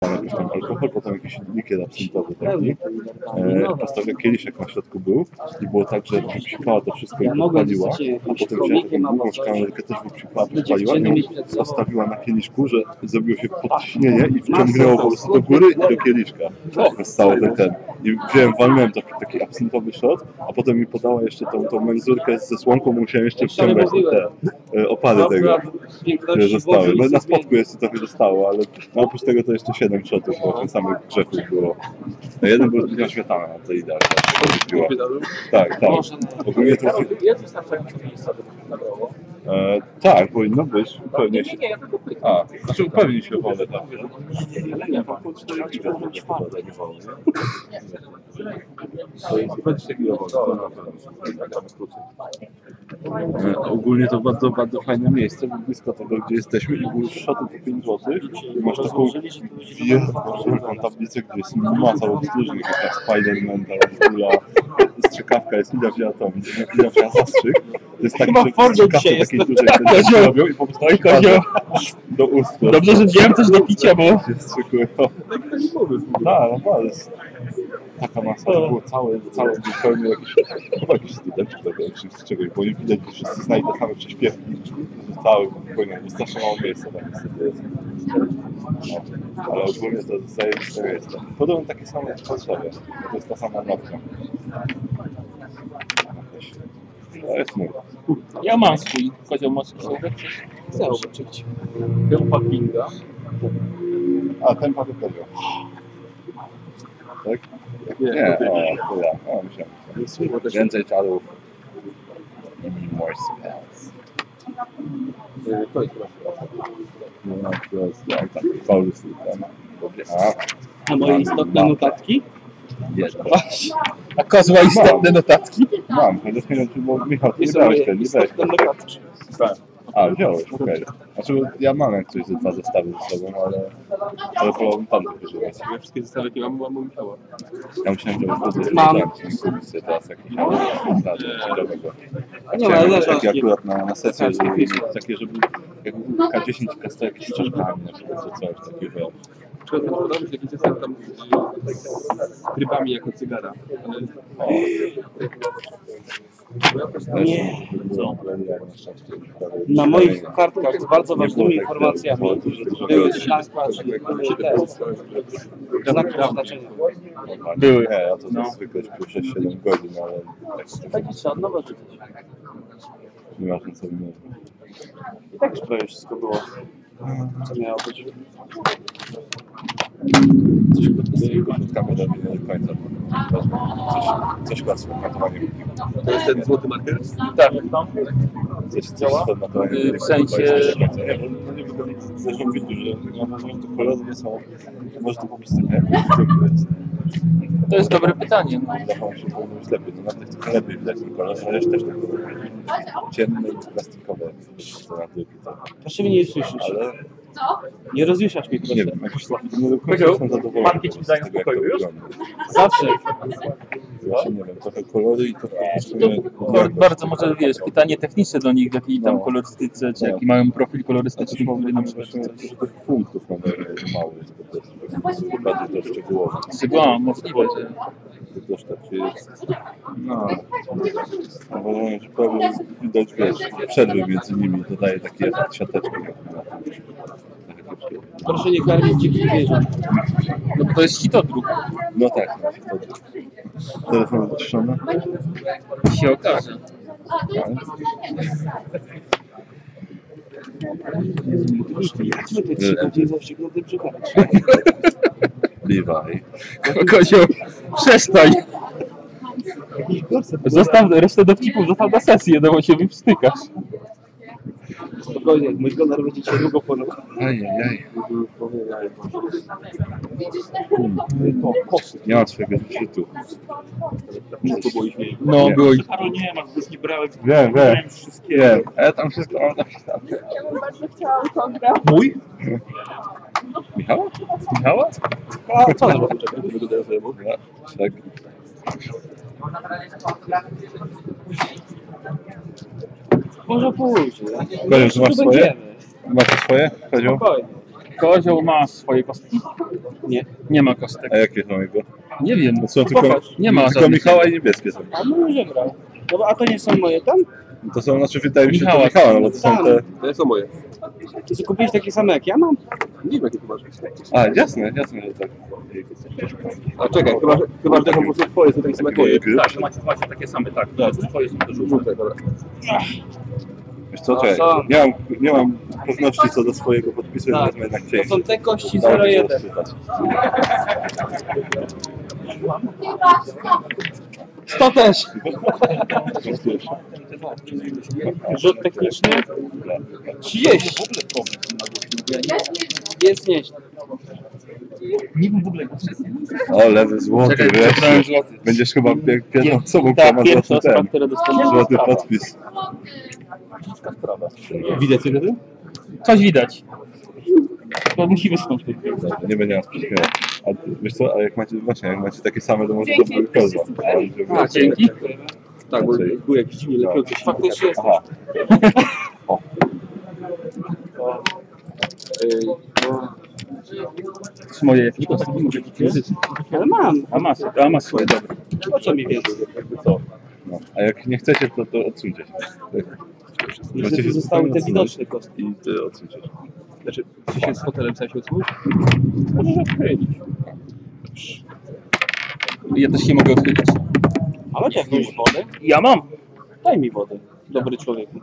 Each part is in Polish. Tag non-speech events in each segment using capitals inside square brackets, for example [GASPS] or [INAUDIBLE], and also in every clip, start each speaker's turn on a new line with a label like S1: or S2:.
S1: tam jakiś tam alkohol, potem jakiś likier absyntowy taki. E, Postawia kieliszek na środku był i było tak, że wypsikała to wszystko i
S2: Ja mogłem
S1: podpaliła,
S2: zostać
S1: a
S2: jakimś
S1: potem wzięła taką
S2: komikiem albo
S1: długą
S2: coś.
S1: szklankę, też wypsikała,
S2: Te
S1: podpaliła i
S2: dziewczyny
S1: ją
S2: mieć przed sobą. Tak.
S1: postawiła na kieliszku, że zrobiło się podciśnienie i wciągnęło po prostu do góry i do kieliszka. Stało ten ten. I wziąłem, walnąłem taki, taki absyntowy shot, a potem mi podała jeszcze tą, tą menzurkę ze słomką, musiałem jeszcze wciągać te e, opady
S2: No
S1: tego, które zostały. No, na spotku jeszcze trochę zostało, ale no, oprócz tego to jeszcze 7 shotów, bo tych samych grzechów było. No, jeden był zbytnio świetany na tej idealnie. Tak, tak. Ogólnie to,
S3: no, Ja coś tam tak miejsca nagrało.
S1: e, tak, powinno być, pewnie się.
S3: Nie, nie, ja tylko pytam.
S1: A, znaczy upewni się wolę, tak.
S3: Mówię, że on już nie, ale nie, mam po 4 giga, to nie czwarte. To jest 24
S1: E, Ogólnie to bardzo, bardzo fajne miejsce, bo blisko tego, gdzie jesteśmy i był szatów po 5 zł i masz taką wielką tablicę, gdzie jest masa obsłużnych, jest tam Spider-Man, tam kula, strzykawka jest Ida Fiatowi, Ida Fiat zastrzyk. To jest taki,
S4: Chyba
S1: że
S4: Fordem
S1: strzykawka
S4: dzisiaj jest.
S1: takiej
S4: [LAUGHS]
S1: dużej wtedy robią i po prostu
S4: Oj, Kozio,
S1: do ust.
S4: dobrze, że wziąłem coś do picia, bo
S1: się strzykują. Tak, no to jest taka masa, że było całe, całe był pełny jakiś, chyba jakiś studenci tego, czy z czegoś, bo nie widać, że wszyscy znali te same przyśpiewki, że cały płynie, bo strasznie mało miejsca tam niestety jest. No, ale ogólnie to jest zajebiste miejsce. Podobno takie same jak w Warszawie, bo to jest ta sama notka. To jest mój.
S4: ja mam swój kozioł mocny słówek.
S2: Chcę oczywiście.
S3: Był parkinga.
S1: A, ten pan to wziął. Tak? Nie, o, chula, o, myślałem. Więcej czarów. Maybe more spells.
S3: To jest
S1: No,
S3: proszę.
S1: to jest no, tak, cały system. A,
S2: A
S1: Tak.
S2: moje istotne notatki?
S1: jedno.
S4: A kozła istotne no tak. notatki?
S1: Mam, chociaż nie wiem, czy bo Michał, ty
S2: I
S1: nie
S2: są moje
S1: brałeś ten, nie brałeś
S2: istotne
S1: ten.
S2: notatki.
S3: Tak.
S1: A, wziąłeś, okej. Znaczy, ja mam jak coś ze dwa zestawy ze sobą, ale... Ale wolałbym tam wyżywać.
S3: Ja wszystkie zestawy, jakie mam, mam Michała.
S1: Ja myślałem, że wychodzę z
S2: Mam.
S1: tam, czyli kupić sobie teraz jakiś zestaw dobrego. A
S2: Nie,
S1: chciałem
S2: No, ale Tak,
S1: mieć
S2: zaraz
S1: takie
S2: taki-
S1: akurat na, na sesję,
S2: taki
S1: żeby mieć
S2: fiszek.
S1: takie, żeby jak K10 kasto jakieś czaszkami na przykład, czy coś takiego.
S3: Czy podoba mi się jakiś zestaw tam z- z trybami jako cygara. Ale
S2: Nie.
S1: Co?
S2: Na moich kartkach z bardzo ważnymi informacjami były szlaki, test, znaki przeznaczenia.
S1: Były. Nie, ja to zwykle śpię 6-7 godzin, ale tak
S2: Takie trzeba od nowa czytać.
S1: nie ma co mówić.
S2: I tak już prawie wszystko było, co miało być.
S1: Coś z koszulkami robimy do końca. bo Coś, coś chyba z matowaniem.
S3: to jest ten złoty marker?
S4: Tak.
S1: Coś, coś z tym matowaniem.
S4: W sensie-
S1: Nie, bo no nie wiem, zresztą widzisz, że ja może to kolory nie są... Może to po prostu nie wiem, co to jest.
S4: To jest dobre pytanie.
S1: Zachowam się powinno być lepiej. No na tych trochę lepiej widać ten kolor, ale też tak było. ciemne i plastikowe. Co na tyłki, co.
S2: Proszę mnie nie rozjuszać.
S1: Ale
S2: Nie rozjuszać mnie
S1: nie
S2: proszę.
S1: wiem, jakoś tak nie do końca jestem zadowolony.
S4: Marki ci
S1: z tego,
S4: dają
S1: jak to
S4: spokoju już?
S1: wygląda.
S2: Zawsze.
S1: Właśnie nie wiem, trochę kolory i to
S4: To
S1: pokazuje
S4: bar- bardzo może wiesz, pytanie techniczne do nich, w jakiej tam kolorystyce, czy jaki mają profil kolorystyczny, który na przykład czy coś.
S1: tych punktów mamy mało jest po prostu. Bardziej to szczegółowo.
S4: Chyba możliwe, że
S1: To też tak się jest. No, uważam, że prawie widać wiesz, przerwy między nimi, to daje takie siateczki. na- na-
S2: Proszę nie karmić dzikich zwierząt.
S4: no, bo to jest hitodruk,
S1: No tak, no, to- telefon wyciszony.
S4: się okaże.
S2: Chodźmy te trzy godziny zawsze przegadać.
S1: Levi.
S4: Kozio, przestań! Zostaw resztę dowcipów, zostaw na sesję, no bo się wypstykasz.
S2: Spokojnie, mój konar będzie cię długo ponad.
S1: Ajajaj.
S5: Widzisz,
S2: To kost.
S1: Nie ma swojego zeszytu.
S3: To było ich mniej.
S4: No,
S1: Nie.
S4: było i
S6: Karol nie ma, już nie brałem
S1: Wiem, wiem.
S6: wszystkie.
S1: Nie, ale tam wszystko mam napisane.
S5: ja bym bardzo chciała autograf.
S4: mój?
S1: Michała? Michała?
S2: A co on robi?
S3: Czekaj, nie wydają sobie
S1: Ja, tak.
S2: Może później.
S1: Kozio, czy masz
S2: Tu
S1: swoje?
S2: będziemy.
S1: Macie swoje? Kozio?
S2: Spokojnie.
S4: Kozioł ma swoje kostki?
S3: Nie.
S4: Nie ma kostek.
S1: A jakie są jego?
S4: Nie wiem.
S1: To są tylko,
S3: Popatrz,
S4: No nie ma
S1: tylko
S4: żadnych.
S1: Michała i niebieskie są.
S2: A no nie brał. No, a to nie są moje tam?
S1: To są, znaczy wydaje mi się,
S4: Michała.
S1: to Michała, no bo to są te...
S3: To są moje.
S2: Czy kupiłeś takie same jak ja mam?
S3: Nie wiem, jakie ty masz.
S1: A, jasne, jasne, że tak.
S3: A czekaj, chyba, że- chyba że to są po prostu twoje, to tak samo jak moje.
S1: Gry.
S4: Tak, macie, macie takie same, tak. To jest twoje są też
S3: Żółte, dobra.
S1: Wiesz co,
S2: A
S1: czekaj,
S2: co?
S1: nie mam, nie mam pewności co do swojego podpisu,
S2: Tak.
S1: tak. wezmę jednak
S2: To
S1: część.
S2: są te
S3: Tak.
S2: kości
S1: Udało mi się
S2: 01.
S1: odczytać.
S2: 100 też.
S1: Wiesz,
S2: Rzut techniczny 30. Jest nieźle.
S1: O, lewy złoty,
S4: Czekaj,
S1: wreszcie.
S4: przepraszam, złoty.
S1: Będziesz chyba pier- pierwszą osobą, która
S4: Tak,
S1: ma
S4: pierwsza
S1: złoty
S4: osoba,
S1: ten.
S4: która dostanie
S1: Złoty podpis.
S3: Widać co wtedy?
S4: Coś widać. Bo musi wystąpić.
S1: Nie będzie nas przyśmiewał. A ty- wiesz co, a jak macie, właśnie, jak macie takie same, to może
S5: Dzięki,
S1: dobry kozła.
S4: A, dzięki.
S3: Tak, bo był jakiś dziwnie lepiący się.
S2: Faktycznie jest.
S1: Aha,
S3: Ej,
S2: e,
S3: no.
S4: Moje jakieś
S3: Nie kostki, może jakieś
S2: Ale mam.
S4: A masz, a masz swoje, dobra.
S2: Po no co mi więcej?
S1: jakby co. No. A jak nie chcecie, to, to odsuńcie się.
S2: Że tu zostały te widoczne kostki.
S1: I ty odsuńcie się.
S3: Znaczy, ty się z hotelem chciałeś odsłuchać?
S4: Możesz odchylić. Ja też się mogę odchylić.
S2: A macie jakąś wodę?
S4: Ja mam.
S2: Daj mi wodę. Dobry człowieku.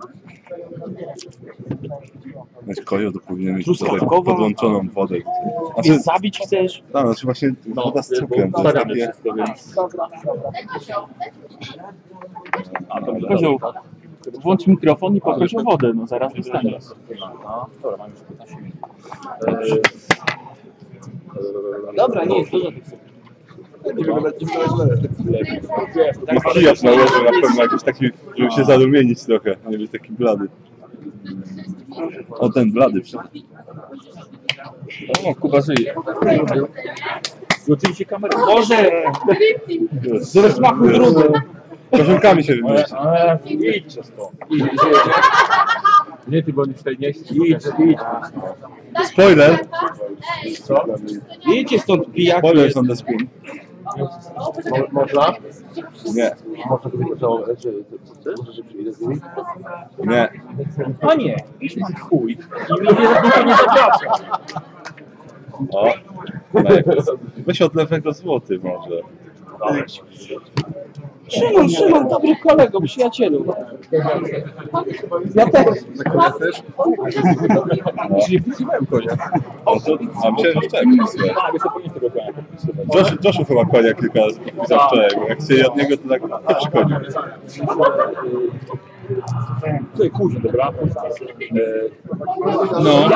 S1: Mieć kozioł, to powinien mieć tutaj
S2: Truskawkowa.
S1: podłączoną wodę.
S2: Czy
S1: Znaczy,
S2: zabić chcesz?
S1: tam, znaczy właśnie woda z cukrem. To jest
S4: Stawiamy
S1: takie...
S4: wszystko, więc...
S1: A,
S4: Kozioł, włącz mikrofon i poproś o wodę, no zaraz dostaniesz.
S2: Dobra, nie jest dużo tych cukrów.
S1: Makijaż nałożę na pewno jakiś taki, żeby się zadumienić trochę, a nie być taki blady. O, ten blady przecież.
S4: O, Kuba żyje. Złoczyli się kamerę.
S2: Boże! Z rozmachu brudu.
S1: Korzonkami no. się wymyśli.
S3: Nie, ty, bo oni tutaj nie Idź, idź.
S1: Spoiler!
S2: Wiecie stąd pijak
S1: Spoiler
S2: jest.
S1: są the spoon.
S3: Można?
S1: Nie,
S3: Można to powiedzieć, że... Może, że przyjdę z nimi?
S1: nie.
S2: O nie.
S1: O, Lejek. Weź od lewego złoty może.
S2: Szymon, Szymon, dobry kolego, przyjacielu. Ja też.
S3: Czyli wpisywałem konia.
S1: O, to, a myślałem, że wczoraj podpisywałem. Josh, Joshu chyba konia kilka razy podpisał wczoraj, bo jak chcieli od niego, to tak to szkodzi.
S3: Tutaj kuźń, dobra?
S4: No.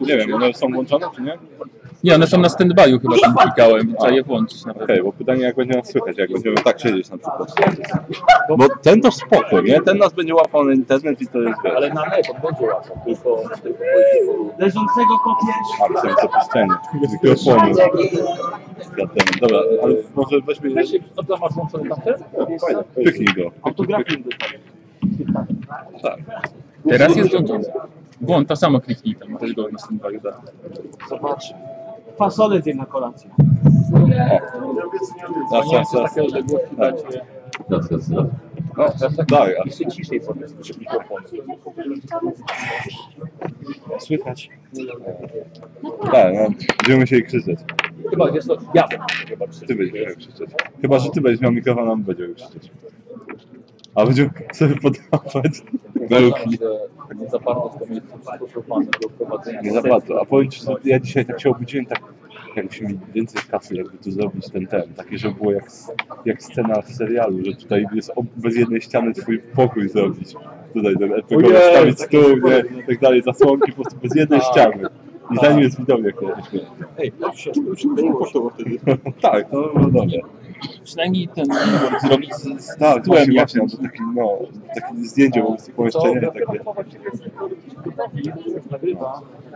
S1: Nie wiem, one są włączone czy nie? Okej,
S4: Nie, one są na stand-by'u chyba, tam klikałem, trzeba je włączyć nawet.
S1: bo pytanie jak będzie nas słychać, jak będziemy tak siedzieć na przykład. Bo ten to spoko, nie? Ten nas będzie łapał na internet i to jest wiesz.
S3: Ale na lewo, będzie łatwo. Tylko...
S2: Leżącego kopiesz.
S1: A, są zapuszczeni. Mikrofonu. Zatem, Dobra, ale może weźmy...
S3: Dobra, masz włączony tamten?
S1: Fajnie, Pyknij go.
S2: Autografię dostałem.
S4: Teraz jest włączony. Włącz, to samo kliknij tam, też go na stand-by'u da.
S2: Zobacz. Fasolę zjem na kolację.
S1: Raz, raz, raz.
S3: Takie odległości dacie.
S1: No, daj, a
S3: Jeszcze ciszej podnieść przy mikrofonie.
S2: Słychać.
S1: tak, no, będziemy się jej krzyczeć.
S3: Chyba, wiesz co, ja chyba
S1: Ty będziesz miał krzyczeć. Chyba, że ty będziesz miał mikrofon, a my będziemy krzyczeć. A będziemy sobie podawać bełki.
S3: Zapartość to jest stosowana do prowadzenia.
S1: Nie za bardzo. A powiem ci, że ja dzisiaj tak się obudziłem, tak jakbyśmy mieli więcej kasy, jakby tu zrobić ten ten. Takie, że było jak, jak scena w serialu, że tutaj jest ob- bez jednej ściany twój pokój zrobić. Tutaj ten RPG
S3: Ojej,
S1: stawić
S3: takie
S1: stół, nie, i tak dalej, zasłonki po prostu bez jednej
S3: Tak.
S1: ściany. I za nim jest widownia, która się śmieje.
S3: Ej, to się przyjęło się wtedy.
S1: [LAUGHS] Tak, to dobra.
S4: Przynajmniej ten billboard zrobić z, z
S1: Tak,
S4: tytułem
S1: właśnie, właśnie,
S4: jakimś.
S1: to taki, no, takie zdjęcie po prostu pomieszczenia takie.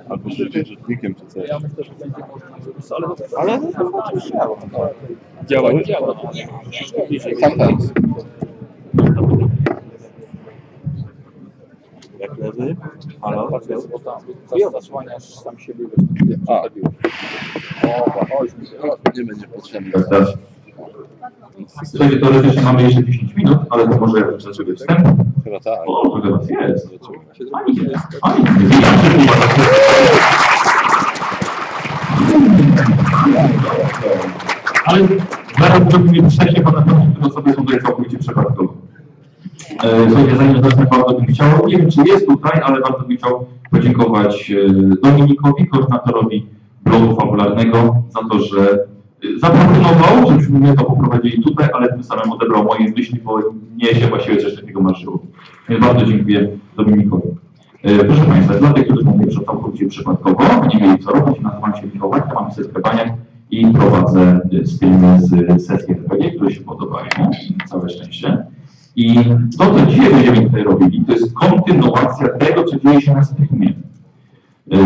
S1: Albo z jakimś rzutnikiem czy coś.
S2: Ale to zobaczysz działa.
S4: Działa,
S1: Jak lewy.
S2: Wtedy? Halo?
S6: Ja zasłaniasz sam siebie. wiesz,
S4: A.
S6: przestawiłeś. O, chodź, mi się-
S1: Nie będzie potrzebne.
S7: Czyli teoretycznie mamy jeszcze 10 minut, ale to może jakiś rzeczy wstęp.
S1: Chyba tak.
S7: O, to teraz jest.
S1: Zobaczymy.
S7: Ani nie, ani nie. Ja się Ale zaraz zrobimy przejście po następnym, które sobie tutaj całkowicie przypadkowo. E, Słuchajcie, zanim zacznę, bardzo bym chciał, nie wiem czy jest tutaj, ale bardzo bym chciał podziękować e, Dominikowi, koordynatorowi blogu fabularnego, za to, że e, zaproponował, żebyśmy my to poprowadzili tutaj, ale tym samym odebrał moje myśli, bo mnie się właściwie coś takiego marzyło. Więc bardzo dziękuję Dominikowi. E, Proszę Państwa, dla tych, którzy mówią, że całkowicie przypadkowo, nie mieli co robić, nazywam się Michał Łajka, mam setkę baniak i prowadzę e, streamy z sesji RPG, które się podobają, całe szczęście. I to, co dzisiaj będziemy tutaj robili, to jest kontynuacja tego, co dzieje się na streamie. Yy,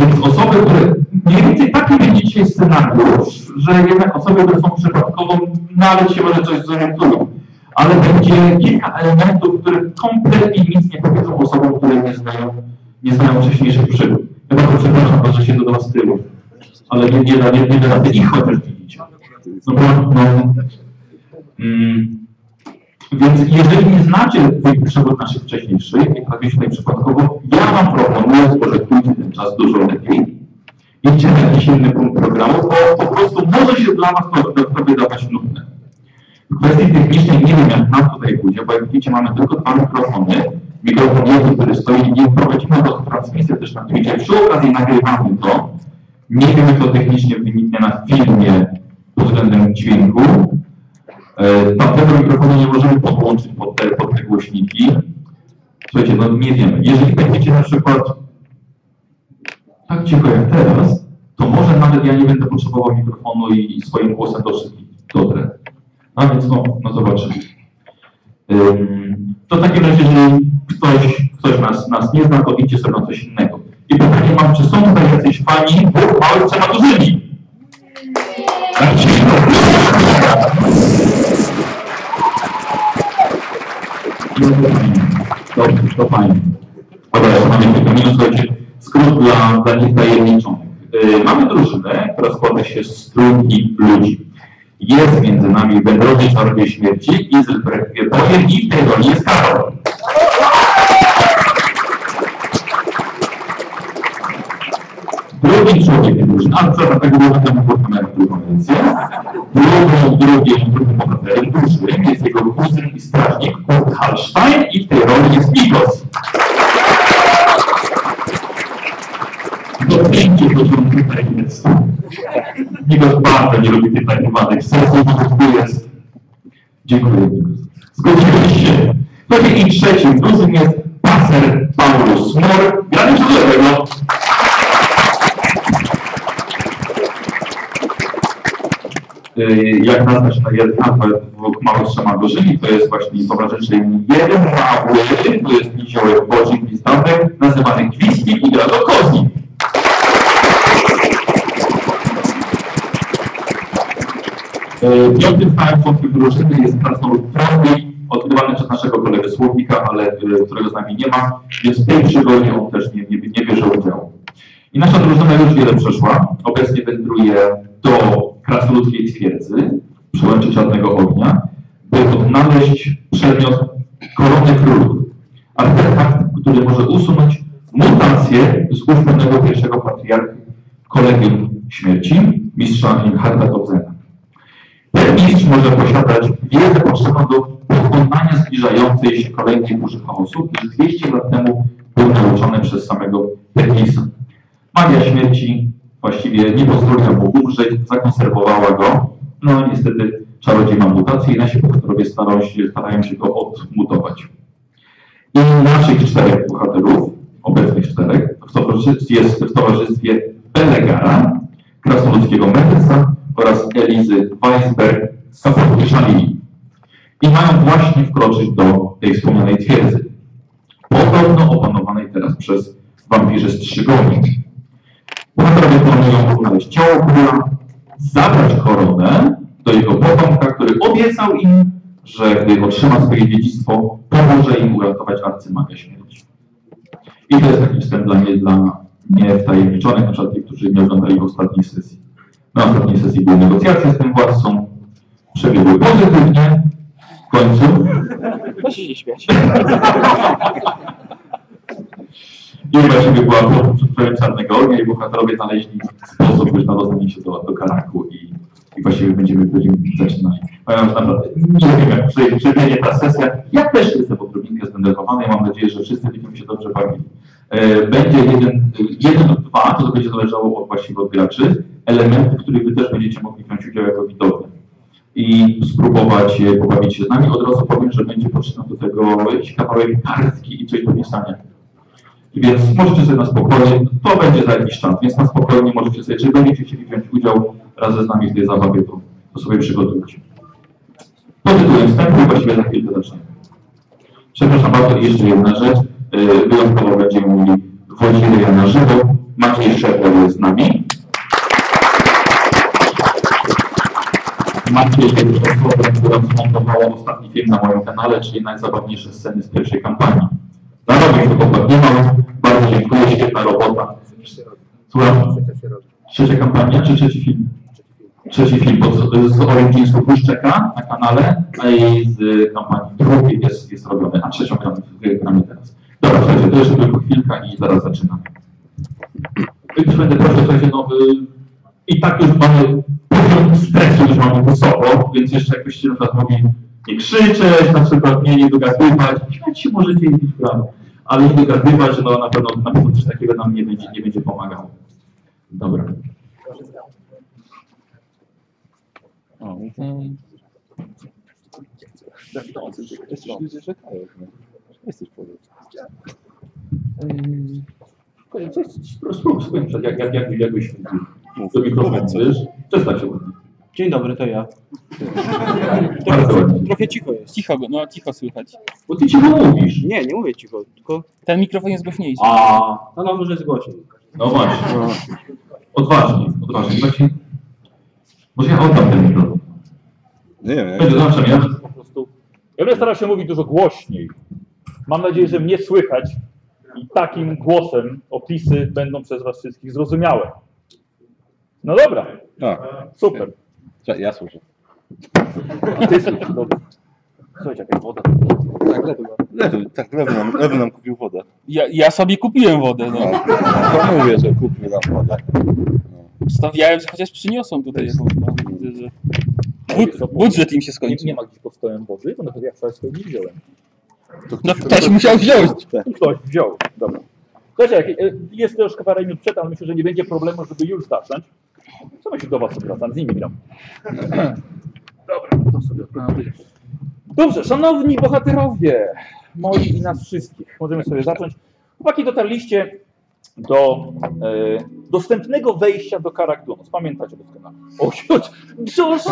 S7: Więc osoby, które mniej więcej taki będzie dzisiaj scenariusz, że jednak osoby, które są przypadkowo, nawet się może coś zorientują. Ale będzie kilka elementów, które kompletnie nic nie powiedzą osobom, które nie znają, nie znają wcześniejszych przygód. Ja bardzo przepraszam, że się dodam z tyłu. Ale nie, nie, da- nie, nie da rady ich chociaż widzicie. No, bo- no, mm, więc jeżeli nie znacie tych przygód naszych wcześniejszych, jak prawie tutaj przypadkowo, ja Wam proponuję, spożytkujcie ten czas dużo lepiej. Idźcie na jakiś inny punkt programu, bo po prostu może się dla Was to, to, to wydawać nudne. W kwestii technicznej nie wiem, jak nam tutaj pójdzie, bo jak widzicie, mamy tylko dwa mikrofony. Mikrofon jeden, który stoi, nie prowadzimy do transmisji też na Twitchie. Przy okazji nagrywamy to. Nie wiem, jak to technicznie wyniknie na filmie pod względem dźwięku. E, Na pewno mikrofonu nie możemy podłączyć pod te, pod te głośniki. Słuchajcie, no nie wiemy. Jeżeli będziecie na przykład tak cicho jak teraz, to może nawet ja nie będę potrzebował mikrofonu i, i swoim głosem do wszystkich dotrę. A więc no, no zobaczymy. Ym, To w takim razie, jeżeli ktoś, ktoś nas, nas nie zna, to idźcie sobie na coś innego. I pytanie mam, czy są tutaj jacyś fani dwóch małych prematurzyni? Tak, Dobrze, to fajnie. Dobra, jeszcze mamy kilka minut, słuchajcie. Skrót dla, dla nich tajemniczonych. Yy, mamy drużynę, która składa się z trójki ludzi. Jest między nami wędrowny czarodziej śmierci, Izrek Wielbojem i w tej roli jest Karol. Drugi człowiek drużyny, a przepraszam, tego było tam było tam jak drugą wersję. Drugą, drugim, drugim bohaterem drużyny jest jego kuzyn i strażnik Kurt Hallstein i w tej roli jest Migos. Docencie to, że on tutaj jest. Migos bardzo nie lubi tych najmowanych sesji, bo tu jest. Dziękuję. Zgodziłeś się. Pewnie i trzecim drugim jest Paser Paulus Mor, grany przez lewego. Y, jak nazwać na jeden alfabet dwóch małych strzemagorzyni, to jest właśnie towarzyszy jeden mały, to jest niziołek bożym gwizdawek, nazywany gwizdnik i gra do kozni. Y, Piątym stałym członkiem drużyny jest krasnolud prawdy, odkrywany przez naszego kolegę Słownika, ale y, którego z nami nie ma, więc w tej przygodzie on też nie, nie, nie bierze udziału. I nasza drużyna już wiele przeszła. Obecnie wędruje do krasnoludskiej twierdzy, przełęczy Czarnego Ognia, by odnaleźć przedmiot korony królów. Artefakt, który może usunąć mutację z ust pewnego pierwszego patriarchy, kolegium śmierci, mistrza Inharda Todzena. Ten mistrz może posiadać wiedzę potrzebną do pokonania zbliżającej się kolejnej burzy chaosu, niż 200 lat temu był nauczony przez samego Perkisa. Magia śmierci właściwie nie pozwoliła mu umrzeć, zakonserwowała go. No niestety czarodziej ma mutację i nasi bohaterowie starają się, starają się go odmutować. I naszych czterech bohaterów, obecnych czterech, w towarzystwie, jest w towarzystwie Belegara, krasnoludzkiego Mendesa oraz Elizy Weisberg z Sapotki Szalini. I mają właśnie wkroczyć do tej wspomnianej twierdzy, podobno opanowanej teraz przez wampirze strzygownik. Bohaterowie planują znaleźć ciało króla, zabrać koronę do jego potomka, który obiecał im, że gdy otrzyma swoje dziedzictwo, pomoże im uratować arcymaga śmierci. I to jest taki wstęp dla mnie, dla niewtajemniczonych, na przykład tych, którzy nie oglądali ostatniej sesji. Na ostatniej sesji były negocjacje z tym władcą, przebiegły pozytywnie, w końcu.
S6: Proszę się śmiać.
S7: I właściwie była przedstawieniem czarnego ognia i bohaterowie znaleźli sposób, by dostali się do, do Karaku i, i właściwie będziemy, będziemy zaczynali. Powiem, że naprawdę nie wiem, jak przej- przebiegnie ta sesja. Ja też jestem odrobinkę zdenerwowany i mam nadzieję, że wszyscy będziemy się dobrze bawili. E, Będzie jeden, jeden lub dwa, to będzie zależało od właściwie od graczy, elementów, w których wy też będziecie mogli wziąć udział jako widownia i spróbować e, pobawić się z nami. Od razu powiem, że będzie potrzebny do tego jakiś kawałek kartki i coś do pisania. Więc możecie sobie na spokojnie, to będzie za jakiś czas, więc na spokojnie możecie sobie, jeżeli będziecie chcieli wziąć udział razem z nami w tej zabawie, to, to sobie przygotujcie. No To tytułem wstępu, właściwie za chwilkę zaczniemy. Przepraszam bardzo, i jeszcze jedna rzecz. E, Wyjątkowo będziemy mieli Wojciecha na żywo. Maciej Szefler jest z nami. Maciej Szefler, która zmontowała ostatni film na moim kanale, czyli najzabawniejsze sceny z pierwszej kampanii. Zarobił to chłopak nie ma. Bardzo dziękuję, świetna robota. Słucham? Trzecia kampania czy trzeci film? Trzeci film bo z- z Originsów Łuszczeka na kanale, a i z y, kampanii drugiej jest, jest robiony, a trzecią gramy, gramy teraz. Dobra, słuchajcie, to jeszcze tylko chwilka i zaraz zaczynamy. Już będę prosił, słuchajcie, no y, i tak już mamy poziom stresu, już mamy wysoko, więc jeszcze jakbyście na przykład mogli nie krzyczeć, na przykład nie, nie dogadywać, śmiać się możecie i nic gramy, ale nie dogadywać, no na pewno, na pewno coś takiego nam nie będzie, nie będzie pomagało. Dobra.
S1: No.
S3: no.
S7: Kochanie, Coś, coś, spróbuj, spróbuj, tak jak, jak, jak, jakbyś
S1: Mów.
S7: do mikrofonu, co wiesz? Przestań się ładnie.
S6: Dzień dobry, to ja.
S7: Bardzo ładnie.
S6: Trochę cicho jest.
S4: Cicho, go- no cicho słychać.
S7: Bo ty cicho mówisz.
S6: Nie, nie mówię cicho, tylko...
S4: Ten mikrofon jest głośniejszy.
S7: A,
S6: No, no może zgłośnij.
S7: no właśnie. No Odważnie, odważnie. Właśnie, może ja oddam ten mikrofon.
S1: Nie wiem, jak-
S7: Będzie zawsze ja.
S8: po prostu. Ja będę starał się mówić dużo głośniej. Mam nadzieję, że mnie słychać i takim głosem opisy będą przez Was wszystkich zrozumiałe. No dobra,
S1: A,
S8: super.
S1: czekaj, ja słyszę.
S8: Ty słyszysz, dobra. Słuchajcie, jaka woda.
S1: Lewy, tak, lewy nam, lewy nam kupił wodę.
S4: Ja, ja sobie kupiłem wodę,
S1: No.
S4: no.
S1: To mówię, że kupił nam wodę.
S4: Stawiałem, że chociaż przyniosą tutaj jakąś. no, widzę, że Bud, budżet im się
S8: Nie,
S4: skończył.
S8: nie ma gdzieś pod stołem wody, bo nawet ja wczoraj sobie nie wziąłem.
S4: No ktoś musiał wziąć.
S1: No
S8: Tu Ktoś wziął, dobra. Słuchajcie, jak- e, jest troszkę parę minut przed, ale myślę, że nie będzie problemu, żeby już zacząć. Co myślisz do Was odwracam? Z nimi gram. [CLEARS THROAT] Dobrze, szanowni bohaterowie, moi i nas wszystkich, możemy sobie zacząć. Chłopaki, dotarliście do e, dostępnego wejścia do Karakdunos. Pamiętacie doskonale. O, siód, brzusz!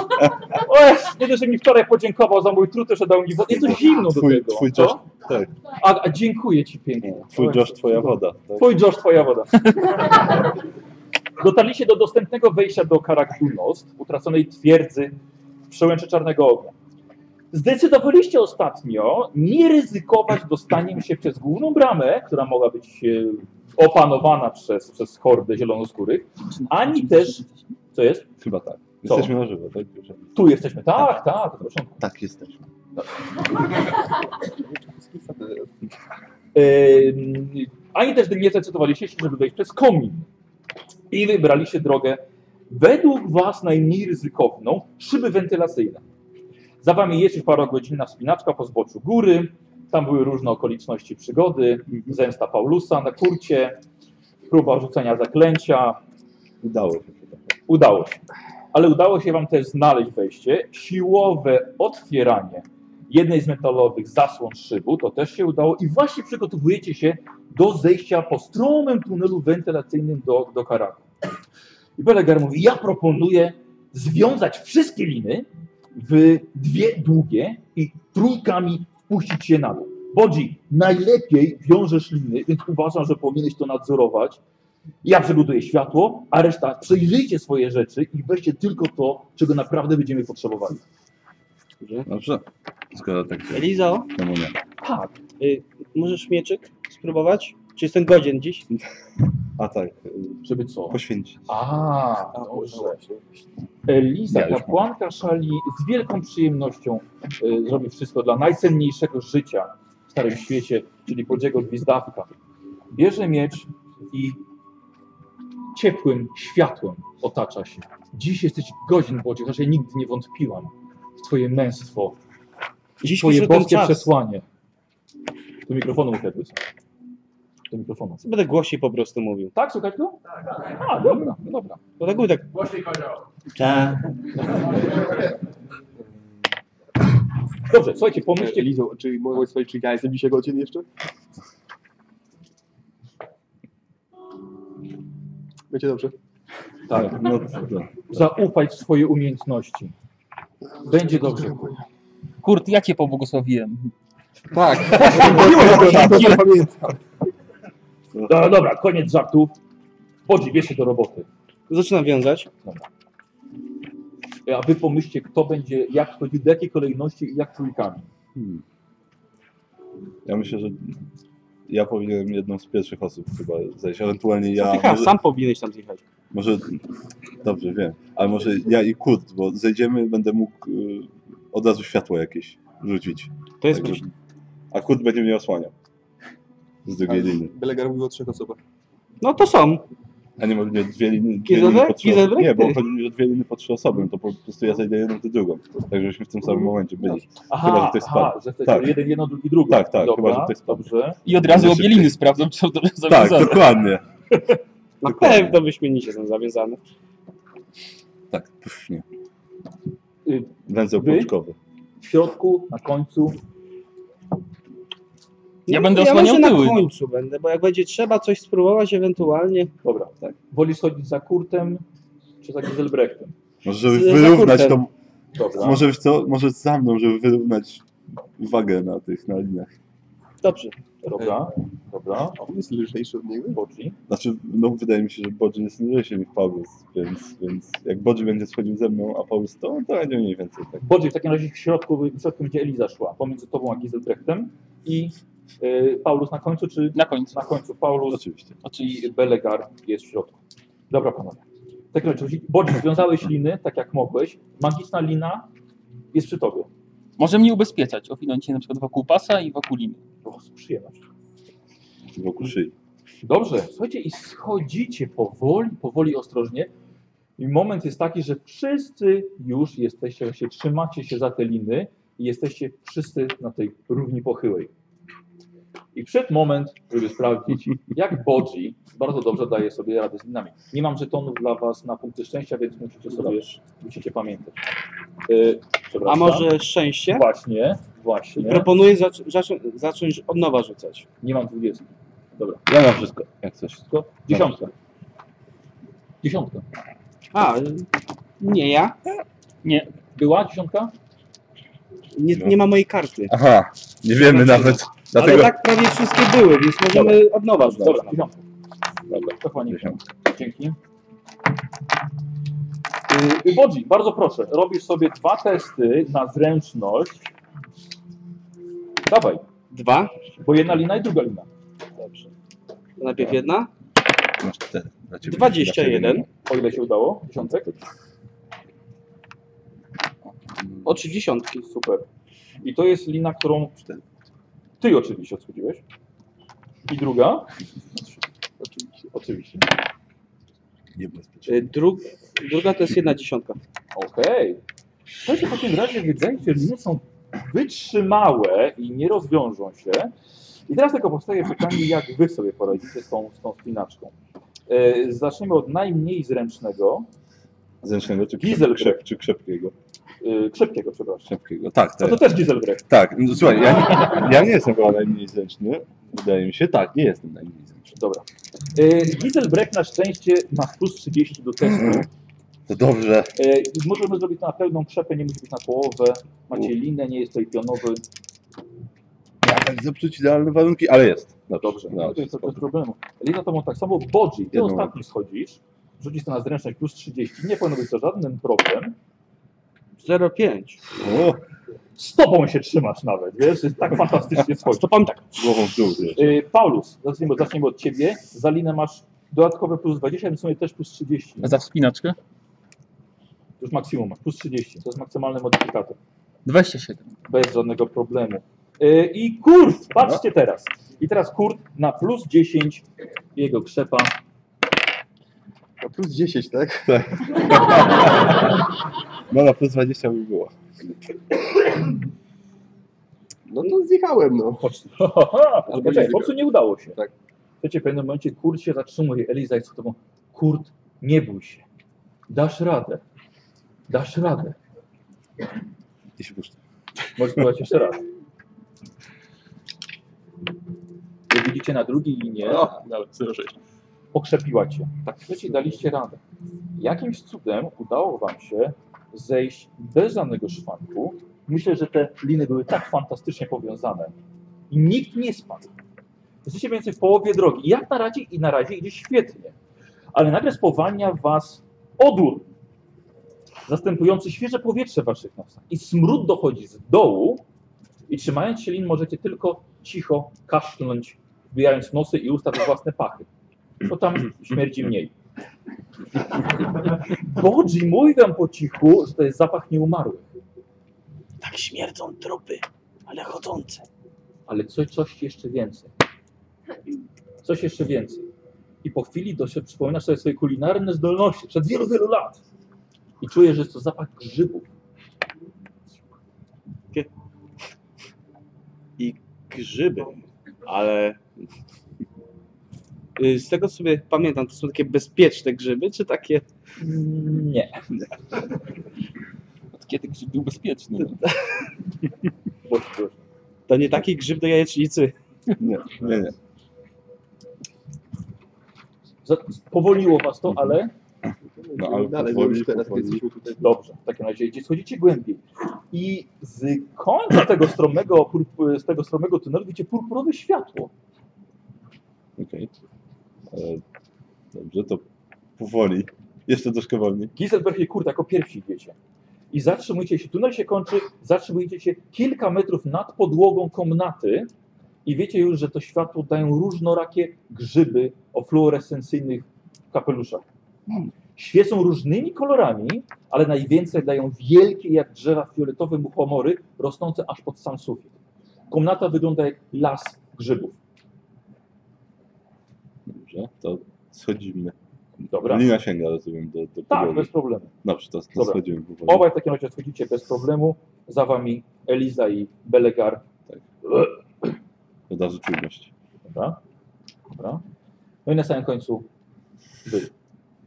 S8: O, jest, widzę, że mi wczoraj podziękował za mój trud, że dał mi wodę. Jest to zimno do
S1: Twój,
S8: tego.
S1: twój
S8: co?
S1: Josh, tak,
S8: A, a dziękuję ci pięknie.
S1: twój
S8: O,
S1: Josh, twoja woda. Tak.
S8: Twój Josh, twoja woda. Dotarliście do dostępnego wejścia do Karakdunost, utraconej twierdzy w przełęczy Czarnego Ognia. Zdecydowaliście ostatnio nie ryzykować dostaniem się przez główną bramę, która mogła być e, opanowana przez, przez hordę zielonoskórych, ani też, co jest?
S1: Chyba tak. Jesteśmy na żywo, tak? Już.
S8: Tu jesteśmy. Tak, tak, to proszę.
S1: Tak, jesteśmy.
S8: Em, ani też nie zdecydowaliście się, żeby wejść przez komin. I wybraliście drogę według Was najmniej ryzykowną, szyby wentylacyjne. Za Wami jest już parogodzinna wspinaczka po zboczu góry. Tam były różne okoliczności przygody.
S1: Mhm.
S8: Zemsta Paulusa na kurcie, próba rzucenia zaklęcia,
S1: Udało się. chyba.
S8: Udało się. Ale udało się Wam też znaleźć wejście. Siłowe otwieranie jednej z metalowych zasłon szybu, to też się udało. I właśnie przygotowujecie się do zejścia po stromym tunelu wentylacyjnym do, do Karaku. I Belegar mówi, ja proponuję związać wszystkie liny w dwie długie i trójkami wpuścić je na dół. Bodzi, najlepiej wiążesz liny, więc uważam, że powinieneś to nadzorować. Ja przygotuję światło, a reszta przejrzyjcie swoje rzeczy i weźcie tylko to, czego naprawdę będziemy potrzebowali.
S1: Dobrze. Skoro tak się
S9: Elizo,
S1: temu nie.
S8: Tak.
S9: y, możesz mieczyk spróbować?
S6: Czy jestem godzien dziś?
S1: A tak, y,
S8: Żeby co?
S1: poświęcić.
S8: A, dobrze. Eliza,
S1: Ja już mam.
S8: kapłanka szali z wielką przyjemnością e, zrobi wszystko dla najcenniejszego życia w Starym Świecie, czyli Bodziego Gwizdawka. Bierze miecz i ciepłym światłem otacza się. Dziś jesteś godzien, Bodzie, chociaż ja nigdy nie wątpiłam w twoje męstwo,
S6: Dziś
S8: twoje
S6: przyszedł ten
S8: boskie
S6: czas.
S8: przesłanie. Do mikrofonu Hedwig. Do mikrofonu.
S6: Będę głośniej po prostu mówił.
S8: Tak, słychać go? Tak. A, dobra, dobra.
S6: Bo tak mówię tak. Tak.
S8: Dobrze, słuchajcie, pomyślcie,
S2: Lizo, E, czy mogę powiedzieć, czy ja jestem dzisiaj godzien jeszcze? Wiecie dobrze?
S8: Tak.
S1: No, to,
S8: Zaufaj w swoje umiejętności. Będzie dobrze.
S4: Kurt, ja cię pobłogosławiłem. Tak.
S8: No, dobra, koniec żartów. Chodzi, bierz się do roboty.
S6: Zaczynam wiązać.
S8: A wy pomyślcie, kto będzie, jak wchodzi, do jakiej kolejności i jak trójkami.
S1: hmm. Ja myślę, że ja powinienem jedną z pierwszych osób chyba zejść, ewentualnie ja.
S6: Zjechałem,
S1: może-
S6: sam powinieneś tam zjechać.
S1: Może, dobrze wiem, ale może ja i Kurt, bo zejdziemy, będę mógł y, od razu światło jakieś rzucić.
S6: To jest
S1: Tak,
S6: myśl.
S1: żeby- a Kurt będzie mnie osłaniał. Z drugiej liny.
S2: Belegar mówił o trzech osobach.
S6: No to są.
S1: A nie może nie dwie liny, dwie
S6: Kizelbrek?
S1: liny po trzy osoby.
S6: Kizelbrek?
S1: Nie, bo chodzi mi, że dwie liny po trzy osoby, no to po prostu ja zejdę jedną, ty drugą. Tak, żebyśmy w tym samym momencie byli. Chyba, że ktoś spadł.
S8: że ktoś
S1: Tak.
S8: jeden, jedno, drugi, drugi.
S1: Tak, tak, chyba, że ktoś spadł.
S8: Dobrze.
S4: [LAUGHS] I od razu
S1: Szybciej.
S4: obie liny sprawdzam, czy są dobrze
S1: Tak,
S4: zawiązane.
S1: dokładnie.
S6: Na
S1: Dokładnie.
S6: pewno wyśmienicie są zawiązane.
S1: Tak, pysznie.
S8: Y,
S1: Węzeł
S8: wy?
S1: pączkowy.
S8: W środku, na końcu.
S4: Ja
S6: No,
S4: będę
S6: ja
S4: osłaniał
S6: może na
S4: tyły.
S6: końcu będę, bo jak będzie trzeba coś spróbować ewentualnie.
S8: Dobra, tak. Wolisz chodzić za Kurtem czy za Giselbrechtem?
S1: Może żeby
S6: Za
S1: wyrównać
S6: Kurtem.
S1: tą...
S8: Dobra.
S1: Może wiesz co, może za mną, żeby wyrównać wagę na tych, na linach.
S6: Dobrze.
S8: Dobra, dobra. O,
S2: On jest lżejszy od niego.
S8: Boci.
S1: Znaczy, no wydaje mi się, że Bodzin jest lżejszy niż Paulus, więc, więc jak Bodzin będzie schodził ze mną, a Paulus to, to będzie mniej więcej tak.
S8: Bodzie, w takim razie w środku, w środku będzie Eliza szła, pomiędzy tobą a Gizelbrechtem i y, Paulus na końcu, czy
S4: Na końcu.
S8: na końcu Paulus
S2: Znaczy-
S1: Oczywiście.
S8: i Belegar jest w środku. Dobra, panowie. W takim razie, Bodzie, związałeś liny, tak jak mogłeś, magiczna lina jest przy tobie.
S4: Może mnie ubezpieczać, owinąć się na przykład wokół pasa i wokół liny.
S8: O, z przyjemność.
S1: Wokół szyi.
S8: Dobrze, słuchajcie, i schodzicie powoli, powoli, ostrożnie. I moment jest taki, że wszyscy już jesteście, się trzymacie się za te liny i jesteście wszyscy na tej równi pochyłej. I przed moment, żeby sprawdzić, jak Bodzi bardzo dobrze daje sobie radę z linami. Nie mam żetonów dla Was na punkty szczęścia, więc musicie sobie, musicie pamiętać. Yy,
S6: A
S8: przepraszam.
S6: może szczęście?
S8: Właśnie, właśnie.
S6: Proponuję zac- zac- zacząć od nowa rzucać.
S8: Nie mam dwudziestki. Dobra,
S1: Ja mam wszystko. Jak coś.
S8: wszystko. Dziesiątka. Dziesiątka.
S6: A, y, nie ja.
S8: Była dziesiątka?
S6: Nie,
S1: No.
S6: nie ma mojej karty.
S1: Aha, nie wiemy nawet.
S6: Ale
S1: Dlatego
S6: tak prawie wszystkie były, więc możemy od nowa rzucać.
S8: Dobra, dziesiątka. Dobra, to pani.
S1: Dziesiątka.
S8: Dzięki. Yy, Bodzi, bardzo proszę, robisz sobie dwa testy na zręczność. Dawaj,
S6: Dwa.
S8: bo jedna lina i druga lina.
S6: Dobrze. To najpierw jedna.
S1: masz cztery. Dla ciebie.
S6: Dwadzieścia
S1: Dla ciebie
S6: jeden.
S8: O ile się udało? Dziesiątek?
S6: O trzy dziesiątki.
S8: Super. I to jest lina, którą ty oczywiście odchudziłeś. I druga? Oczywiście. Oczywiście.
S1: Nie było bezpiecznie.
S6: Y, Dru druga to jest jedna dziesiątka.
S8: Okej. Słuchajcie, w takim razie wydaje się, że nie są wytrzymałe i nie rozwiążą się. I teraz tylko powstaje pytanie, jak wy sobie poradzicie z tą, z tą spinaczką. E, Zaczniemy od najmniej zręcznego,
S1: Zręcznego czy,
S8: Diesel
S1: krzep, krzep, czy krzepkiego?
S8: e, krzepkiego, przepraszam.
S1: Krzepkiego. Tak,
S8: No
S1: tak.
S8: to też Dieselbrecht.
S1: Tak, no, słuchaj, ja
S6: [LAUGHS]
S1: nie, ja nie jestem chyba najmniej zręczny. Wydaje mi się, tak, nie jestem najmniej zręczny.
S8: Dobra. E, Dieselbrecht na szczęście ma plus 30 do testu.
S1: To dobrze.
S8: E, Możemy zrobić to na pełną krzepę, nie musi być na połowę. Macie linę, nie jest to i pionowy.
S1: Ja tak zepsuć idealne warunki, ale jest.
S8: Dobrze, no, to
S1: Dobrze,
S8: jest to
S1: spoko.
S8: bez problemu. Lina to ma tak samo, Bodzi, ty
S1: Jedną
S8: ostatni schodzisz, rzucisz to na zręczność plus 30, nie powinno być to żaden problem.
S6: 0,5.
S1: O,
S8: Stopą się trzymasz nawet, wiesz? Jest tak fantastycznie schodzi.
S6: Stopam tak.
S1: głową w dół, wiesz.
S8: Y, Paulus, zacznijmy, zacznijmy od ciebie. Za linę masz dodatkowe plus 20, więc w sumie też plus 30.
S4: Za wspinaczkę?
S8: To już maksimum masz, plus 30. To jest maksymalny modyfikator.
S4: 27.
S8: Bez żadnego problemu. Y, I Kurt, patrzcie teraz. I teraz Kurt na plus 10 jego krzepa.
S2: Plus 10, tak? [LAUGHS]
S1: No na plus 20 by było.
S2: No to zjechałem, no.
S8: [LAUGHS] Ale poczekaj, po prostu nie udało się.
S2: Tak.
S8: Słuchajcie, w pewnym momencie Kurt się zatrzymuje. Eliza jest z tobą. Kurt, nie bój się. Dasz radę. Dasz radę.
S1: I się puszczę.
S8: Możesz spróbować jeszcze raz. Jak widzicie na drugiej linie,
S4: Nawet 06.
S8: pokrzepiła cię. Tak trzeci daliście radę. Jakimś cudem udało wam się zejść bez żadnego szwanku. Myślę, że te liny były tak fantastycznie powiązane. I nikt nie spadł. Jesteście mniej więcej w połowie drogi. I Jak na razie i na razie idzie świetnie. Ale nagle spowalnia was odór zastępujący świeże powietrze w waszych nosach. I smród dochodzi z dołu i trzymając się lin możecie tylko cicho kaszlnąć, wbijając nosy i usta we własne pachy bo tam śmierdzi mniej. Bodzi, mówi wam po cichu, że to jest zapach nieumarłych,
S6: Tak śmierdzą trupy, ale chodzące.
S8: ale coś, coś jeszcze więcej. Coś jeszcze więcej. I po chwili do się przypominasz sobie swoje kulinarne zdolności przed wielu, wielu lat. I czujesz, że jest to zapach grzybów.
S6: Grzyby, ale... Y, Z tego sobie pamiętam, to są takie bezpieczne grzyby, czy takie...
S8: Nie.
S4: Od kiedy grzyb był bezpieczny? No.
S8: Bodzi, proszę.
S6: To nie taki grzyb do jajecznicy.
S1: Nie, nie, nie.
S8: Za- Powoliło was to, ale
S1: No, ale
S2: Dalej, bo
S1: powoli,
S2: już teraz
S1: powoli.
S2: jesteśmy tutaj.
S8: Dobrze, w takim razie idzie, schodzicie głębiej. I z końca tego stromego, purp- z tego stromego tunelu widzicie purpurowe światło.
S1: Okej. E, Dobrze, to powoli. Jeszcze troszkę wolniej.
S8: Giselberg i Kurt jako pierwsi idziecie. I zatrzymujecie się, tunel się kończy, zatrzymujecie się kilka metrów nad podłogą komnaty i wiecie już, że to światło dają różnorakie grzyby o fluorescencyjnych kapeluszach. Świecą różnymi kolorami, ale najwięcej dają wielkie jak drzewa fioletowe muchomory rosnące aż pod sam sufit. Komnata wygląda jak las grzybów.
S1: Dobrze, to schodzimy.
S8: Dobra.
S1: Lina sięga, rozumiem, do, do
S8: Tak,
S1: podłogi.
S8: bez problemu.
S1: Dobrze, to, to
S8: Dobra.
S1: schodzimy powoli.
S8: Obaj w takim razie odchodzicie bez problemu. Za wami Eliza i Belegar.
S1: Od razu czujność.
S8: Dobra. Dobra. No i na samym końcu wy.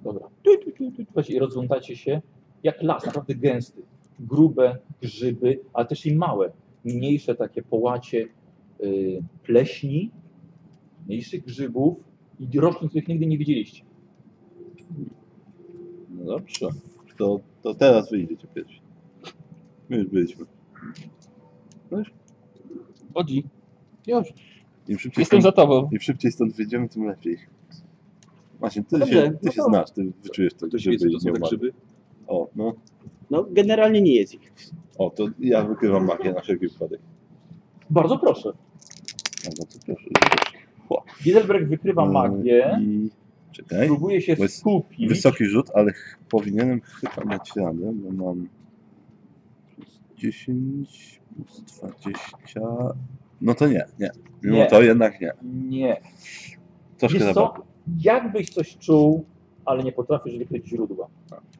S8: Dobra. Tu, tu, tu, tu, tu. Właśnie I rozglądacie się jak las, naprawdę gęsty. Grube grzyby, ale też i małe. Mniejsze takie połacie y, pleśni, mniejszych grzybów i roślin, których nigdy nie widzieliście.
S1: No dobrze. To, to teraz wyjdziecie pierwsi. My już byliśmy.
S4: Chodzi.
S1: Im szybciej,
S4: Jestem za
S1: stąd,
S4: tobą.
S1: Im szybciej stąd wyjdziemy, tym lepiej. Właśnie, ty
S6: No
S1: się,
S6: dobrze,
S1: ty
S6: no
S1: się
S6: to-
S1: znasz, ty wyczujesz to,
S2: Ktoś
S1: grzyby
S2: wie, co
S1: i
S2: to są za
S1: nieumar-
S2: grzyby?
S1: O, no.
S6: No, generalnie nie jest ich.
S1: O, to ja wykrywam magię na wszelki wypadek.
S8: Bardzo proszę.
S1: No, no to proszę.
S8: Gizelberg wykrywa
S1: Yy,
S8: magię,
S1: I... Czekaj.
S8: próbuje się
S1: Bo jest
S8: skupić.
S1: Wysoki rzut, ale ch- powinienem chyba mieć radę, bo mam plus 10, plus 20. No to nie, nie. Mimo
S8: Nie.
S1: to jednak nie.
S8: Nie.
S1: Troszkę
S8: Wiesz co?
S1: zabrakło.
S8: Jakbyś coś czuł, ale nie potrafisz wykryć źródła,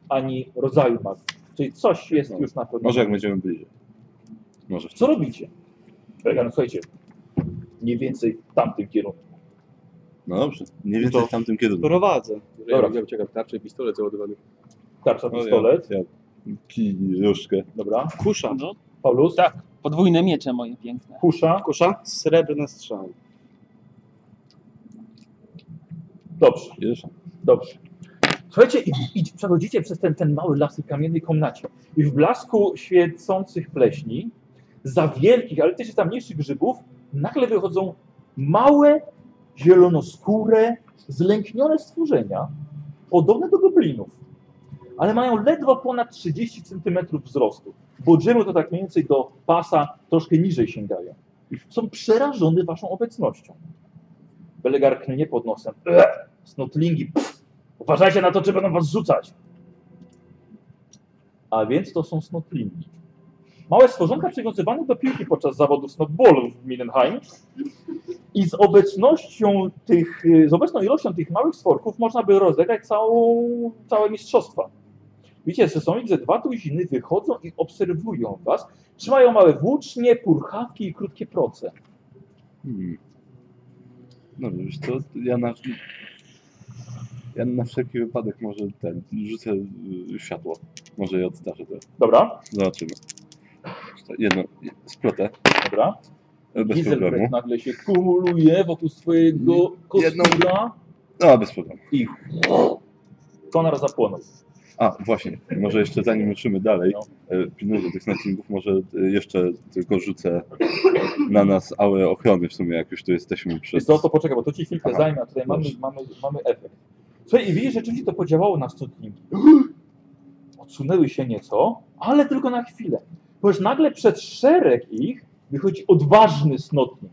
S8: ani rodzaju magii. Czyli coś jest
S1: No.
S8: już na pewno.
S1: Może jak będziemy bliżej. Może
S8: Co
S1: wtedy.
S8: robicie? Regan, słuchajcie, mniej więcej w tamtym kierunku.
S1: No dobrze, mniej więcej w tamtym kierunku.
S6: Prowadzę.
S2: Dobra. Ja czekam, tarczę i pistolet załadowany.
S8: Tarcza,
S1: No,
S8: pistolet,
S1: Ja, ja kij, różkę.
S8: dobra.
S6: Kusza.
S4: No,
S8: Paulus,
S4: tak. Podwójne miecze moje piękne.
S8: kusza,
S6: Kusza? Srebrna strzała.
S8: dobrze.
S1: Wiesz?
S8: Dobrze. Słuchajcie, i, i przechodzicie przez ten, ten mały las w tej kamiennej komnacie i w blasku świecących pleśni, za wielkich, ale też i za mniejszych grzybów, nagle wychodzą małe, zielonoskóre, zlęknione stworzenia, podobne do goblinów. ale mają ledwo ponad 30 cm wzrostu. Budżemu to tak mniej więcej do pasa troszkę niżej sięgają. Są przerażony waszą obecnością. Belegar klnie pod nosem. "Ech, Snotlingi, pff, uważajcie na to, czy będą was rzucać. A więc to są snotlingi. Małe stworzonka przywiązywane do piłki podczas zawodów snowballu w Mindenheim. I z obecnością tych, y, z obecną ilością tych małych stworków można by rozegrać całą, całe mistrzostwa. Widzicie, że są ich ze dwa tuziny, wychodzą i obserwują was. Trzymają małe włócznie, purchawki i krótkie proce.
S1: Hmm. No wiesz, to ja na, ja na wszelki wypadek może ten, rzucę y, światło. Może ja odstarzę to.
S8: Dobra,
S1: Zobaczymy. Jedno, splotę,
S8: dobra.
S1: e, bez problemu.
S8: Gizelbrecht nagle się kumuluje wokół swojego
S1: Jedną-
S8: kostura no.
S1: A, No, bez problemu.
S8: i Konar zapłonął.
S1: A, właśnie, może jeszcze zanim ruszymy dalej, e, pilnuję tych snatchingów, może e, jeszcze tylko rzucę na nas aurę ochrony w sumie, jak już tu jesteśmy
S8: Przez...
S1: przez...
S8: To, to poczekaj, bo to ci chwilkę
S1: Aha.
S8: zajmie, a tutaj mamy,
S1: Dobrze.
S8: mamy, mamy efekt. Słuchaj, i widzisz, rzeczywiście to podziałało na studninki. [GASPS] Odsunęły się nieco, ale tylko na chwilę. Ponieważ nagle przed szereg ich wychodzi odważny snotnik.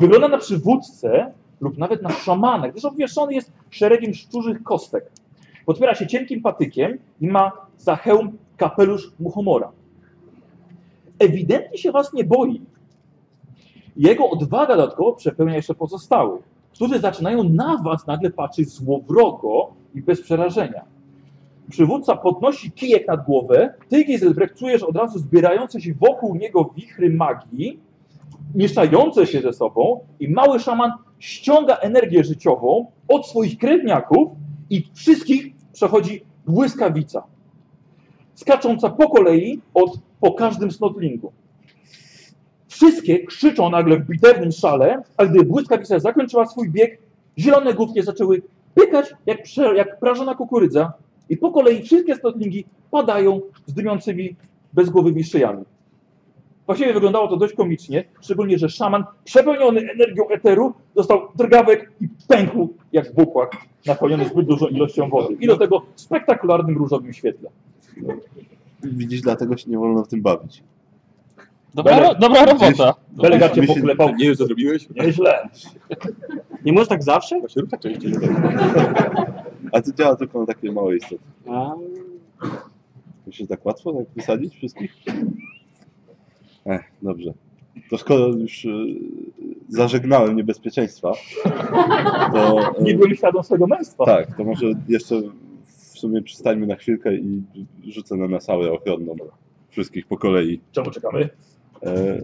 S8: Wygląda na przywódcę lub nawet na szamana, gdyż obwieszony jest szeregiem szczurzych kostek. Podpiera się cienkim patykiem i ma za hełm kapelusz muchomora. Ewidentnie się was nie boi. Jego odwaga dodatkowo przepełnia jeszcze pozostałych, którzy zaczynają na was nagle patrzeć złowrogo i bez przerażenia. Przywódca podnosi kijek nad głowę, ty Gizelbrecht czujesz od razu zbierające się wokół niego wichry magii, mieszające się ze sobą i mały szaman ściąga energię życiową od swoich krewniaków i wszystkich przechodzi błyskawica, skacząca po kolei od, po każdym snotlingu. Wszystkie krzyczą nagle w bitewnym szale, a gdy błyskawica zakończyła swój bieg, zielone główki zaczęły pykać jak, prze, jak prażona kukurydza i po kolei wszystkie stotlingi padają z dymiącymi bezgłowymi szyjami. Właściwie wyglądało to dość komicznie, szczególnie, że szaman przepełniony energią eteru dostał drgawek i pękł jak bukłak napełniony zbyt dużą ilością wody i do tego w spektakularnym różowym świetle.
S1: Widzisz, dlatego się nie wolno w tym bawić.
S4: Dobra,
S8: Belek.
S4: ro, dobra robota.
S2: No
S8: Belega cię poklepał.
S2: Nie wiem, co zrobiłeś.
S8: Nieźle.
S6: Nie możesz tak zawsze?
S2: Właśnie rób tak częściej.
S1: A to działa tylko na takie małe istoty.
S6: A,
S1: Myślisz, tak łatwo tak wysadzić wszystkich? Ech, dobrze. To skoro już e, zażegnałem niebezpieczeństwa, to... e,
S8: Nie byłem świadom swego męstwa.
S1: Tak, to może jeszcze w sumie przystańmy na chwilkę i rzucę na nas aurę ochronną wszystkich po kolei.
S8: Czemu czekamy?
S1: E,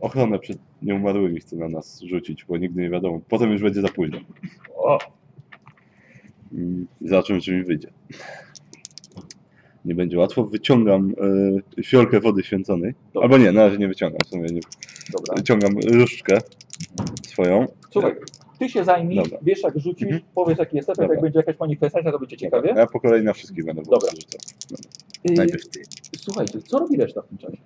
S1: ochronę przed nieumarłymi chcę na nas rzucić, bo nigdy nie wiadomo. Potem już będzie za późno.
S8: O,
S1: Mm, I zobaczymy, czy mi wyjdzie. Nie będzie łatwo. Wyciągam e, fiolkę wody święconej.
S8: Dobra. Tak.
S1: Albo nie, na razie nie wyciągam. W sumie nie.
S8: dobra.
S1: Wyciągam różdżkę swoją.
S8: Słuchaj, ty się zajmij,
S1: Dobra. Mhm.
S8: wiesz jak rzucisz, powiesz jaki jest efekt,
S1: Dobra.
S8: jak będzie jakaś manifestacja, to będzie ciekawie.
S1: A Ja po kolei na wszystkich będę po
S8: Dobra.
S1: prostu rzucał.
S8: Y,
S1: Najpierw ty.
S8: Słuchajcie, co robi reszta w tym czasie?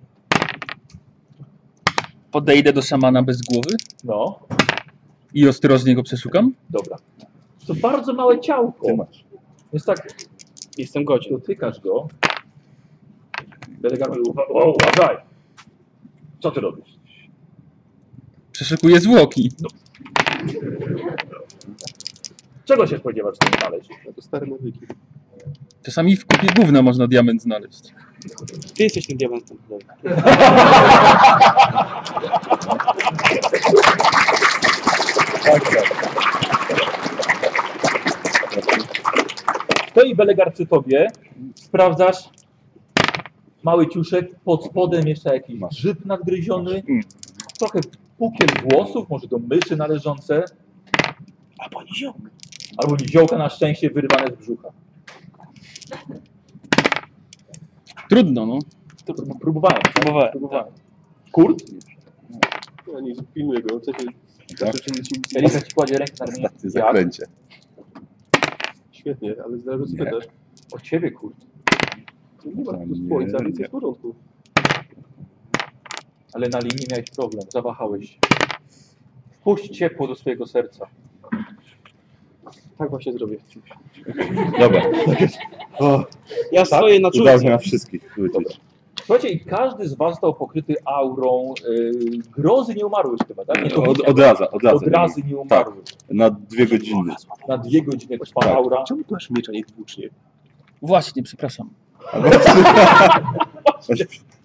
S4: Podejdę do szamana bez głowy
S8: No,
S4: i ostrożnie go przeszukam.
S8: dobra. To bardzo małe ciałko,
S1: Ty masz.
S8: więc tak
S6: jestem godzien.
S8: dotykasz go. Belegar mówi, uwa- o, uważaj! Co ty robisz?
S4: Przeszukuję zwłoki.
S8: Czego się spodziewasz z tym znaleźć?
S1: To stare nawyki.
S4: Czasami w kupie gówna można diament znaleźć.
S6: Ty jesteś tym diamentem. Dobra.
S8: To i Belegar przy tobie sprawdzasz mały ciuszek, pod spodem jeszcze jakiś grzyb nadgryziony, trochę pukiel włosów, może do myszy należące. Albo niziołka. Albo niziołka na szczęście wyrywane z brzucha.
S4: Trudno, no.
S8: To prób- próbowałem. tak?
S4: Próbowałem,
S8: próbowałem. Kurt?
S2: No nie, pilnuję go. W sensie,
S1: Tak?
S2: zawsze czym nic nic nie
S8: Elisa ci kładzie rękę na ramię.
S1: Ostatnie
S8: Jak?
S1: zaklęcie.
S2: Świetnie, ale zależy co
S1: Nie.
S2: pytasz.
S8: O ciebie, Kurt.
S2: Nie ma tu
S1: Nie,
S2: spojca, więc
S1: nie.
S2: jest w porządku.
S8: Ale na linii miałeś problem, zawahałeś się. Wpuść ciepło do swojego serca.
S2: Tak właśnie zrobię.
S1: Dobra. O,
S6: Ja
S8: Tak?
S6: stoję na
S1: udało się
S6: czujce.
S1: na wszystkich wrócić.
S8: Słuchajcie, i każdy z was został pokryty aurą y, grozy nieumarłych chyba, tak? Nie, to
S1: Od,
S8: wiecie,
S1: od razu, od razu. tak.
S8: od razu nieumarłych.
S1: Na dwie godziny.
S8: Na dwie godziny trwa
S1: Tak.
S8: aura.
S3: Czemu tu masz miecz, a nie włócznie?
S4: Właśnie, przepraszam.
S1: [LAUGHS]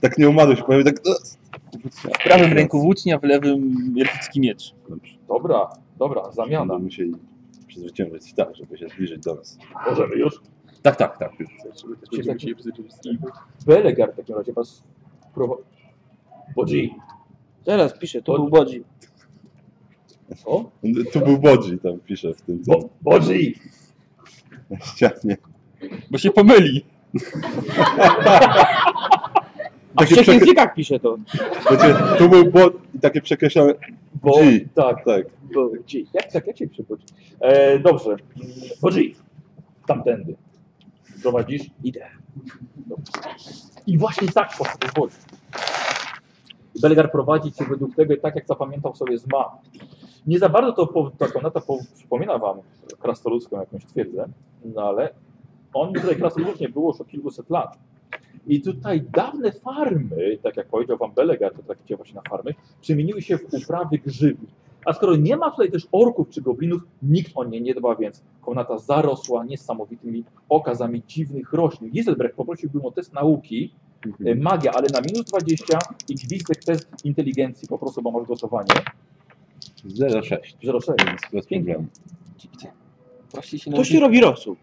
S1: Tak nie umarłeś, powiem tak... e,
S4: W prawym ręku włócznia, w lewym elficki miecz.
S1: Dobrze.
S8: Dobra, dobra, zamiana.
S1: Będą musieli przezwyciężyć tak, żeby się zbliżyć do nas.
S8: Możemy już.
S1: Tak, tak, tak. Już.
S3: Zobaczymy, też będziemy się bzyczyć z kim.
S8: Belegar w takim razie was prowadzi. Bodzi.
S6: Teraz piszę, to był Bodzi.
S8: Co?
S1: Tu był Bodzi, tam pisze w tym,
S8: Bo,
S1: tym
S8: bodzi!
S1: na ścianie.
S4: Bo się pomyli.
S6: A w
S1: Takie
S6: trzech
S1: przekre...
S6: językach pisze to.
S1: Znaczy, tu był Bodzi i takie przekreślone...
S8: Bo,
S1: Bodzi.
S8: tak,
S1: Tak.
S6: Bodzi.
S8: jak tak, jak się przebodzi? E, dobrze. Bodzi. Tamtędy. Prowadzisz? Idę. Dobrze. I właśnie tak po sobie chodzi. Belgar prowadzi cię według tego i tak jak zapamiętał sobie z map. Nie za bardzo to po- ta komnata po, przypomina wam krasnoludzką jakąś twierdzę, no ale on tutaj krasnoludnie było już od kilkuset lat. I tutaj dawne farmy, tak jak powiedział wam Belegar, to traficie właśnie na farmy, przemieniły się w uprawy grzybi. A skoro nie ma tutaj też orków czy goblinów, nikt o nie nie dba, więc komnata zarosła niesamowitymi okazami dziwnych roślin. Giselbrecht poprosiłbym o test nauki, e, magia, ale na minus 20 i gwizdek test inteligencji, po prostu, bo masz gotowanie.
S1: 06.
S8: 06.
S1: Bez problemu.
S4: Właśnie się,
S6: To
S4: nauczyć,
S6: się robi
S4: [LAUGHS]
S6: rosół.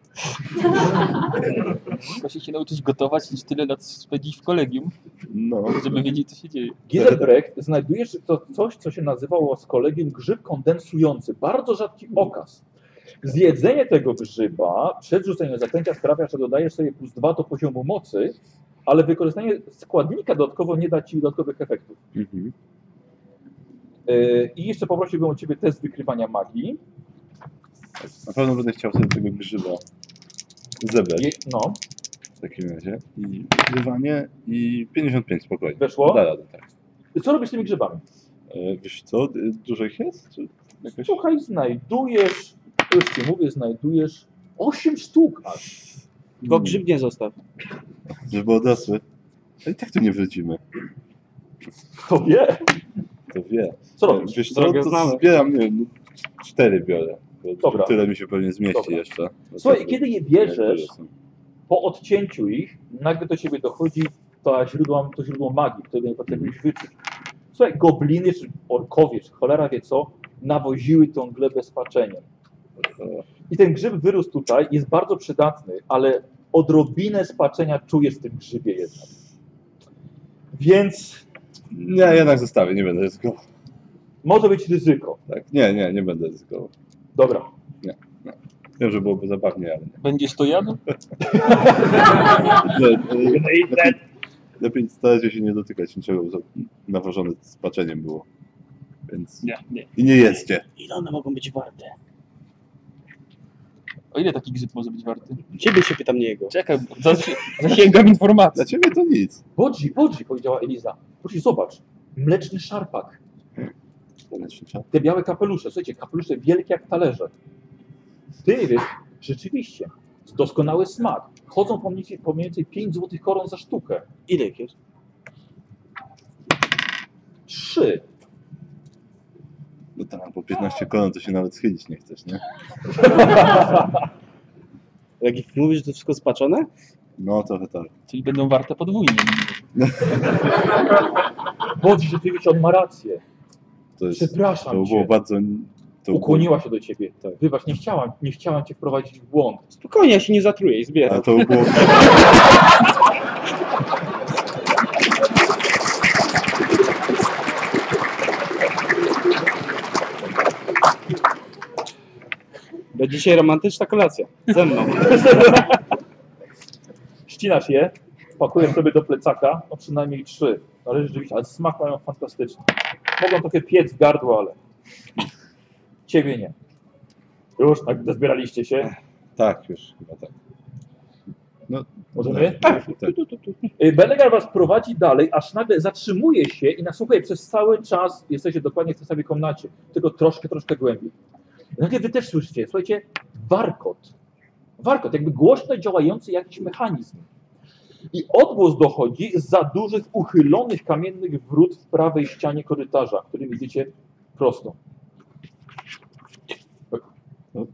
S4: właśnie się nauczyć gotować, niż tyle lat spędzić w kolegium,
S1: No.
S4: żeby wiedzieć, co się dzieje.
S8: Giselbrecht, znajdujesz to coś, co się nazywało z kolegium grzyb kondensujący. Bardzo rzadki okaz. Zjedzenie tego grzyba przed rzuceniem zaklęcia sprawia, że dodajesz sobie plus dwa do poziomu mocy, ale wykorzystanie składnika dodatkowo nie da ci dodatkowych efektów.
S1: Mhm.
S8: Yy, I jeszcze poprosiłbym o ciebie test wykrywania magii.
S1: Na pewno będę chciał sobie tego grzyba zebrać
S8: Je, no,
S1: w takim razie. I wyzwanie i 55 spokojnie.
S8: weszło.
S1: Da radę, tak.
S8: Co robisz z tymi grzybami?
S1: E, Wiesz co, e, dużo ich jest? Czy jakoś...
S8: Słuchaj, znajdujesz, już ci mówię, znajdujesz 8 sztuk aż.
S6: Bo grzyb nie zostaw.
S1: Żeby odesły. Ale i tak tu nie wrócimy.
S8: Kto wie?
S1: To wie.
S8: Co robisz?
S1: Wiesz co,
S6: Drogę
S1: to
S6: znamy.
S1: zbieram, nie wiem, no, cztery biorę. Bo
S8: Dobra.
S1: Tyle mi się pewnie zmieści
S8: Dobra.
S1: jeszcze. Bo
S8: Słuchaj,
S1: to-
S8: kiedy je
S1: nie,
S8: bierzesz,
S1: które są.
S8: po odcięciu ich, nagle do ciebie dochodzi to źródło, to źródło magii, którego nie potrafiłeś wyczuć. Słuchaj, gobliny, czy orkowie, czy cholera wie co, nawoziły tą glebę spaczeniem. I ten grzyb wyrósł tutaj, jest bardzo przydatny, ale odrobinę spaczenia czujesz w tym grzybie jednak. Więc
S1: Nie, jednak zostawię, nie będę ryzykował.
S8: może być ryzyko.
S1: Tak? Nie, nie, nie będę ryzykował.
S8: Dobra,
S1: Wiem, że byłoby zabawnie, ale
S4: Będziesz to jadł?
S1: nie. Nie, e, lepiej, lepiej starać się nie dotykać niczego, bo to nawożone spaczeniem było. Więc...
S4: Nie, nie.
S1: I nie jedzcie.
S6: Ile No, one mogą być warte?
S4: O ile taki grzyb może być warty?
S6: Ciebie się pytam, nie jego.
S4: Czekaj, zasi- zasięgam informacji.
S1: Dla ciebie to nic.
S8: bodzi, bodzi, powiedziała Eliza. Proszę, zobacz, mleczny szarpak, te białe kapelusze, słuchajcie, kapelusze wielkie jak talerze. Ty nie wiesz, rzeczywiście, doskonały smak. Chodzą po mniej więcej- po mniej więcej 5 złotych koron za sztukę.
S6: Ile ich jest?
S8: Trzy.
S1: No tam, po 15 koron to się nawet schylić nie chcesz, nie?
S6: Jak ich mówisz, że to wszystko spaczone?
S1: No, trochę tak.
S4: Czyli będą warte podwójnie.
S8: Bodzi rzeczywiście, on ma rację.
S1: To, jest, to
S8: Przepraszam
S1: było
S8: cię.
S1: bardzo... To
S8: Ukłoniła się do ciebie.
S1: Tak.
S8: Wybacz, nie chciałam, nie chciałam cię wprowadzić w błąd.
S6: Spokojnie, ja się nie zatruję i zbieram.
S1: A to było...
S6: Bo dzisiaj romantyczna kolacja. Ze mną.
S8: Ścinasz je, pakujesz sobie do plecaka, no przynajmniej trzy. Ale rzeczywiście, ale smak mają fantastyczny. Mogą trochę piec w gardło, ale ciebie nie. Już tak zbieraliście się.
S1: Tak, już chyba tak.
S8: Możemy?
S1: Tak, tak.
S8: Y, Belegar was prowadzi dalej, aż nagle zatrzymuje się i nasłuchuje przez cały czas, jesteście dokładnie w tej samej komnacie, tylko troszkę, troszkę głębiej. Nagle wy też słyszycie, słuchajcie, warkot. warkot, jakby głośno działający jakiś mechanizm. I odgłos dochodzi z za dużych, uchylonych kamiennych wrót w prawej ścianie korytarza, którym idziecie prosto. Tak. No.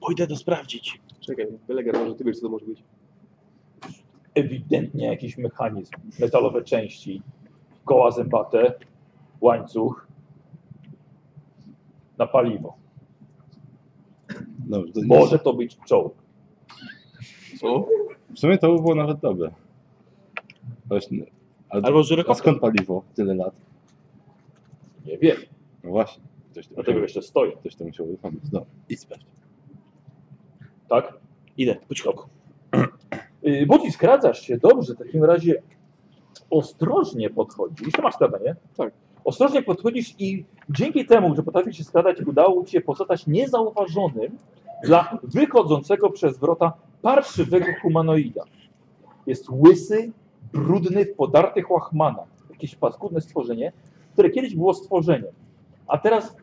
S6: Pójdę to sprawdzić. Czekaj, Belegar, może ty wiesz, co to może być.
S8: Ewidentnie jakiś mechanizm, metalowe części, koła zębate, łańcuch na paliwo.
S1: Dobrze, No, to
S8: Może to być czołg.
S1: W sumie to by było nawet dobre. Właśnie. A,
S6: Albo
S1: a
S6: żyrokopter.
S1: skąd paliwo? Tyle lat.
S8: Nie wiem,
S1: No właśnie. Ktoś to,
S8: dlatego
S1: musiał,
S8: jeszcze stoję,
S1: ktoś to musiał wypomnieć. No, idź sprawdź.
S8: tak?
S6: Idę, po
S8: [CLEARS THROAT]
S6: cichotku.
S8: Yy, Buci, skradzasz się, dobrze, w takim razie ostrożnie podchodzisz, to masz skradanie?
S6: Tak.
S8: Ostrożnie podchodzisz i dzięki temu, że potrafisz się skradać, udało ci się pozostać niezauważonym dla wychodzącego przez wrota parszywego humanoida. Jest łysy, brudny, w podartych łachmanach. Jakieś paskudne stworzenie, które kiedyś było stworzeniem. A teraz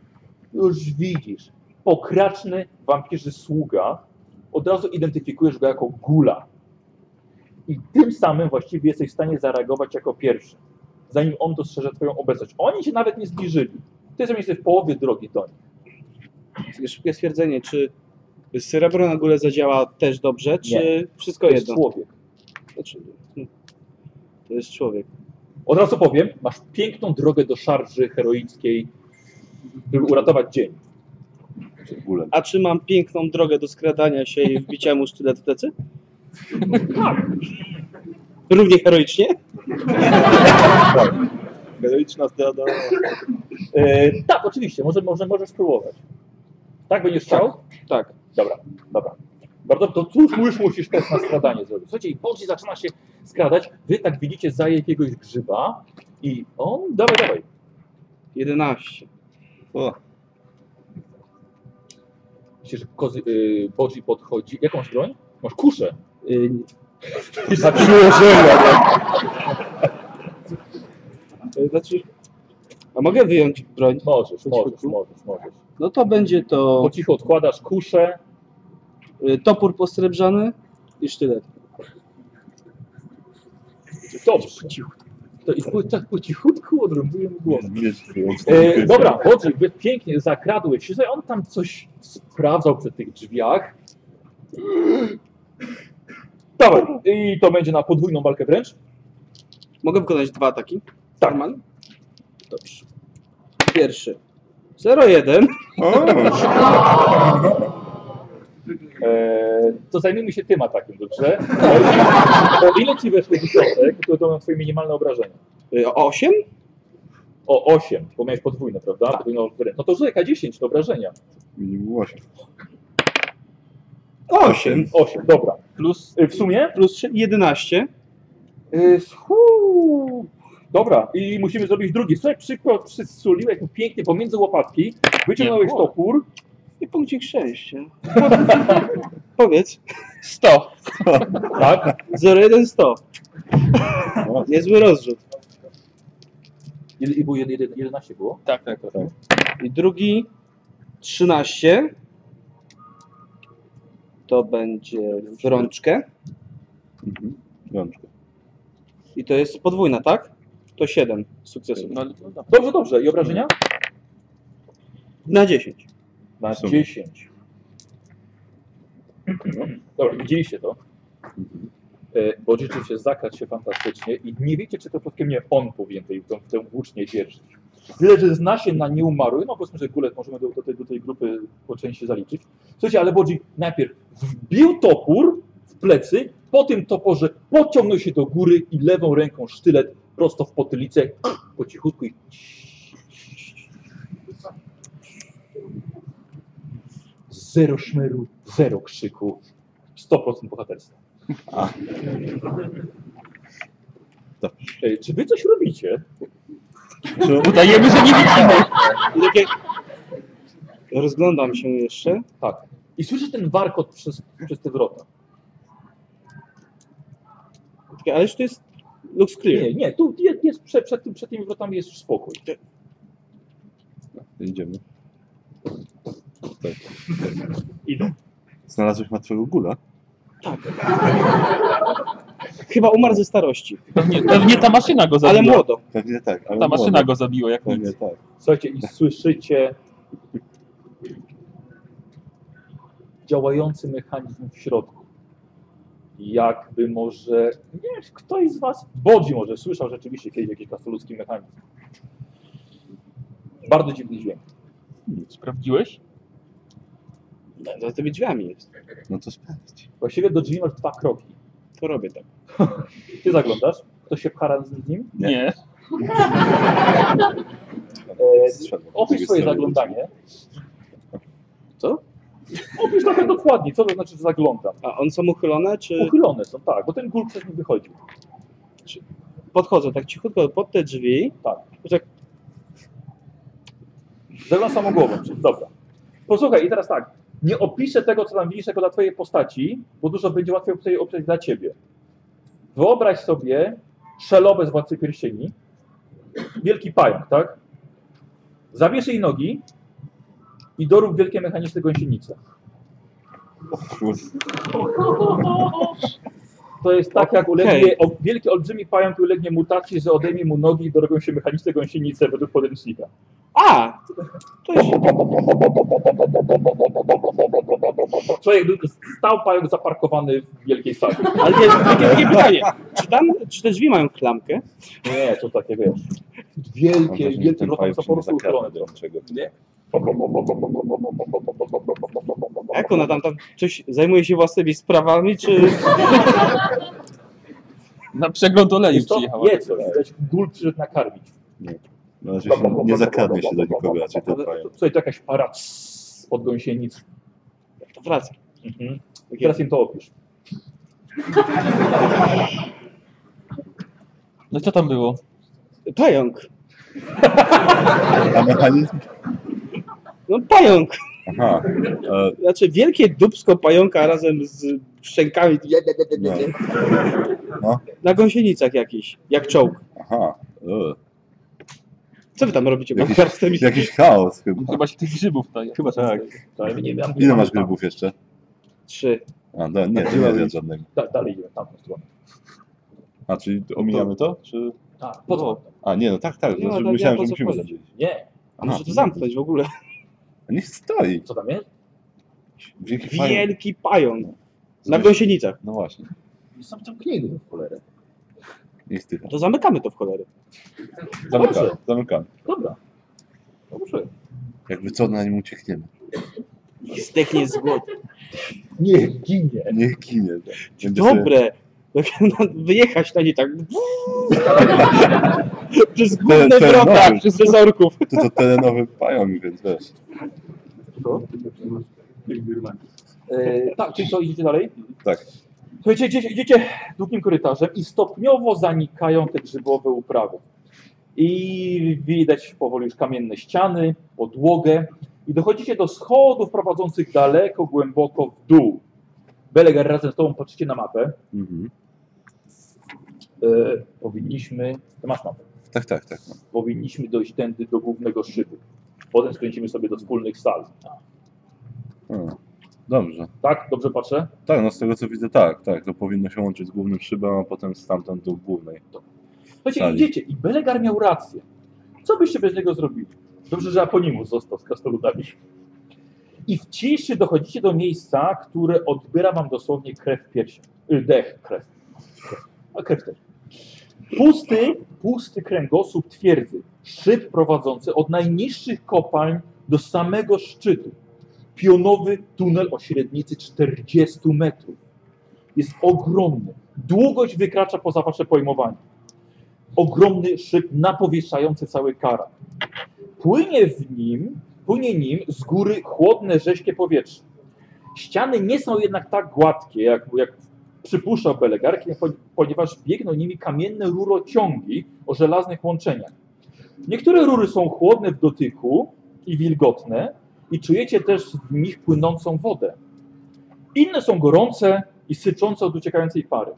S8: już widzisz, pokraczny wampierzy sługa, od razu identyfikujesz go jako gula. I tym samym właściwie jesteś w stanie zareagować jako pierwszy, zanim on dostrzeże twoją obecność. Oni się nawet nie zbliżyli. Ty sam jesteś w połowie drogi do nich.
S6: Szybkie stwierdzenie, czy srebro na górę zadziała też dobrze, czy wszystko
S8: To jest
S6: jedno?
S8: człowiek.
S6: Znaczy, To jest człowiek.
S8: Od razu powiem, masz piękną drogę do szarży heroickiej, żeby uratować dzień.
S1: Gulem.
S6: A czy mam piękną drogę do skradania się i wbicia mu sztylet w plecy? Tak. Równie heroicznie?
S2: Heroiczna zdrada.
S8: E, tak, oczywiście, może, może, możesz spróbować. Tak będziesz chciał?
S6: Tak.
S8: Dobra, dobra. Bardzo, to cóż już musisz test na skradanie zrobić. Słuchajcie, i Bogi zaczyna się skradać, wy tak widzicie za jakiegoś grzyba i on, dawaj, dawaj.
S6: 11.
S8: Myślisz, że kozy, y, Bogi podchodzi. Jaką masz broń? Masz kuszę.
S6: Y,
S1: Przyłożenia!
S6: y, Znaczy, a mogę wyjąć broń?
S8: Możesz, możesz, możesz, możesz.
S6: No to będzie to
S8: Po cichu odkładasz kuszę.
S6: y, topór posrebrzany i sztylet.
S8: Dobrze. To i po, tak po cichutku odrąbuję mu głowę. E,
S1: Eee,
S8: dobra, Bodzik, wy pięknie zakradłeś się. Słuchaj, On tam coś sprawdzał przy tych drzwiach. Dobra, i to będzie na podwójną walkę wręcz.
S6: Mogę wykonać dwa ataki?
S8: Tak.
S6: Normalnie? Dobrze. Pierwszy. 0-1.
S8: E, to zajmijmy się tym atakiem, dobrze? O ile ci weszło dziesiątek, to to mam twoje minimalne obrażenia.
S6: 8?
S8: O 8, bo miałeś podwójne, prawda? Podwójną wręcz. No to rzucaj K10 do obrażenia.
S1: Minimum 8.
S6: 8.
S8: 8, dobra.
S6: Plus,
S8: E, w sumie?
S6: plus 3, 11.
S8: Y, huu. Dobra, i musimy zrobić drugi. Słuchaj, przykład przysuliłeś mu pięknie pomiędzy łopatki, wyciągnąłeś topór.
S6: I punkcik szczęścia. [LAUGHS] Powiedz. 100.
S8: Tak.
S6: 0-1, 100. Niezły rozrzut.
S8: Ile i było? Jed- jed- 11 było?
S4: Tak, tak, tak.
S6: I drugi 13. To będzie w rączkę.
S1: Mhm. Rączka.
S6: I to jest podwójna, tak? To 7 sukcesów.
S4: No, ale to dobra.
S8: Dobrze, dobrze. I obrażenia?
S6: Na 10.
S8: Na
S1: W sumie.
S8: 10. Dobra, widzieliście to. Y, Bo rzeczywiście zakradł się fantastycznie i nie wiecie, czy to przypadkiem nie on powinien tej, tą, tę włócznię dzierżyć. Tyle, że zna się na nieumarłym, no powiedzmy, że Gulet możemy do, do, tej, do tej grupy po części zaliczyć. Słuchajcie, ale Bodzi najpierw wbił topór w plecy, po tym toporze pociągnął się do góry i lewą ręką sztylet prosto w potylicę, po cichutku i zero szmeru, zero krzyku, 100% bohaterstwa. Ej, Czy wy coś robicie?
S4: No, Udajemy, że nie widzimy.
S6: I takie... Rozglądam się jeszcze.
S8: Tak. I słyszysz ten warkot przez, przez te wrota.
S6: Takie, ależ to jest looks clear.
S8: Nie, nie, tu jest, jest przed, przed, tym, przed tymi wrotami jest spokój.
S1: Idziemy.
S8: Idą.
S1: Tak. Znalazłeś martwego gula?
S6: Chyba umarł ze starości,
S4: Pewnie, pewnie ta maszyna go zabiła.
S6: ale młodo.
S1: Pewnie tak. ale
S4: Ta
S1: młody.
S4: maszyna go zabiła, jak
S1: Pewnie
S4: nic.
S1: tak.
S8: Słuchajcie, i słyszycie działający mechanizm w środku. Jakby może, nie wiem, ktoś z Was, Bodzi może słyszał rzeczywiście kiedyś jakiś krasnoludzki mechanizm. Bardzo dziwny dźwięk.
S4: Sprawdziłeś?
S6: No, Za tymi drzwiami jest.
S1: No to sprawdź.
S8: Właściwie do drzwi masz dwa kroki.
S6: To robię tak.
S8: [LAUGHS] Ty zaglądasz, ktoś się pcha razem z nim.
S1: Nie.
S4: Nie.
S8: E,
S1: Strzelam.
S8: opisz
S1: Z drugiej
S8: swoje
S1: strony.
S8: zaglądanie.
S6: Co?
S8: Opisz trochę dokładniej, co to znaczy, że zaglądam.
S6: A on są uchylone, czy
S8: Uchylone są, tak, bo ten gul przez nie wychodził.
S6: podchodzę tak cichutko pod te drzwi?
S8: Zegląd samą głową, czyli dobra. Posłuchaj, i teraz tak. Nie opiszę tego, co tam widzisz, jako dla twojej postaci, bo dużo będzie łatwiej tutaj opisać dla ciebie. Wyobraź sobie szelobę z Władcy Pierścieni, wielki pająk, tak? Zabierz jej nogi i dorób wielkie mechaniczne gąsienice.
S1: O kurde.
S8: To jest tak, jak
S6: Okej.
S8: ulegnie, o, wielki, olbrzymi pająk ulegnie mutacji, że odejmie mu nogi i dorobią się mechaniczne gąsienice według podręcznika.
S6: A! To jest...
S8: Człowiek stał pająk zaparkowany w wielkiej sali.
S6: Ale nie, takie, takie pytanie. Czy, tam, czy te drzwi mają klamkę?
S8: Nie, to takie wiesz.
S1: Mam
S8: Wielkie,
S1: wrażenie, że
S8: wielkie
S1: ten
S8: wrota
S1: pająk
S8: są
S1: się
S8: po
S1: nie
S8: prostu
S1: zakrawa
S8: uchylone.
S1: do niczego.
S6: A Jak ona tam, tam coś zajmuje się własnymi sprawami, czy...
S4: Na przegląd oleju
S8: Jest to
S4: przyjechała.
S8: jedz, widać gul przyszedł nakarmić.
S1: No, że się nie zakradnie się do nikogo, raczej ten
S8: Ale to-
S1: pająk.
S8: to- Tutaj to jakaś para ps- pod gąsienic.
S6: To wraca.
S8: Mhm. I Teraz im to opisz.
S4: No co tam było?
S6: Pająk.
S1: A mechanizm?
S6: No pająk.
S1: Aha. E,
S6: Znaczy wielkie dubsko pająka razem z szczękami.
S1: no.
S6: Na gąsienicach jakiś, jak czołg.
S1: Aha. E,
S6: Co wy tam robicie?
S1: Jakiś-
S6: Garstami...
S1: Jakiś chaos chyba.
S4: Chyba się tych grzybów daje.
S8: Chyba
S1: tak.
S8: tak. Nie wiem,
S1: Ile masz grybów jeszcze?
S6: Trzy.
S1: A, da, nie, nie wiem żadnego.
S8: Da, dalej idziemy w tamtą stronę.
S1: A, czyli omijamy to? Czy...
S8: Tak, po co?
S1: A, nie, no tak, tak.
S6: No,
S1: Znaczy,
S6: tak,
S1: myślałem, że
S6: ja po co
S1: musimy
S6: wchodzić?
S1: zabić.
S8: Nie,
S6: A może to zamknąć w ogóle?
S1: Niech stoi.
S8: co tam jest?
S1: Wielki pająk.
S6: Wielki pająk. Na gąsienicach.
S1: No właśnie.
S8: Są zamknięte w cholerę.
S1: Niech stycha.
S6: No To zamykamy to w cholerę.
S1: Zamykamy, zamykamy.
S8: Dobra. No Dobrze.
S1: Jakby co, na nim uciekniemy.
S6: I zdechnie z głodu.
S8: Nie, ginie.
S1: Niech ginie. Będzie sobie-
S6: Dobre. [LAUGHS] Jak ona Wyjechać na nie tak. Przez
S1: Te-
S6: główne
S1: te
S6: wrota,
S1: nowy.
S6: przez orków.
S1: To to terenowy pająk, więc wiesz.
S8: E, tak, czyli co, idziecie dalej?
S1: Tak.
S8: Słuchajcie, idziecie, idziecie długim korytarzem i stopniowo zanikają te grzybowe uprawy. I widać powoli już kamienne ściany, podłogę i dochodzicie do schodów prowadzących daleko, głęboko w dół. Belegar razem z tobą patrzycie na mapę.
S1: Mhm.
S8: E, powinniśmy, ty masz mapę,
S1: Tak, tak, tak.
S8: powinniśmy dojść tędy do głównego szybu. Potem skręcimy sobie do wspólnych sal.
S1: A, dobrze.
S8: Tak? Dobrze patrzę?
S1: Tak, no z tego co widzę, tak, tak. To powinno się łączyć z głównym szybem, a potem stamtąd do głównej.
S8: Słuchajcie,
S1: Sali.
S8: idziecie i Belegar miał rację. Co byście bez niego zrobili? Dobrze, że Aponimus został z krasnoludami. I w ciszy dochodzicie do miejsca, które odbiera wam dosłownie krew w piersiach. Y, Dech, krew. A krew też. Pusty, pusty kręgosłup twierdzy. Szyb prowadzący od najniższych kopalń do samego szczytu. Pionowy tunel o średnicy 40 metrów. Jest ogromny. Długość wykracza poza wasze pojmowanie ogromny szyb napowietrzający cały kara. Płynie w nim, płynie nim z góry chłodne, rześkie powietrze. Ściany nie są jednak tak gładkie, jak, jak przypuszczał Belegar, kiedy- ponieważ biegną nimi kamienne rurociągi o żelaznych łączeniach. Niektóre rury są chłodne w dotyku i wilgotne i czujecie też w nich płynącą wodę. Inne są gorące i syczące od uciekającej pary.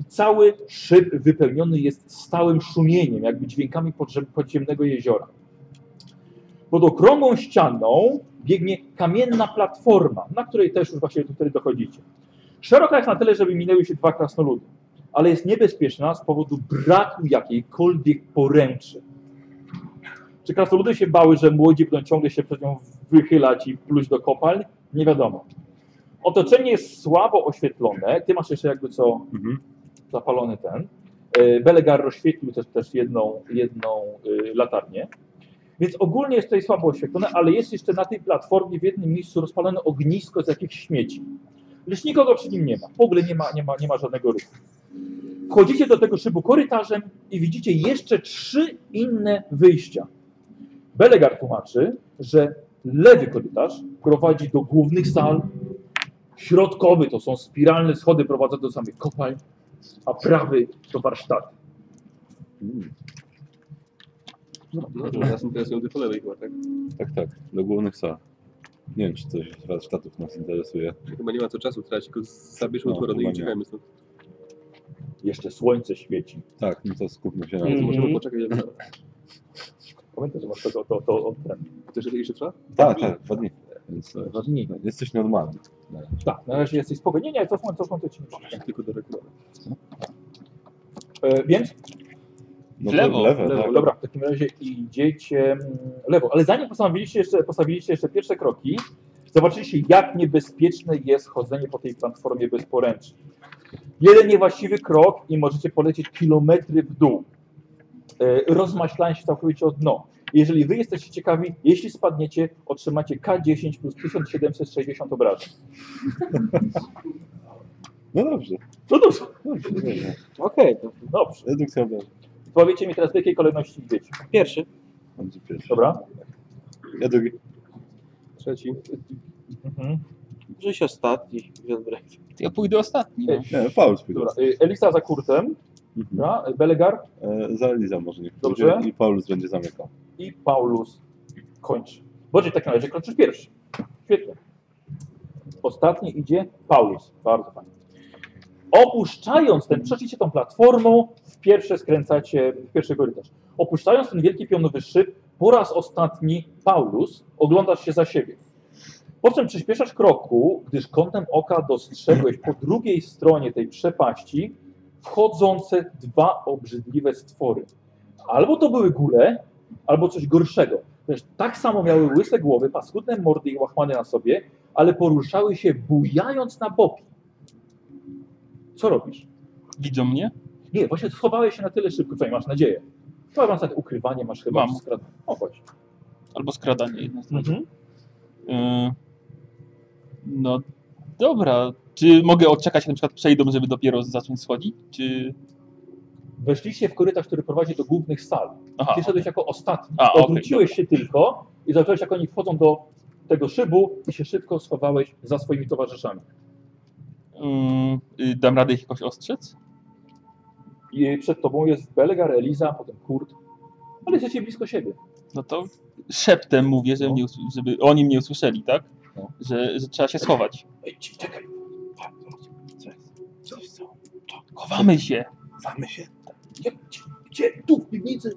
S8: I cały szyb wypełniony jest stałym szumieniem, jakby dźwiękami podrze- podziemnego jeziora. Pod okrągłą ścianą biegnie kamienna platforma, na której też już właśnie do której dochodzicie. Szeroka jest na tyle, żeby minęły się dwa krasnoludy, ale jest niebezpieczna z powodu braku jakiejkolwiek poręczy. Czy krasnoludy się bały, że młodzi będą ciągle się przed nią wychylać i pluć do kopalń? Nie wiadomo. Otoczenie jest słabo oświetlone. Ty masz jeszcze jakby co
S1: Mhm.
S8: zapalony ten. E, Belegar rozświetlił też, też jedną, jedną y, latarnię. Więc ogólnie jest tutaj słabo oświetlone, ale jest jeszcze na tej platformie w jednym miejscu rozpalone ognisko z jakichś śmieci. Lecz nikogo przy nim nie ma. W ogóle nie ma, nie ma, nie ma żadnego ruchu. Wchodzicie do tego szybu korytarzem i widzicie jeszcze trzy inne wyjścia. Belegar tłumaczy, że lewy korytarz prowadzi do głównych sal, środkowy to są spiralne schody prowadzące do samych kopalń, a prawy to warsztaty.
S1: Mhm.
S3: No, no, teraz interesują te po lewej chyba, tak?
S1: Tak, tak, do głównych sal. Nie wiem, czy coś z warsztatów nas interesuje.
S3: Chyba nie ma co czasu tracić, tylko zabierzmy
S1: No,
S3: utworony
S1: chyba
S3: i
S1: nie.
S3: uciekajmy stąd.
S8: Jeszcze słońce świeci.
S1: Tak, no to skupmy się na
S6: Mm.
S7: Mhm.
S1: tym.
S3: Możemy poczekać, jak
S8: Pamiętaj, że masz tego, to, to, to, ten.
S3: ktoś jeszcze trwa?
S1: Tak, tak, dwa dni. Więc e,
S8: dwa dni.
S1: jesteś normalny.
S8: Tak, na razie jesteś spokojny. Nie, nie, cofnę, cofnę, to ci nie przyjdzie.
S3: Tylko do reklamy.
S8: E, więc
S1: No
S4: W lewo,
S1: to lewe,
S3: lewo.
S1: tak.
S8: dobra, w takim razie idziecie mm, lewo. Ale zanim postanowiliście jeszcze, postawiliście jeszcze pierwsze kroki, zobaczyliście, jak niebezpieczne jest chodzenie po tej platformie bez poręczy. Jeden niewłaściwy krok i możecie polecieć kilometry w dół, E, rozmaślając się całkowicie o dno. Jeżeli wy jesteście ciekawi, jeśli spadniecie, otrzymacie K10 plus 1760 obrażeń.
S1: No dobrze,
S8: No dobrze,
S1: dobrze, dobrze.
S6: Okej, to
S8: dobrze.
S1: Redukcja obrażeń.
S8: Powiecie mi teraz, w jakiej kolejności idziecie.
S6: pierwszy.
S1: Będzie pierwszy.
S8: Dobra?
S1: Ja drugi.
S3: Trzeci.
S8: Mhm.
S6: Żeś ostatni, Wielbrek.
S4: Ja pójdę ostatni. No.
S1: Nie, Paul spójrz.
S8: Dobra. e, Elisa za kurtem,
S1: Mhm.
S8: dobra? Belegar
S1: E, za Eliza może niech
S8: Dobrze.
S1: pójdzie i Paulus będzie zamykał.
S8: i Paulus kończy. Boże, w takim razie kończysz pierwszy. Świetnie. Ostatni idzie Paulus. Bardzo fajnie. Opuszczając ten, przeszliście tą platformą, w pierwsze skręcacie, w pierwszy korytarz. Opuszczając ten wielki pionowy szyb, po raz ostatni Paulus oglądasz się za siebie. Po czym przyspieszasz kroku, gdyż kątem oka dostrzegłeś po drugiej stronie tej przepaści wchodzące dwa obrzydliwe stwory. Albo to były góle, albo coś gorszego. Też tak samo miały łyse głowy, paskudne mordy i łachmany na sobie, ale poruszały się bujając na boki. Co robisz?
S4: Widzą mnie?
S8: Nie, właśnie schowałeś się na tyle szybko, co nie masz nadzieję. To masz takie ukrywanie, masz chyba
S4: Mam. Mhm.
S8: skradanie. O, chodź.
S4: Albo skradanie jedno z drugich. Y, No dobra. Czy mogę odczekać, na przykład przejdą, żeby dopiero zacząć schodzić? Czy...
S8: Weszliście w korytarz, który prowadzi do głównych sal.
S4: Aha,
S8: Ty szedłeś jako ostatni.
S4: A, okej,
S8: Odwróciłeś się tylko i zobaczyłeś, jak oni wchodzą do tego szybu i się szybko schowałeś za swoimi towarzyszami.
S4: y, dam radę ich jakoś ostrzec?
S8: I przed tobą jest Belgar, Eliza, potem Kurt, ale jesteście blisko siebie.
S4: No to szeptem mówię, że
S8: No.
S4: mnie usł- żeby oni mnie usłyszeli, tak?
S8: No.
S4: Że, że trzeba się schować.
S8: Ej, ci- czekaj. Tak,
S4: Chowamy się!
S8: Zamy się. Gdzie, gdzie, gdzie? Tu, w piwnicy.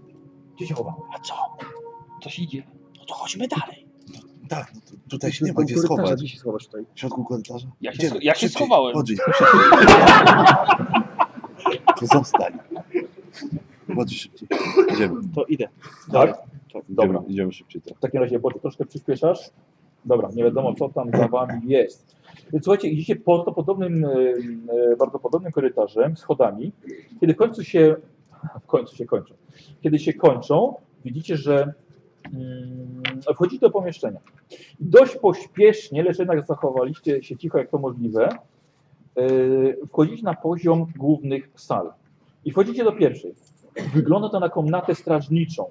S8: Gdzie się chowamy? A co?
S4: Coś idzie.
S9: No to chodźmy dalej.
S10: Tak, no to tutaj się nie ma gdzie
S2: Korytarza,
S10: schować.
S2: Gdzie się schowasz tutaj?
S10: W środku korytarza?
S4: Ja się,
S10: Gdzie?
S4: scho- ja się
S10: Szybciej,
S4: schowałem.
S10: Chodź, to zostań. Chodź szybciej. Idziemy.
S6: To idę.
S8: Tak? Dobra.
S1: Idziemy, idziemy szybciej. Tak.
S8: W takim razie Bocie, troszkę przyspieszasz. Dobra, nie wiadomo co tam za wami jest. Więc Słuchajcie, idziecie po to podobnym, e, e, bardzo podobnym korytarzem, schodami. Kiedy w końcu się, w końcu się kończą. Kiedy się kończą, widzicie, że mm, wchodzicie do pomieszczenia. Dość pośpiesznie, lecz jednak zachowaliście się cicho jak to możliwe, e, wchodzicie na poziom głównych sal. I wchodzicie do pierwszej. Wygląda to na komnatę strażniczą.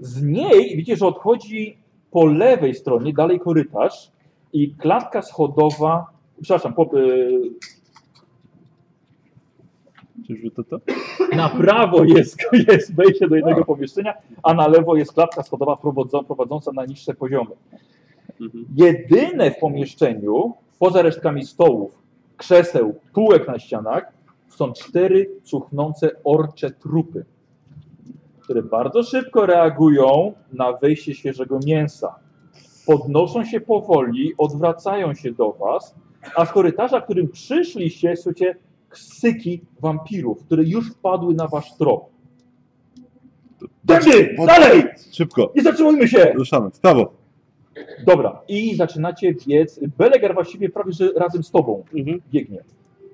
S8: Z niej widzicie, że odchodzi po lewej stronie, dalej korytarz i klatka schodowa, przepraszam, po, e,
S1: Czyżby to to?
S8: na prawo jest, [LAUGHS] jest wejście do jednego pomieszczenia, a na lewo jest klatka schodowa prowadząca, prowadząca na niższe poziomy.
S3: Mhm.
S8: Jedyne w pomieszczeniu, poza resztkami stołów, krzeseł, półek na ścianach, są cztery cuchnące orcze trupy. które bardzo szybko reagują na wejście świeżego mięsa. Podnoszą się powoli, odwracają się do was, a z korytarza, którym przyszliście, słyszycie ksyki wampirów, które już wpadły na wasz trop. Tędy!
S1: Pod-
S8: Dalej!
S1: Szybko,
S8: Nie zatrzymujmy się!
S1: ruszamy, w prawo.
S8: Dobra, i zaczynacie biec. Belegar właściwie prawie że razem z tobą biegnie.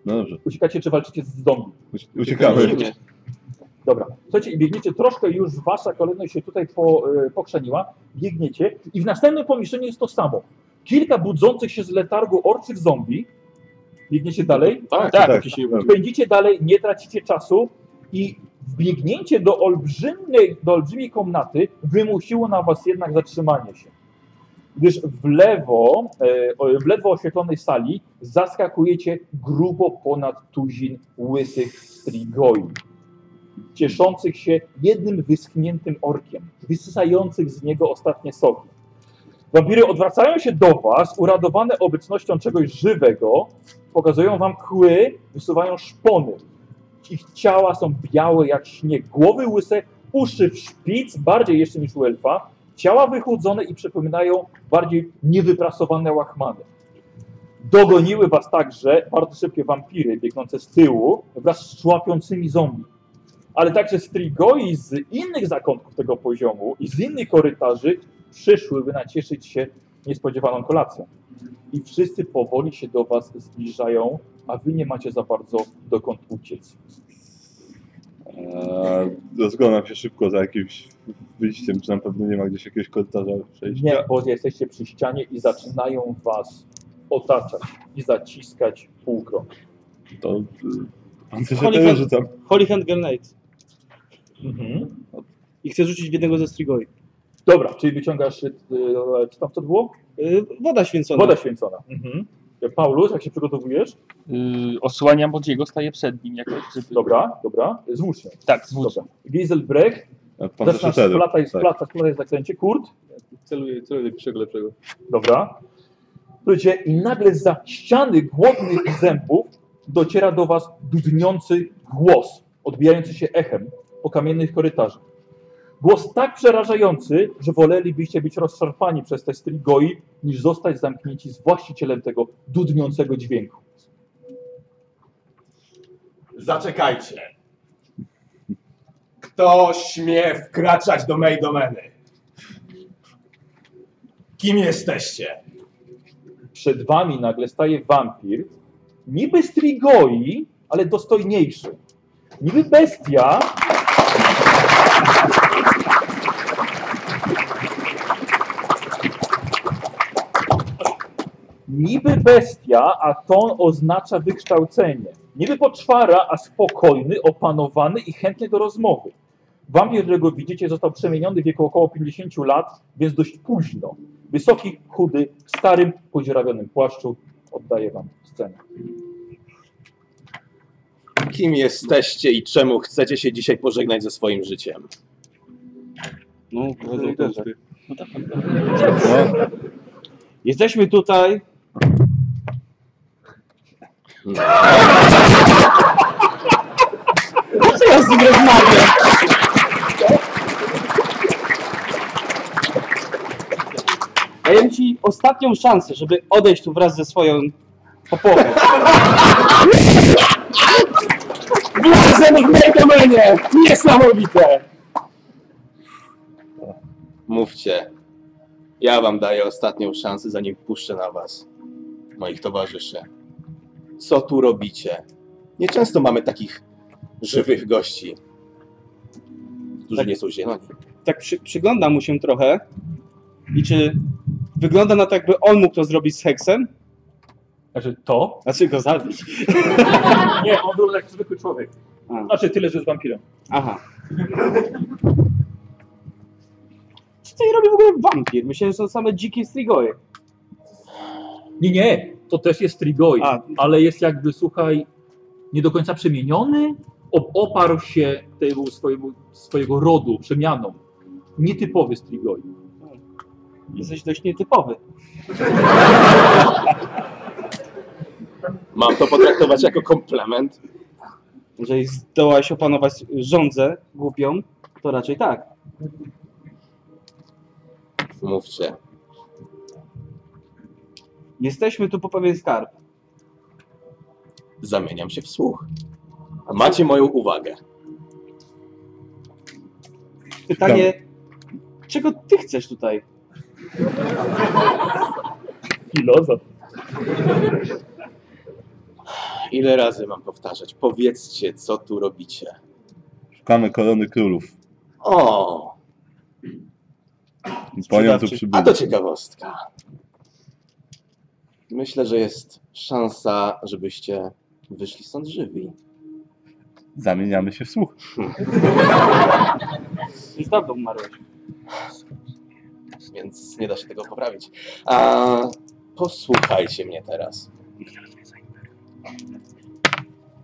S1: No dobrze,
S8: Uciekacie, czy walczycie z zombie.
S1: ucie- uciekamy.
S8: Dobra, słuchajcie, i biegniecie troszkę już, wasza kolejność się tutaj po, e, pokrzeniła, biegniecie i w następnym pomieszczeniu jest to samo. Kilka budzących się z letargu orczych zombie, biegniecie dalej,
S3: Tak,
S1: Tak,
S3: tak,
S1: tak.
S3: tak. Się
S8: pędzicie dalej, nie tracicie czasu i wbiegnięcie do olbrzymiej, do olbrzymiej komnaty wymusiło na was jednak zatrzymanie się. Gdyż w lewo, e, o- w ledwo oświetlonej sali zaskakujecie grubo ponad tuzin łysych strigoi, cieszących się jednym wyschniętym orkiem, wysysających z niego ostatnie soki. Wampiry odwracają się do was, uradowane obecnością czegoś żywego, pokazują wam kły, wysuwają szpony. Ich ciała są białe jak śnieg, głowy łyse, uszy w szpic, bardziej jeszcze niż u elfa, ciała wychudzone i przypominają bardziej niewyprasowane łachmany. Dogoniły was także bardzo szybkie wampiry biegnące z tyłu wraz z człapiącymi zombie. Ale także strigoi z innych zakątków tego poziomu i z innych korytarzy przyszłyby nacieszyć się niespodziewaną kolacją. I wszyscy powoli się do was zbliżają, a wy nie macie za bardzo dokąd uciec.
S1: Eee, Rozglądam się szybko za jakimś wyjściem, czy na pewno nie ma gdzieś jakiegoś korytarza przejścia.
S8: Nie, bo jesteście przy ścianie i zaczynają was otaczać i zaciskać półkrąg.
S1: To y, pan coś
S6: Holy
S1: się
S6: fuck.
S1: rzucam.
S6: Holy Hand Grenade.
S8: Mhm.
S6: I chcę rzucić w jednego ze strigoi.
S8: Dobra, czyli wyciągasz, y, y, czy tam co to było?
S6: Y, woda święcona.
S8: Woda święcona. Mhm. Paulus, jak się przygotowujesz?
S4: Yy, osłaniam Bodziego, staję przed nim jakoś, żeby...
S8: Dobra, dobra, z włócznią.
S4: Tak, z włócznią.
S8: Dobra. Gieselbrecht,
S1: E, Tak, Pan
S8: zaczynasz
S1: też
S8: splatać, splatać, splatać zaklęcie. Kurt?
S3: Celuję, celuję do pierwszego lepszego.
S8: Dobra. Słuchajcie, i nagle za ściany głodnych zębów dociera do was dudniący głos, odbijający się echem po kamiennych korytarzach. Głos tak przerażający, że wolelibyście być rozszarpani przez te strigoi, niż zostać zamknięci z właścicielem tego dudniącego dźwięku.
S9: Zaczekajcie. Kto śmie wkraczać do mej domeny? Kim jesteście?
S8: Przed wami nagle staje wampir, niby strigoi, ale dostojniejszy. Niby bestia, Niby bestia, a ton oznacza wykształcenie. Niby poczwara, a spokojny, opanowany i chętny do rozmowy. Wampir, którego widzicie, został przemieniony w wieku około 50 lat, więc dość późno. Wysoki, chudy, w starym, podzierawionym płaszczu. Oddaję wam scenę.
S2: Kim jesteście i czemu chcecie się dzisiaj pożegnać ze swoim życiem?
S6: No,
S3: Celuję do ciebie.
S6: Jesteśmy tutaj. Co ja z nim rozmawiam? Daję ci ostatnią szansę, żeby odejść tu wraz ze swoją popową.
S9: Błazenik mej domenie! Niesamowite!
S2: Mówcie. Ja wam daję ostatnią szansę, zanim puszczę na was, moich towarzyszy. Co tu robicie? Nieczęsto mamy takich żywych gości, którzy
S6: Tak.
S2: nie są zieloni.
S6: Tak przy, przygląda mu się trochę. I czy wygląda na to, jakby on mógł to zrobić z Heksem?
S8: Znaczy
S6: [LAUGHS]
S8: to?
S6: Znaczy go zabić.
S8: Nie, on był jak zwykły człowiek.
S6: A.
S8: Znaczy tyle, że jest wampirem.
S6: Aha. Co tutaj robi w ogóle wampir? Myślałem, że są same dzikie strigoje.
S8: Nie, nie, to też jest Trigoi,
S6: A.
S8: ale jest jakby, słuchaj, nie do końca przemieniony, op- oparł się temu swojemu, swojego rodu, przemianom. Nietypowy Strigoi.
S6: Jesteś dość nietypowy.
S2: Mam to potraktować jako komplement?
S6: Jeżeli zdołałeś opanować rządzę głupią, To raczej tak.
S2: Mówcie.
S6: Jesteśmy tu po pewien skarb.
S2: Zamieniam się w słuch. Macie moją uwagę.
S6: Pytanie, czego ty chcesz tutaj?
S4: Filozof.
S2: Ile razy mam powtarzać? Powiedzcie, co tu robicie.
S1: Szukamy korony królów.
S2: O,
S1: I Po nią tu przybyli.
S2: a to ciekawostka. Myślę, że jest szansa, żebyście wyszli stąd żywi.
S1: Zamieniamy się w słuch.
S6: Już dawno umarłeś.
S2: Więc nie da się tego poprawić. A posłuchajcie mnie teraz.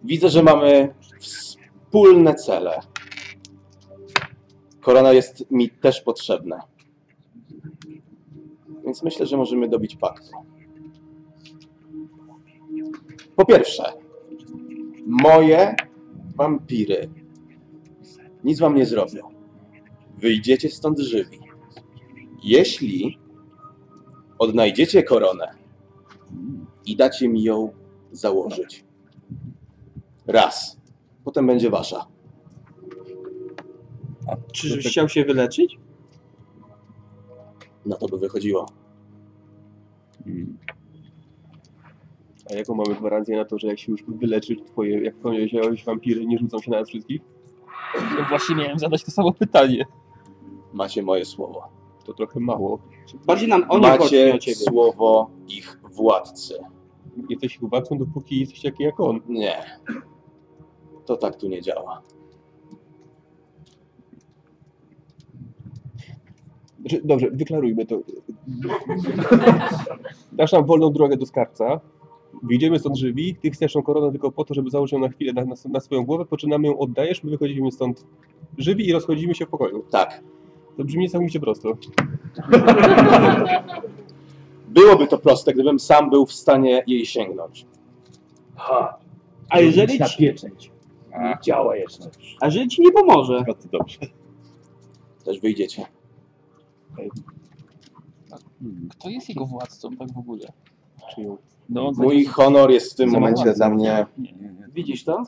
S2: Widzę, że mamy wspólne cele. Korona jest mi też potrzebna. Więc myślę, że możemy dobić pakt. Po pierwsze, moje wampiry nic wam nie zrobią. Wyjdziecie stąd żywi. Jeśli odnajdziecie koronę i dacie mi ją założyć. Raz. Potem będzie wasza.
S6: Czyżbyś chciał się wyleczyć?
S2: Na to by wychodziło.
S3: A jaką mamy gwarancję na to, że jak się już wyleczysz, twoje, jak powiedziałeś, wampiry nie rzucą się na nas wszystkich?
S4: Ja No właśnie miałem zadać to samo pytanie.
S2: Macie moje słowo.
S3: To trochę mało.
S6: Bardziej nam oni chodzi
S2: Macie
S6: o ciebie.
S2: słowo ich władcy.
S3: Jesteś chłopakiem, dopóki jesteś taki jak on.
S2: Nie. To tak tu nie działa.
S3: Znaczy, Dobrze, wyklarujmy to. Dasz nam wolną drogę do skarbca. Wyjdziemy stąd żywi, ty chcesz tą koronę tylko po to, żeby założyć ją na chwilę na, na, na swoją głowę, po czym nam ją oddajesz, my wychodzimy stąd żywi i rozchodzimy się w pokoju.
S2: Tak.
S3: To brzmi niesamowicie prosto.
S2: Byłoby to proste, gdybym sam był w stanie jej sięgnąć.
S8: Ha,
S6: A jeżeli,
S8: na
S6: ci,
S8: pieczęć. Nie działa jeszcze.
S6: a jeżeli ci nie pomoże?
S1: A to dobrze.
S2: Też wyjdziecie.
S4: Kto jest jego władcą tak w ogóle?
S3: Czy ją
S4: No,
S2: Mój honor jest w tym momencie dla mnie.
S6: Widzisz to?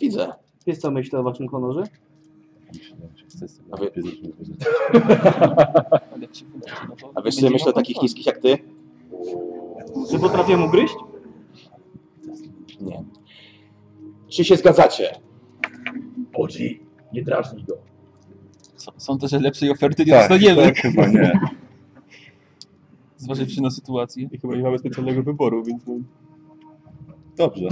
S2: Widzę.
S6: Wiesz co myślę o waszym honorze?
S3: Tak,
S2: A wy-
S4: ale jak się wyleczy, no to
S2: A wiesz, co ja
S4: będzie
S2: myślę o
S4: miał
S2: takich
S4: kontrolę.
S2: niskich jak ty?
S6: Że potrafię mu gryźć?
S2: Nie. Czy się zgadzacie?
S8: Bodzi, nie drażnij go.
S4: S- Sądzę, że lepszej oferty nie
S3: no
S1: Tak,
S4: dostaniemy,
S1: tak, chyba nie.
S4: zważywszy na sytuację.
S3: I chyba nie mamy specjalnego wyboru, więc no,
S1: Dobrze.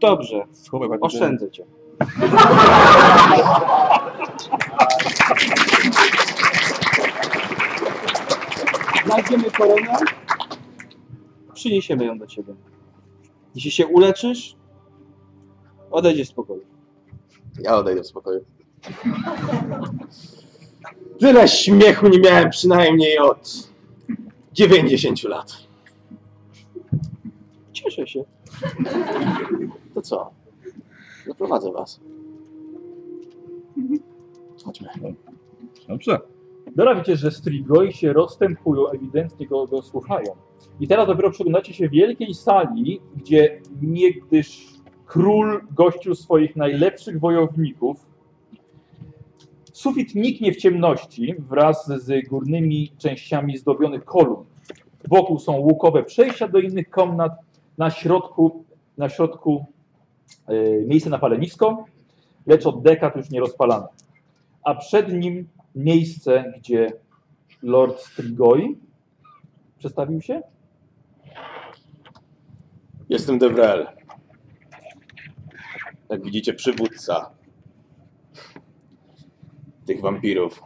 S6: Dobrze,
S3: schowaj patent.
S6: oszczędzę cię.
S5: Znajdziemy koronę.
S6: Przyniesiemy ją do ciebie. Jeśli się uleczysz, odejdziesz z pokoju.
S2: Ja odejdę w spokoju. Tyle śmiechu nie miałem przynajmniej od 90 lat.
S6: Cieszę się.
S2: To co? Zaprowadzę was. Chodźmy.
S1: Dobrze.
S8: Dobra, widzicie, że strigoi się rozstępują, ewidentnie go, go słuchają. I teraz dopiero przyglądacie się wielkiej sali, gdzie niegdyś król gościł swoich najlepszych wojowników. Sufit niknie w ciemności wraz z górnymi częściami zdobionych kolumn. Wokół są łukowe przejścia do innych komnat. Na środku, na środku e, miejsce na palenisko, lecz od dekad już nie rozpalane. A przed nim miejsce, gdzie Lord Strigoi przestawił się.
S2: Jestem Devrel. Jak widzicie, przywódca tych wampirów.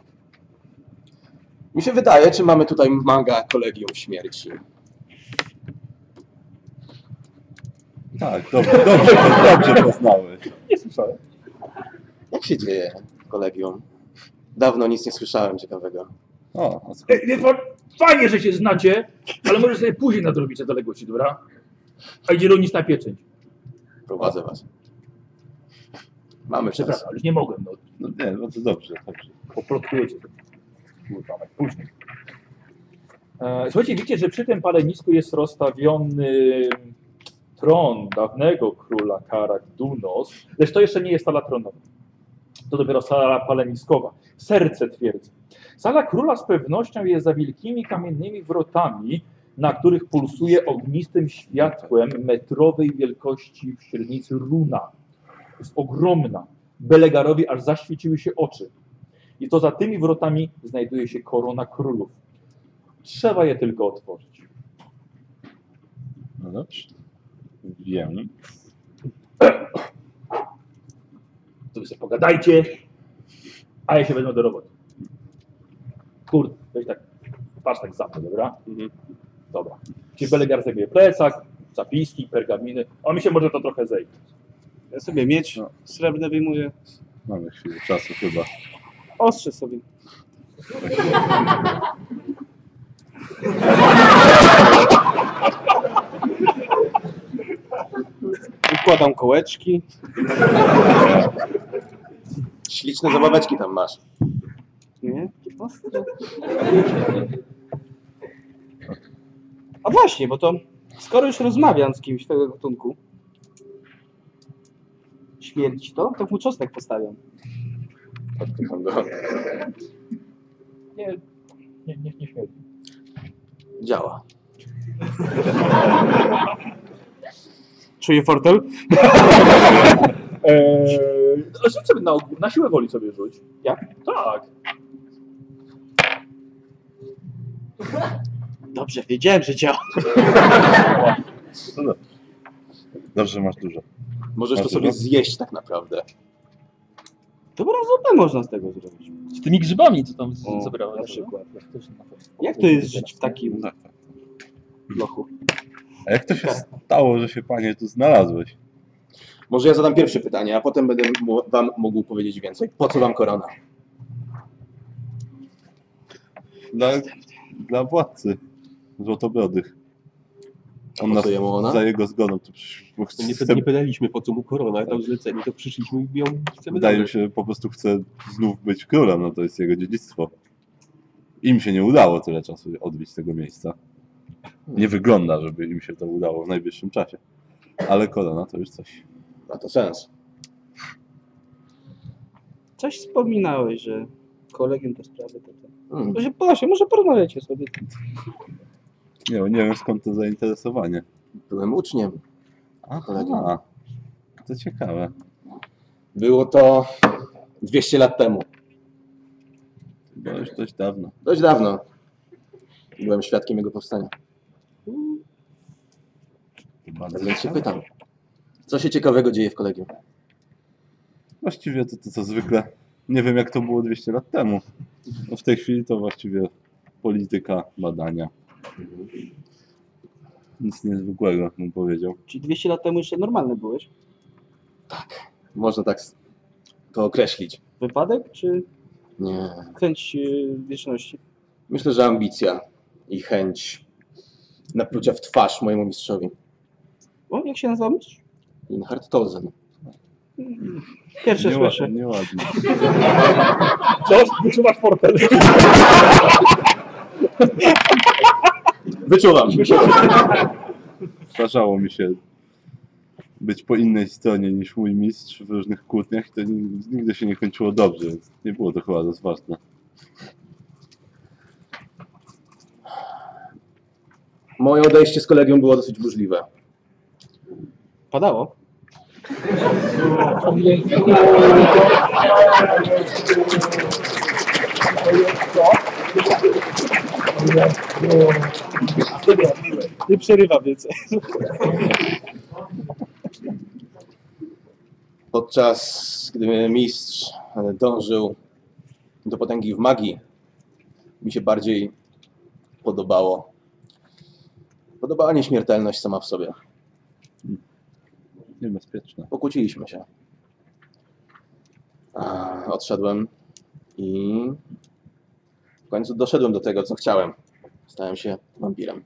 S2: Mi się wydaje, czy mamy tutaj manga kolegium śmierci.
S1: Tak, dobrze, dobrze, dobrze poznałeś.
S8: Nie słyszałem.
S2: Jak się dzieje kolegium? Dawno nic nie słyszałem ciekawego.
S1: O, a skąd?
S8: Ej, wie pan, fajnie, że się znacie, ale może sobie później nadrobić te zaległości, dobra? A idzie rolnicz na pieczęć.
S2: Prowadzę was. Mamy
S8: Przepraszam, ale już nie mogłem. No,
S1: No nie, no to dobrze, dobrze.
S8: Poplotkujecie. Kurwa, mać, później. E, Słuchajcie, widzicie, że przy tym palenisku jest rozstawiony tron dawnego króla Karak Dunos, lecz to jeszcze nie jest sala tronowa. To dopiero sala paleniskowa, serce twierdzy. Sala króla z pewnością jest za wielkimi kamiennymi wrotami, na których pulsuje ognistym światłem metrowej wielkości w średnicy runa. Jest ogromna. Belegarowi aż zaświeciły się oczy. I to za tymi wrotami znajduje się korona królów. Trzeba je tylko otworzyć.
S1: No dobrze. Wiem.
S8: To wy sobie pogadajcie, a ja się wezmę do roboty. Kurde, weź tak, patrz tak za to, dobra?
S3: Mhm.
S8: Dobra. Czyli Belegar zajmuje plecak, zapiski, pergaminy, a mi się może to trochę zejdzie.
S6: Ja sobie mieć
S8: No.
S6: srebrne wyjmuję.
S1: Mamy chwilę czasu chyba.
S6: Ostrze sobie. Układam kołeczki.
S2: Śliczne zabaweczki tam masz.
S6: Nie? A właśnie, bo to skoro już rozmawiam z kimś tego gatunku, śmierć to, to mu czosnek postawiam.
S8: Nie, nie, nie, nie śmierdzi.
S2: Działa.
S6: Czuję fortel?
S8: Eee, rzuć sobie na, na siłę woli sobie rzuć.
S6: Ja?
S8: Tak.
S6: Dobrze, wiedziałem, że działa.
S1: No dobrze. Dobrze, masz dużo.
S2: Możesz to
S1: Masz
S2: sobie
S1: dużo?
S2: zjeść tak naprawdę.
S6: Dobrą zupę można z tego zrobić.
S4: Z tymi grzybami, co tam z-
S6: O,
S4: zabrałeś. no?
S6: na przykład. Jak to jest żyć w takim lochu?
S1: A jak to się stało, że się panie tu znalazłeś?
S2: Może ja zadam pierwsze pytanie, a potem będę mu- wam mógł powiedzieć więcej. Po co wam korona?
S1: Dla, dla władcy złotobrodych.
S2: A po co jemu ona?
S1: za jego zgodą tu przyszł. bo
S3: No
S1: chce-
S3: nie, py- nie pytaliśmy po co mu korona, ale
S8: Tak.
S3: tam zlecenie, to przyszliśmy i ją chcemy
S1: Wydaje mi
S3: zabrać.
S1: się, że po prostu chce znów być królem, no to jest jego dziedzictwo. Im się nie udało tyle czasu odbić tego miejsca. Nie wygląda, żeby im się to udało w najbliższym czasie. Ale korona to już coś.
S2: Ma to sens.
S6: Coś wspominałeś, że kolegiem te sprawy to tak.
S2: Hmm.
S6: Może Proszę, może porozmawiacie sobie.
S1: Nie, wiem, nie wiem skąd to zainteresowanie.
S2: Byłem uczniem.
S1: Aha, to ciekawe.
S2: Było to 200 lat temu.
S1: Bo już dość dawno.
S2: Dość dawno. Byłem świadkiem jego powstania. Więc się pytam. Co się ciekawego dzieje w kolegium?
S1: Właściwie to, to co zwykle. Nie wiem, jak to było 200 lat temu. No w tej chwili to właściwie polityka, badania. Nic niezwykłego, bym powiedział.
S6: Czy 200 lat temu jeszcze normalny byłeś?
S2: Można tak s- to określić.
S6: Wypadek czy
S2: Nie.
S6: chęć yy, wieczności?
S2: Myślę, że ambicja i chęć naplucia w twarz mojemu mistrzowi.
S6: O, jak się nazywam?
S2: Linhard Tolzen.
S6: Pierwsze
S1: Nie
S6: słyszę.
S1: ładnie, nie ładnie.
S8: Coś, wyczuwasz portfel.
S2: Wyczuwam.
S1: Zdarzało mi się być po innej stronie niż mój mistrz w różnych kłótniach i to ni- nigdy się nie kończyło dobrze, więc nie było to chyba rozważne.
S2: Moje odejście z kolegium było dosyć burzliwe.
S6: Padało. Nie przerywa więcej.
S2: Podczas gdy mistrz e, dążył do potęgi w magii, mi się bardziej podobało. Podobała nieśmiertelność sama w sobie.
S1: Niebezpieczne.
S2: Pokłóciliśmy się. A, Odszedłem i w końcu doszedłem do tego, co chciałem. Stałem się wampirem.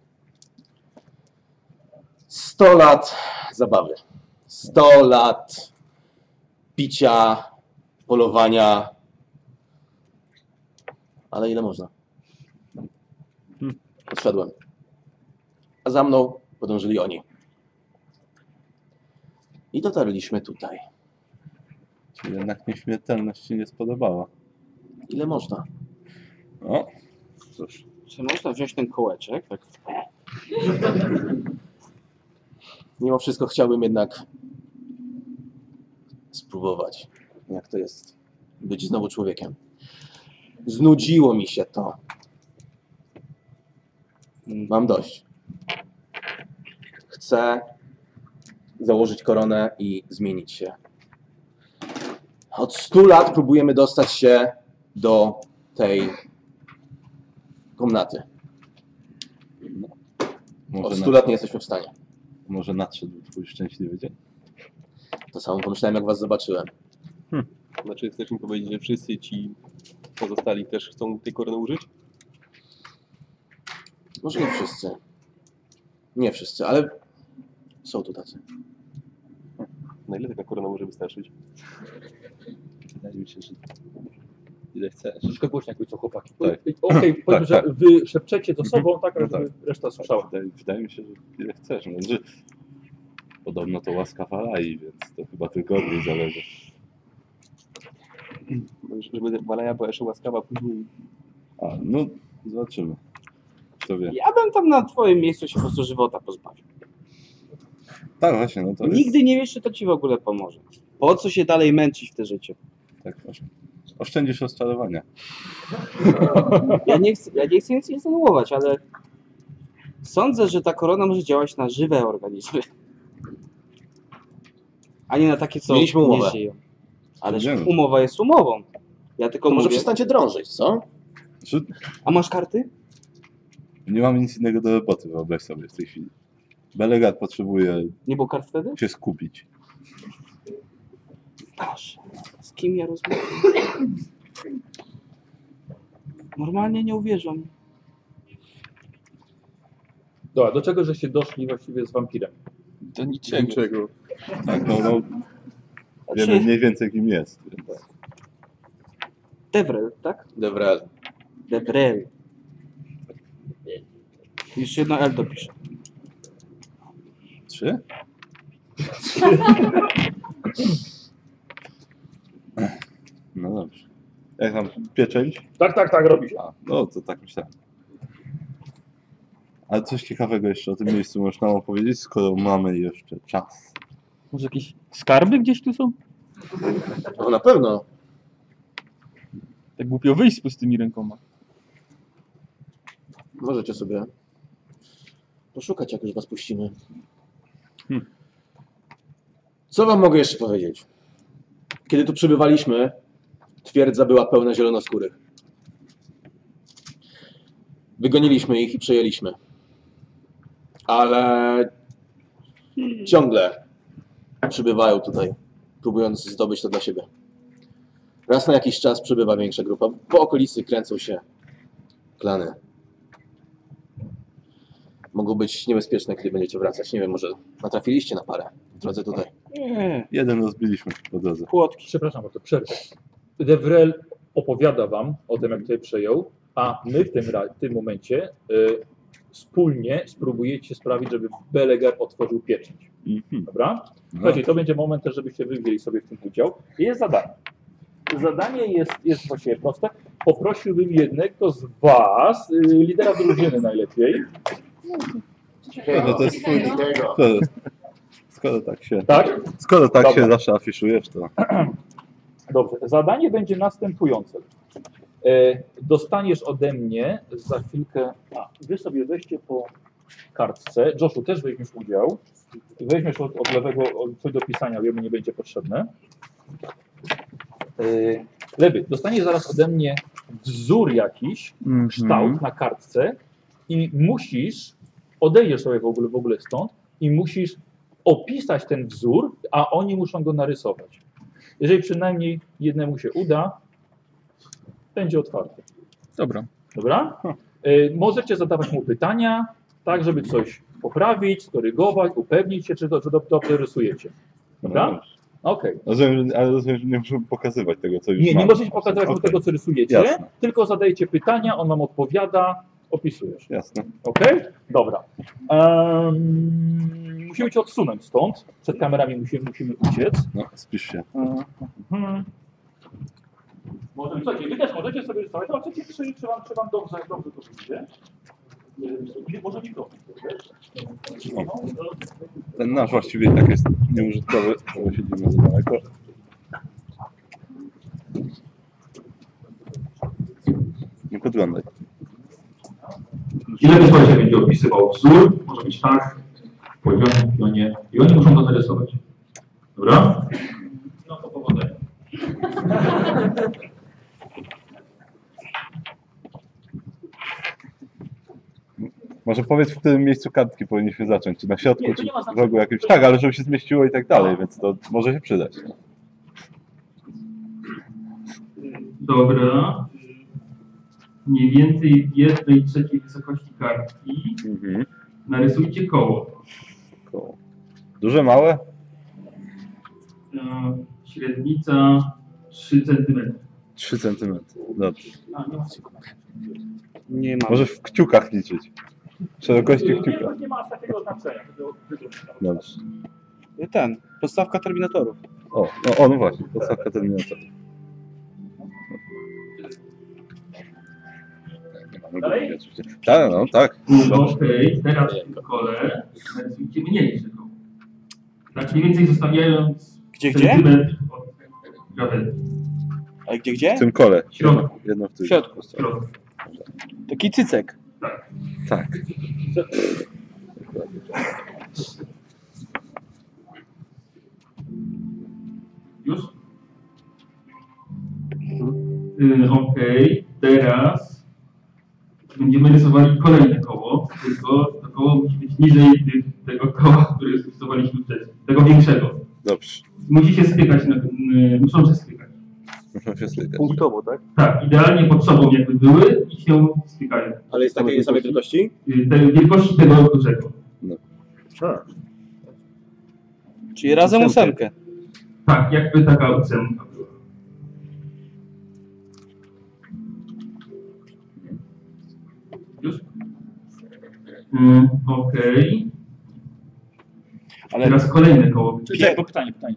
S2: 100 lat zabawy. 100 lat picia, polowania. Ale ile można? Odszedłem. A za mną podążyli oni. I dotarliśmy tutaj.
S1: Jednak nieśmiertelność ci nie spodobała.
S2: Ile można?
S1: No, cóż.
S6: Czy można wziąć ten kołeczek? Tak.
S2: Mimo wszystko chciałbym jednak spróbować, jak to jest być znowu człowiekiem. Znudziło mi się to. Mam dość. Chcę założyć koronę i zmienić się. Od 100 lat próbujemy dostać się do tej komnaty. Od
S1: Może,
S2: 100 lat nie jesteśmy w stanie.
S1: może nadszedł twój szczęśliwy dzień?
S2: To samo pomyślałem, jak was zobaczyłem.
S3: Znaczy, chcesz mi powiedzieć, że wszyscy ci pozostali też chcą tej korony użyć?
S2: Może nie wszyscy. Nie wszyscy, ale są tu tacy.
S3: Na ile taka korona może wystarczyć?
S1: Wydaje mi się, że ile chcesz.
S8: Troszkę głośniej jakby co chłopaki.
S1: Tak.
S8: Okej, okay,
S1: Tak,
S8: powiedzmy, że
S1: tak.
S8: wy szepczecie to
S1: Mhm.
S8: sobą, tak,
S1: No
S8: żeby reszta słyszała.
S1: Wydaje, wydaje mi się, że ile chcesz. No, że podobno to łaska Walai, więc to chyba tylko od niej zależy.
S3: Żeby Walaja była jeszcze łaskawa później.
S1: A, no zobaczymy. Kto wie.
S6: Ja bym tam na twoim miejscu się po prostu żywota pozbawił.
S1: Tak, właśnie, no to
S6: Nigdy nie wiesz, czy to ci w ogóle pomoże. Po co się dalej męczyć w te życie?
S1: jest, tak, osz- oszczędzisz rozczarowania.
S6: Ja nie chcę, ja nie chcę nic insynuować, ale sądzę, że ta korona może działać na żywe organizmy. A nie na takie, co
S2: Mieliśmy umowę.
S6: nie żyją. Ależ
S1: Wiem.
S6: umowa jest umową. Ja tylko
S2: To może
S6: mówię.
S2: przestańcie drążyć, co?
S1: Znaczy,
S6: A masz karty?
S1: nie mam nic innego do roboty, wyobraź sobie w tej chwili. Belegat potrzebuje
S6: Nie było kart wtedy?
S1: się skupić.
S6: Boże, z kim ja rozmawiam? Normalnie nie uwierzą.
S8: Dobra, do czego żeście doszli właściwie z wampirem?
S4: Do niczego.
S1: Tak, no, no wiemy
S6: Znaczy,
S1: mniej więcej kim jest. więc-
S6: Devrel, tak?
S2: Devrel.
S6: Devrel. Już jedno L dopiszę.
S1: Trzy? [LAUGHS] No dobrze. Jak tam pieczęć?
S8: Tak, tak, tak, robi się.
S1: A, no to tak myślałem. Ale coś ciekawego jeszcze o tym miejscu można opowiedzieć, skoro mamy jeszcze czas.
S4: Może jakieś skarby gdzieś tu są?
S2: No na pewno.
S4: Tak głupio wyjść z pustymi rękoma.
S2: Możecie sobie poszukać, jak już was puścimy. Co wam mogę jeszcze powiedzieć? Kiedy tu przybywaliśmy, twierdza była pełna zielonoskórych. Wygoniliśmy ich i przejęliśmy. Ale ciągle przybywają tutaj, próbując zdobyć to dla siebie. Raz na jakiś czas przybywa większa grupa. Po okolicy kręcą się klany. Mogą być niebezpieczne, kiedy będziecie wracać. Nie wiem, może natrafiliście na parę w drodze tutaj.
S6: Nie,
S1: Jeden rozbiliśmy po drodze.
S6: płotki.
S8: Przepraszam, bo to przerwę. Devrel opowiada wam o tym, jak tutaj przejął, a my w tym, ra- w tym momencie y, wspólnie spróbujecie sprawić, żeby Belegar otworzył pieczęć.
S1: Mhm.
S8: Dobra?
S1: No,
S8: Słuchajcie, to będzie moment też, żebyście wy wzięli sobie w tym udział. I jest zadanie. Zadanie jest, jest właściwie proste. Poprosiłbym jednego z was, y, lidera drużyny najlepiej,
S1: no to jest twój... skoro, skoro tak się,
S8: tak?
S1: skoro tak
S8: Dobra.
S1: się zawsze afiszujesz, to
S8: Dobrze. Zadanie będzie następujące. E, Dostaniesz ode mnie za chwilkę. A, wy sobie weźcie po kartce. Joshu też weźmiesz udział. Weźmiesz od, od lewego od, coś do pisania, jemu nie będzie potrzebne. E, Lewy, dostaniesz zaraz ode mnie wzór jakiś, kształt na kartce i musisz, odejdziesz sobie w ogóle, w ogóle stąd i musisz opisać ten wzór, a oni muszą go narysować. Jeżeli przynajmniej jednemu się uda, będzie otwarty.
S4: Dobra.
S8: Dobra? Y, Możecie zadawać mu pytania, tak żeby coś poprawić, skorygować, upewnić się, czy to, czy to dobrze rysujecie. Dobra? Okej.
S1: Rozumiem, że- ale rozumiem, że nie musimy pokazywać tego, co już
S8: Nie, nie
S1: mamy.
S8: możecie pokazywać mu
S1: Okej.
S8: tego, co rysujecie,
S1: Jasne.
S8: tylko zadajecie pytania, on wam odpowiada, opisujesz.
S1: Jasne.
S8: Okej? Dobra. Em, musimy cię odsunąć stąd. Przed kamerami musimy, musimy uciec.
S1: No, spisz się.
S8: Mhm. Może, słuchajcie, wy też możecie sobie rysować, ale czy, czy, czy, wam, czy wam dobrze, dobrze to wyjdzie? Nie, Może mi to.
S1: Ten nasz właściwie i tak jest nieużytkowy, bo siedzimy za daleko. Nie podglądaj.
S11: Ile wysłałeś, jak będzie opisywał wzór? Może być tak, w poziomie, w pionie. I oni muszą to narysować. Dobra? No to powodzenia.
S1: Może powiedz, w którym miejscu kartki powinniśmy zacząć? Czy na środku,
S8: Nie, to
S1: czy
S8: nie ma
S1: w
S8: znaczenia.
S1: rogu jakimś? Tak, ale żeby się zmieściło i tak dalej, więc to może się przydać.
S7: Dobra. Mniej więcej w jednej trzeciej wysokości kartki
S1: Mhm.
S7: narysujcie koło.
S1: Koło. Duże, małe?
S7: E, Średnica 3 cm.
S1: 3 cm. Dobrze.
S7: A, nie ma
S6: Nie ma.
S1: Możesz w kciukach liczyć. Szerokości kciuka.
S8: Nie, nie ma aż takiego znaczenia. tylko- tylko-
S1: Dobrze.
S6: Ten, podstawka terminatorów.
S1: O, no, o, no właśnie, podstawka terminatora.
S7: Dalej?
S1: Tak, no tak.
S7: Okej, teraz w tym kole narysujcie mniejsze koło. Tak mniej więcej zostawiając
S6: Gdzie, gdzie?
S7: centymetr od krawędzi.
S6: A gdzie, gdzie?
S1: W tym kole.
S7: W środku.
S1: Jedno w
S6: W
S1: tym.
S6: środku.
S7: W środku.
S6: Taki cycek.
S1: Tak.
S7: Już? Y, Okej, teraz będziemy rysowali kolejne koło, tylko to koło musi być niżej tych, tego koła, które rysowaliśmy wcześniej, tego większego.
S1: Dobrze.
S7: Musi się stykać, na, y, muszą się stykać.
S1: Muszę się stykać.
S12: Punktowo, tak?
S7: Tak, idealnie pod sobą jakby były i się stykają.
S2: Ale jest takiej samej wielkości?
S7: Y, Te wielkości tego dużego.
S6: Czyli razem
S7: Ósemkę.
S6: ósemkę.
S7: Tak, jakby taka ósemka była. Już? Mm, Okej.
S6: Ale-
S7: Teraz kolejne koło.
S8: Czekaj, bo pytanie, pytanie.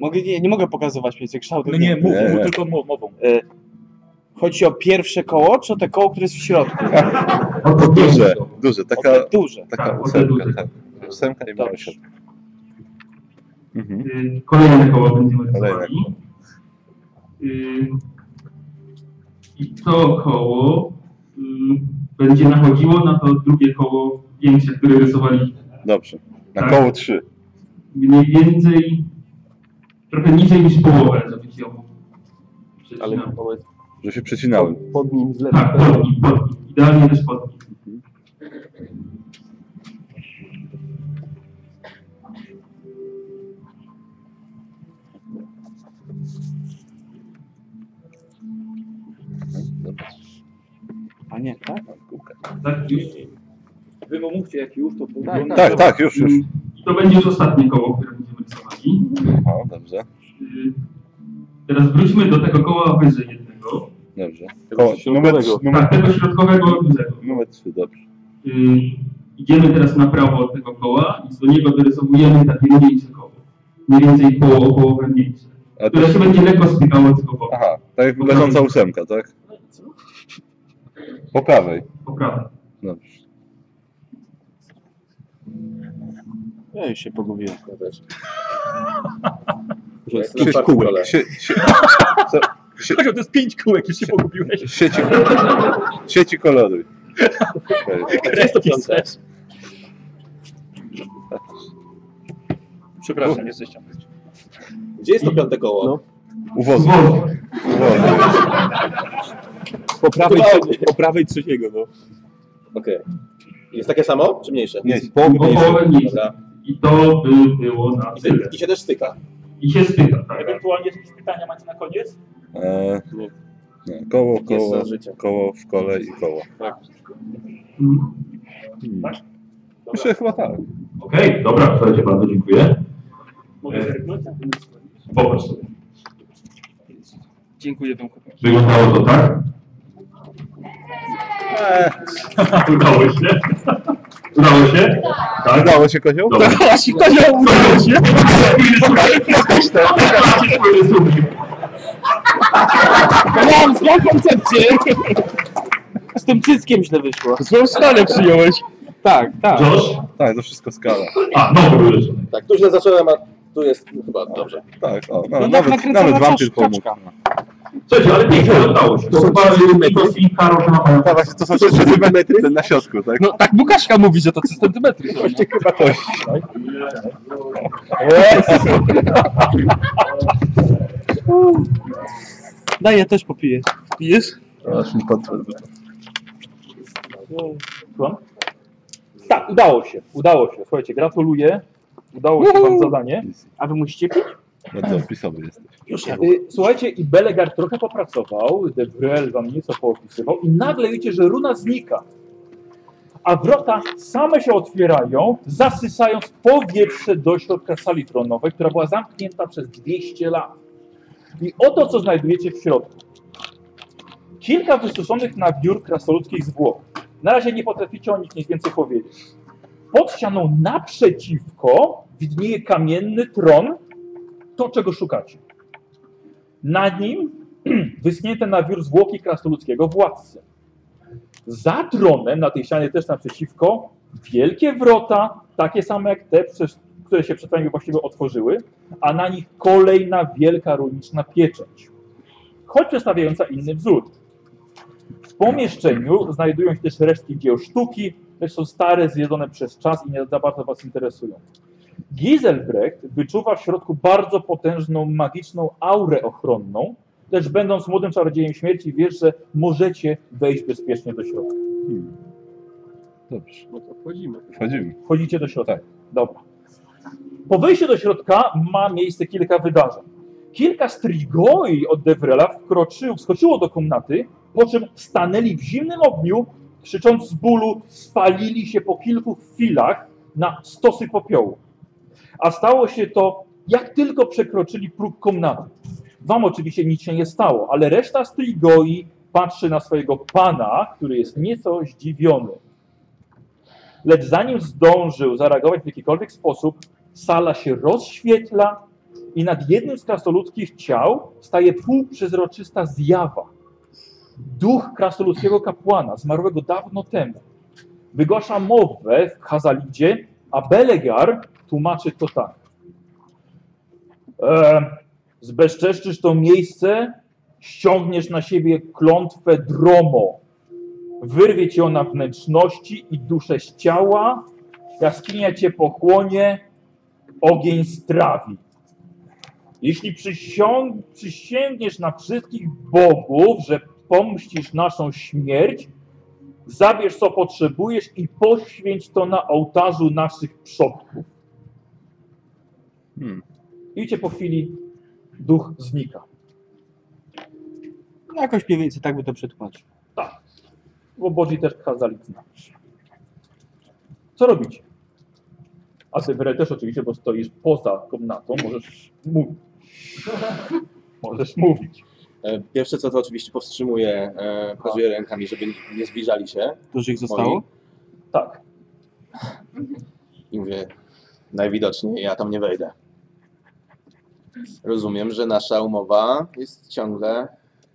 S6: Mogę, nie, nie mogę pokazywać więcej kształtu.
S8: No nie, mów,
S1: Nie,
S8: mów
S1: nie.
S8: tylko mów, mową.
S6: Y, Chodzi o pierwsze koło, czy o te koło, które jest w środku?
S1: Duże, duże,
S6: O
S1: taka,
S6: te duże.
S1: taka
S7: Tak,
S1: ósemka,
S7: duże.
S1: tak. Ósemka i mała
S6: Dobrze.
S1: siatka. Mhm.
S7: Y, Kolejne koło będziemy rysowali.
S1: Kolejne.
S7: Y, I to koło y, będzie nachodziło na to drugie koło większe, które rysowaliśmy.
S1: Dobrze. Na
S7: Tak.
S1: koło 3.
S7: mniej więcej trochę niżej niż połowę, żeby się ją
S12: Ale
S7: przecinał.
S1: Że się przecinałem.
S12: pod nim z lewej
S7: Tak,
S12: strony.
S7: podnik, podnik. Idealnie też podnik.
S6: A nie, tak?
S7: Tak, już.
S8: Wy mu mówcie, jak już to tak,
S1: Tak, tak, już, już.
S7: I mm, to będzie już ostatnie koło, które będziemy rysowali.
S1: Aha, dobrze,
S7: Y, Teraz wróćmy do tego koła wyżej jednego.
S1: dobrze. Koło, numer,
S12: środkowego.
S1: numer,
S7: Tak, tego środkowego dużego.
S1: numer 3, dobrze.
S7: Y, Idziemy teraz na prawo od tego koła i do niego dorysowujemy takie mniejsze koło. Mniej więcej poło, połowę mniejsze.
S1: A to,
S7: Które się będzie lekko stykało z koło.
S1: aha, tak jak leżąca ósemka, tak? Po prawej.
S7: Po prawej.
S1: Dobrze.
S6: Ja już się pogubiłem.
S1: Sieć kółek. Sie, sie, co? Sie,
S8: Kozio, to jest pięć kółek, już się pogubiłeś.
S1: sieci, sieci koloruj. Okej.
S8: Gdzie to pisać?
S2: Przepraszam, jesteś tam. Gdzie jest to piąte koło?
S12: No.
S1: Uwozu.
S7: Zwolnij.
S1: Uwozu.
S6: Po prawej,
S2: Dokładnie.
S6: po prawej trzeciego, no.
S2: Okej. Jest takie samo, czy mniejsze?
S1: Nie,
S7: Bo połowę mniejsze.
S2: Dobra.
S7: I to by było na
S2: I, te,
S7: tyle.
S2: I się też styka.
S7: I się styka, tak.
S8: Ewentualnie jakieś pytania macie na koniec?
S1: E, nie, koło,
S2: Jest
S1: koło,
S2: za życia.
S1: koło w kole i koło.
S7: Mhm.
S1: Hmm. Myślę, że chyba tak.
S7: Okej, dobra, słuchajcie, bardzo dziękuję. Mogę zerknąć? Popatrz sobie.
S4: Dziękuję wam. chłopaki.
S7: Wyglądało to tak?
S1: Eee.
S7: Udało się. Udało się? Tak.
S1: Udało się, kozioł?
S7: Dobra.
S1: Udało się, kozioł!
S7: Udało się?
S5: Mam złą koncepcję!
S6: Z tym cyckiem źle wyszło.
S1: Złą skalę przyjąłeś.
S6: Tak, tak.
S7: Josh?
S1: Tak, to wszystko skala.
S7: A, no,
S2: Tak, tu źle zacząłem, a tu jest chyba dobrze.
S1: Tak, o, no, nawet, nawet wam tylko pomógł.
S7: Słuchajcie, ale pięknie udało się. To chyba Nikos i Karol Szanowany.
S1: To są 3 centymetry? Ten na środku, tak?
S4: No tak Bukaszka mówi, że to 3 centymetry. są, nie?
S1: chyba kości.
S8: [LAUGHS]
S6: Daj, ja też popiję. Pijesz?
S8: Słucham? Tak, udało się, udało się. Słuchajcie, gratuluję. Udało się wam zadanie.
S6: A wy musicie pić?
S1: No to opisowy jesteś.
S8: Już Y, Słuchajcie, i Belegar trochę popracował, De Brel wam nieco poopisywał i nagle widzicie, że runa znika. A wrota same się otwierają, zasysając powietrze do środka sali tronowej, która była zamknięta przez 200 lat. I oto co znajdujecie w środku. Kilka wysuszonych na biur krasnoludzkich zwłok. Na razie nie potraficie o nich nic więcej powiedzieć. Pod ścianą naprzeciwko widnieje kamienny tron, to czego szukacie. Na nim [CLEARS THROAT] wyschnięte na wiór zwłoki krasnoludzkiego władcy. Za tronem, na tej ścianie też naprzeciwko, wielkie wrota, takie same jak te, przez, które się przed wami właściwie otworzyły, a na nich kolejna wielka runiczna pieczęć, choć przedstawiająca inny wzór. W pomieszczeniu znajdują się też resztki dzieł sztuki, lecz są stare, zjedzone przez czas i nie za bardzo was interesują. Giselbrecht wyczuwa w środku bardzo potężną, magiczną aurę ochronną, lecz będąc młodym czarodziejem śmierci wiesz, że możecie wejść bezpiecznie do środka.
S1: Dobrze,
S3: No to wchodzimy.
S1: wchodzimy.
S8: Wchodzicie do środka. Dobra. Po wejściu do środka ma miejsce kilka wydarzeń. Kilka strigoi od Devrela wkroczył, wskoczyło do komnaty, po czym stanęli w zimnym ogniu, krzycząc z bólu, spalili się po kilku chwilach na stosy popiołu. A stało się to, jak tylko przekroczyli próg komnaty. Wam oczywiście nic się nie stało, ale reszta strigoi patrzy na swojego pana, który jest nieco zdziwiony lecz zanim zdążył zareagować w jakikolwiek sposób, sala się rozświetla i nad jednym z krasnoludzkich ciał staje półprzezroczysta zjawa. Duch krasnoludzkiego kapłana, zmarłego dawno temu. Wygłasza mowę w Hazalidzie, a Belegar tłumaczy to tak. E, zbezczeszczysz to miejsce, ściągniesz na siebie klątwę dromo. Wyrwie cię ona wnętrzności i duszę z ciała, jaskinia cię pochłonie, ogień strawi. Jeśli przysią- przysięgniesz na wszystkich bogów, że pomścisz naszą śmierć, zabierz co potrzebujesz i poświęć to na ołtarzu naszych przodków.
S1: Hmm.
S8: I widzicie, po chwili duch znika.
S6: Jakoś mniej więcej tak by to przetłumaczył.
S8: Tak. Bo Bodzi też kazali znać. Co robicie? A Sybery też oczywiście, bo stoisz poza komnatą, możesz [LAUGHS] mówić. możesz mówić.
S2: E, Pierwsze co to oczywiście powstrzymuję, e, pokazuję rękami, żeby nie zbliżali się.
S6: Dużo ich zostało?
S2: Moi.
S8: Tak.
S2: I mówię, najwidoczniej ja tam nie wejdę. Rozumiem, że nasza umowa jest ciągle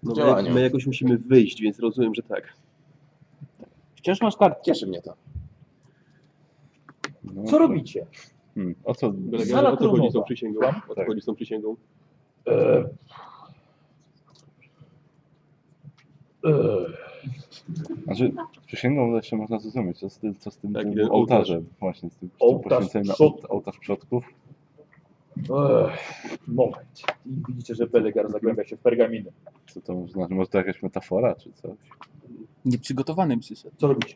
S2: w
S3: No, my,
S2: działaniu.
S3: my jakoś musimy wyjść, więc rozumiem, że tak.
S6: Wciąż masz kartę.
S2: Cieszy mnie to.
S1: No.
S8: Co robicie?
S1: Hmm. O co? Tak.
S3: Belegarze,
S8: Sala
S3: o co chodzi z tą
S8: trumowa.
S3: przysięgą?
S8: Słucham?
S3: O co chodzi z tą przysięgą?
S8: Eee. Eee.
S1: Znaczy, przysięgą jeszcze można zrozumieć, co z tym, co z tym
S3: Tak,
S1: tym
S3: ile-
S1: ołtarzem. Właśnie, z tym, z tym
S8: Ołtarz
S1: poświęceniem na
S8: przodków.
S1: ołt- ołtarz przodków.
S8: Ech, moment. I widzicie, że Belegar zagłębia się w pergaminy.
S1: Co to znaczy? Może to jakaś metafora, czy coś?
S4: Nieprzygotowanym przyszedł.
S8: Co robicie?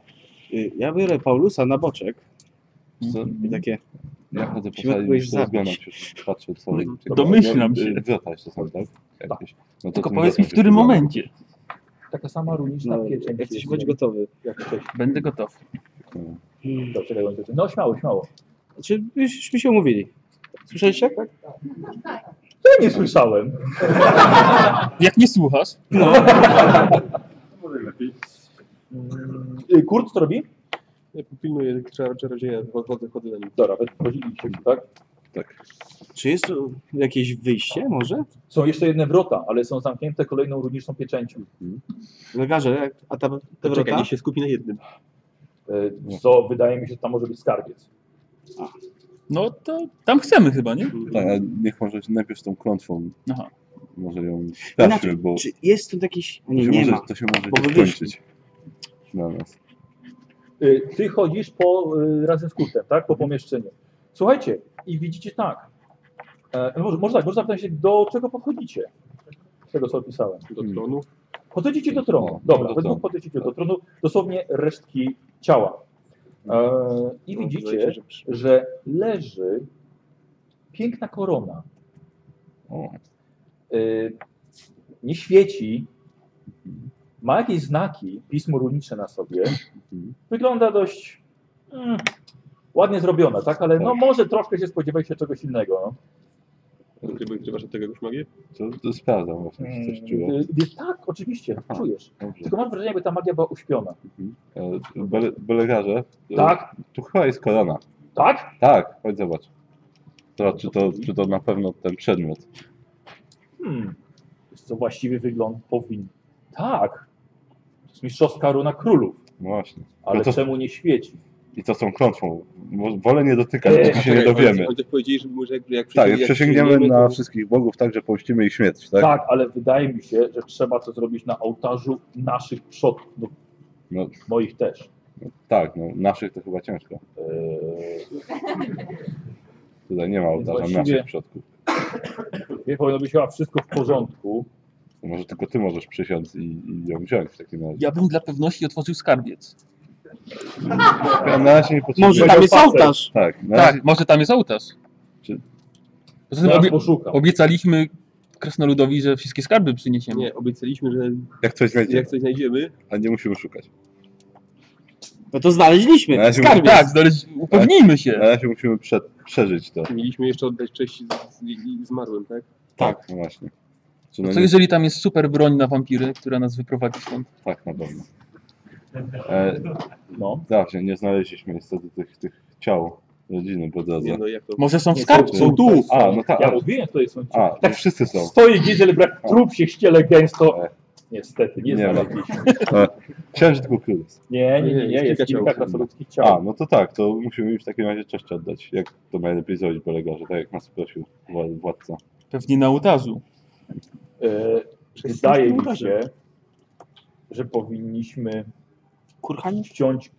S6: Y, Ja biorę Paulusa na boczek.
S1: Co?
S6: I takie.
S1: Ja chodzę po
S6: Musimy
S1: sali,
S6: kogoś
S1: już
S6: zabić.
S1: rozglądam się, patrzę co... co-
S4: Domyślam się.
S1: Wrota jeszcze są, No, tak? Jakieś. No to
S4: Tylko
S1: tym
S4: powiedz mi, w
S1: wrotom
S4: którym
S1: się
S4: momencie.
S8: Taka sama runiczna
S6: No,
S8: no, pieczęć.
S6: jak chcesz
S8: jest,
S6: być
S8: nie?
S6: gotowy.
S8: Jak wcześniej.
S4: Będę gotów.
S1: zajmę.
S8: Dobrze, tego nie dotyczy. No śmiało, śmiało.
S6: Znaczy, myśmy się umówili. Słyszeliście? Tak?
S8: Ja nie słyszałem.
S4: Jak nie słuchasz?
S8: No. Y, Kurt, co robi?
S3: Ja popilnuję czar- czarodzieja, chodzę, chodzę na nim.
S8: Dobra, wchodziliście, tak?
S1: Tak.
S6: Czy jest tu jakieś wyjście może?
S8: Są jeszcze jedne wrota, ale są zamknięte kolejną runiczną pieczęcią. e,
S6: Legarze, a ta, te
S3: Czekaj,
S6: wrota?
S3: niech się skupi na jednym.
S8: Y, Co wydaje mi się, że tam może być skarbiec.
S4: No to tam chcemy chyba,
S6: Hmm.
S4: nie?
S1: Tak, a niech może najpierw tą klątwą.
S4: Aha.
S1: Może ją
S6: Inaczej,
S1: sprawdźmy, bo
S6: czy jest tu jakiś...
S1: to
S6: Nie,
S1: się,
S6: nie
S1: może,
S6: ma.
S1: to się może
S6: Bo wy
S1: gdzieś
S6: wyszli.
S1: kończyć dla nas.
S8: Y, Ty chodzisz po, y, razem z Kurtem, tak? Po pomieszczeniu. Słuchajcie, i widzicie tak. E, może, może tak, może zapytać się, do czego podchodzicie? Z tego, co opisałem.
S3: Do tronu.
S8: Podchodzicie do tronu.
S1: O,
S8: Dobra,
S1: do
S8: do
S1: tronu.
S8: podchodzicie do tronu. Dosłownie resztki ciała. E, I widzicie, że leży piękna korona.
S1: O,
S8: Y, nie świeci, ma jakieś znaki pismo runicze na sobie. Wygląda dość mm, ładnie zrobiona, tak? Ale no może troszkę się spodziewać się czegoś innego. No.
S3: Odkrywa- Odkrywasz od tego już magię?
S1: to, to sprawdzam właśnie, czy coś
S4: Mm.
S1: czuję.
S8: Y, Więc tak, oczywiście,
S1: Aha.
S8: czujesz.
S1: Dobrze.
S8: Tylko mam wrażenie, jakby ta magia była uśpiona.
S1: E, Bele- Belegarze, e,
S8: Tak,
S1: tu chyba jest korona.
S8: tak?
S1: Tak, chodź zobacz. Zobacz, czy to, czy to na pewno ten przedmiot.
S8: Hmm. Wiesz Co właściwie wygląd powinien. Tak. To jest mistrzowska runa królów,
S1: No właśnie.
S8: ale
S1: No to,
S8: czemu nie świeci?
S1: I to są klątwą. Mo- Wolę nie dotykać,
S8: Eee,
S1: bo tu się nie dowiemy.
S3: Oni też powiedzieli, że może jak, jak
S1: Tak, jak przesięgniemy
S3: to-
S1: na wszystkich bogów, tak, że pomścimy ich śmierć, tak?
S8: Tak? ale wydaje mi się, że trzeba to zrobić na ołtarzu naszych przodków, no,
S1: No,
S8: moich też.
S1: tak, no naszych to chyba ciężko.
S8: Eee,
S1: Tutaj nie ma ołtarza
S8: Właściwie-
S1: naszych przodków.
S8: Wie, powinno być chyba wszystko w porządku.
S1: To może tylko ty możesz przysiąc i, i ją wziąć w takim razie.
S4: Ja bym dla pewności otworzył skarbiec.
S1: Ja Tak, na razie nie potrzebuję.
S6: Może tam jest ołtarz?
S1: Tak, na razie...
S4: Tak, może tam jest ołtarz.
S1: Czy-
S4: Poza tym
S8: Zaraz
S4: obie...
S8: poszukam.
S4: obiecaliśmy krasnoludowi, że wszystkie skarby przyniesiemy.
S3: Nie, obiecaliśmy, że
S1: jak coś znajdziemy,
S3: jak coś znajdziemy,
S1: a nie musimy szukać.
S6: No to znaleźliśmy.
S1: Na razie,
S6: Skarb.
S1: musimy,
S4: Tak, znaleźć... upewnijmy się.
S1: na razie musimy prze, przeżyć to.
S3: mieliśmy jeszcze oddać cześć z, z, zmarłym, tak?
S1: Tak. No właśnie. Czy no
S4: Co
S1: nie...
S4: jeżeli tam jest super broń na wampiry, która nas wyprowadzi stąd?
S1: Tak, na pewno. E,
S8: No.
S1: Zawsze nie znaleźliśmy niestety tych, tych ciał rodziny po drodze.
S3: Nie, no jak to...
S4: Może są w
S8: Nie,
S4: skarbcu?
S1: są
S8: tu.
S1: A, no tak.
S8: Ja mówiłem, tutaj są ci.
S1: A, to już Tak wszyscy są.
S8: Stoi Gizel, brak trup się ściele gęsto.
S1: E.
S8: Niestety, nie,
S1: Nie ma.
S8: znaleźliśmy.
S1: Chciałem, że tylko król jest.
S8: Nie, nie, nie,
S3: Nie,
S8: nie,
S3: jest kilka
S8: jest kilka
S3: ciał.
S8: krasnoludzkich
S1: A,
S8: ciał.
S1: no to tak, to musimy im w takim razie cześć oddać. Jak to najlepiej zrobić polega, że tak jak nas prosił wła- władca.
S4: Pewnie na ołtarzu.
S8: E, wydaje mi się, że powinniśmy
S6: Kurhani?
S8: ściąć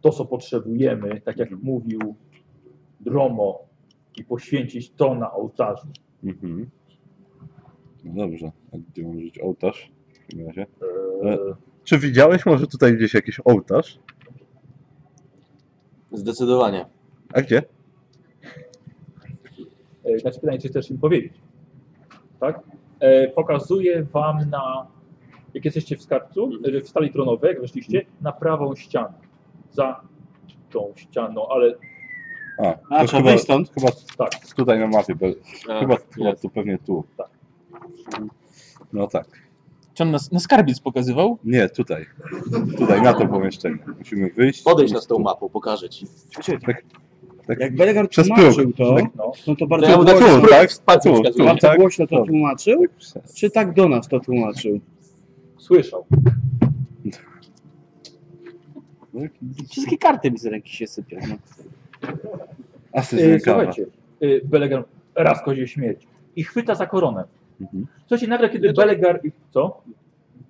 S8: to, co potrzebujemy,
S1: Mhm.
S8: tak jak mówił Dromo, i poświęcić to na ołtarzu.
S1: Mhm. No dobrze, a gdzie mam żyć ołtarz w takim razie?
S8: E,
S1: Czy widziałeś może tutaj gdzieś jakiś ołtarz?
S2: Zdecydowanie.
S1: A gdzie?
S8: E, Znaczy pytanie, czy chcesz im powiedzieć. Tak? E, pokazuję wam na, jak jesteście w skarbcu, e, w stali tronowej, jak weszliście, na prawą ścianę. Za tą ścianą, ale
S1: A,
S6: A,
S1: to
S6: trzeba wyjść
S1: chyba,
S6: stąd?
S1: chyba
S8: tak,
S1: tutaj na mapie, bo
S3: A,
S1: chyba, chyba
S3: jest.
S1: tu pewnie tu.
S8: Tak.
S1: No tak.
S4: Czy on nas na skarbiec pokazywał?
S1: Nie, tutaj. Tutaj, na to pomieszczenie. Musimy wyjść.
S2: Podejdź nas tą mapą, pokażę ci.
S6: Jak Belgar
S1: Przez
S6: tłumaczył to,
S8: no.
S6: no to
S1: Tu,
S6: bardzo
S1: tu,
S6: głośno,
S1: tu, tak?
S2: palcem
S1: Tu, tu,
S2: wskazuję.
S6: bardzo
S1: tak?
S6: głośno to
S1: Dobrze.
S6: tłumaczył, czy tak do nas to tłumaczył?
S8: Słyszał.
S6: Wszystkie karty mi z ręki się sypią. No.
S1: Asy
S8: E,
S1: rękawa.
S8: słuchajcie, e, Belegar raz kozie śmierć i chwyta za koronę.
S1: Mhm.
S8: Słuchajcie, nagle kiedy Belegar... i- Co?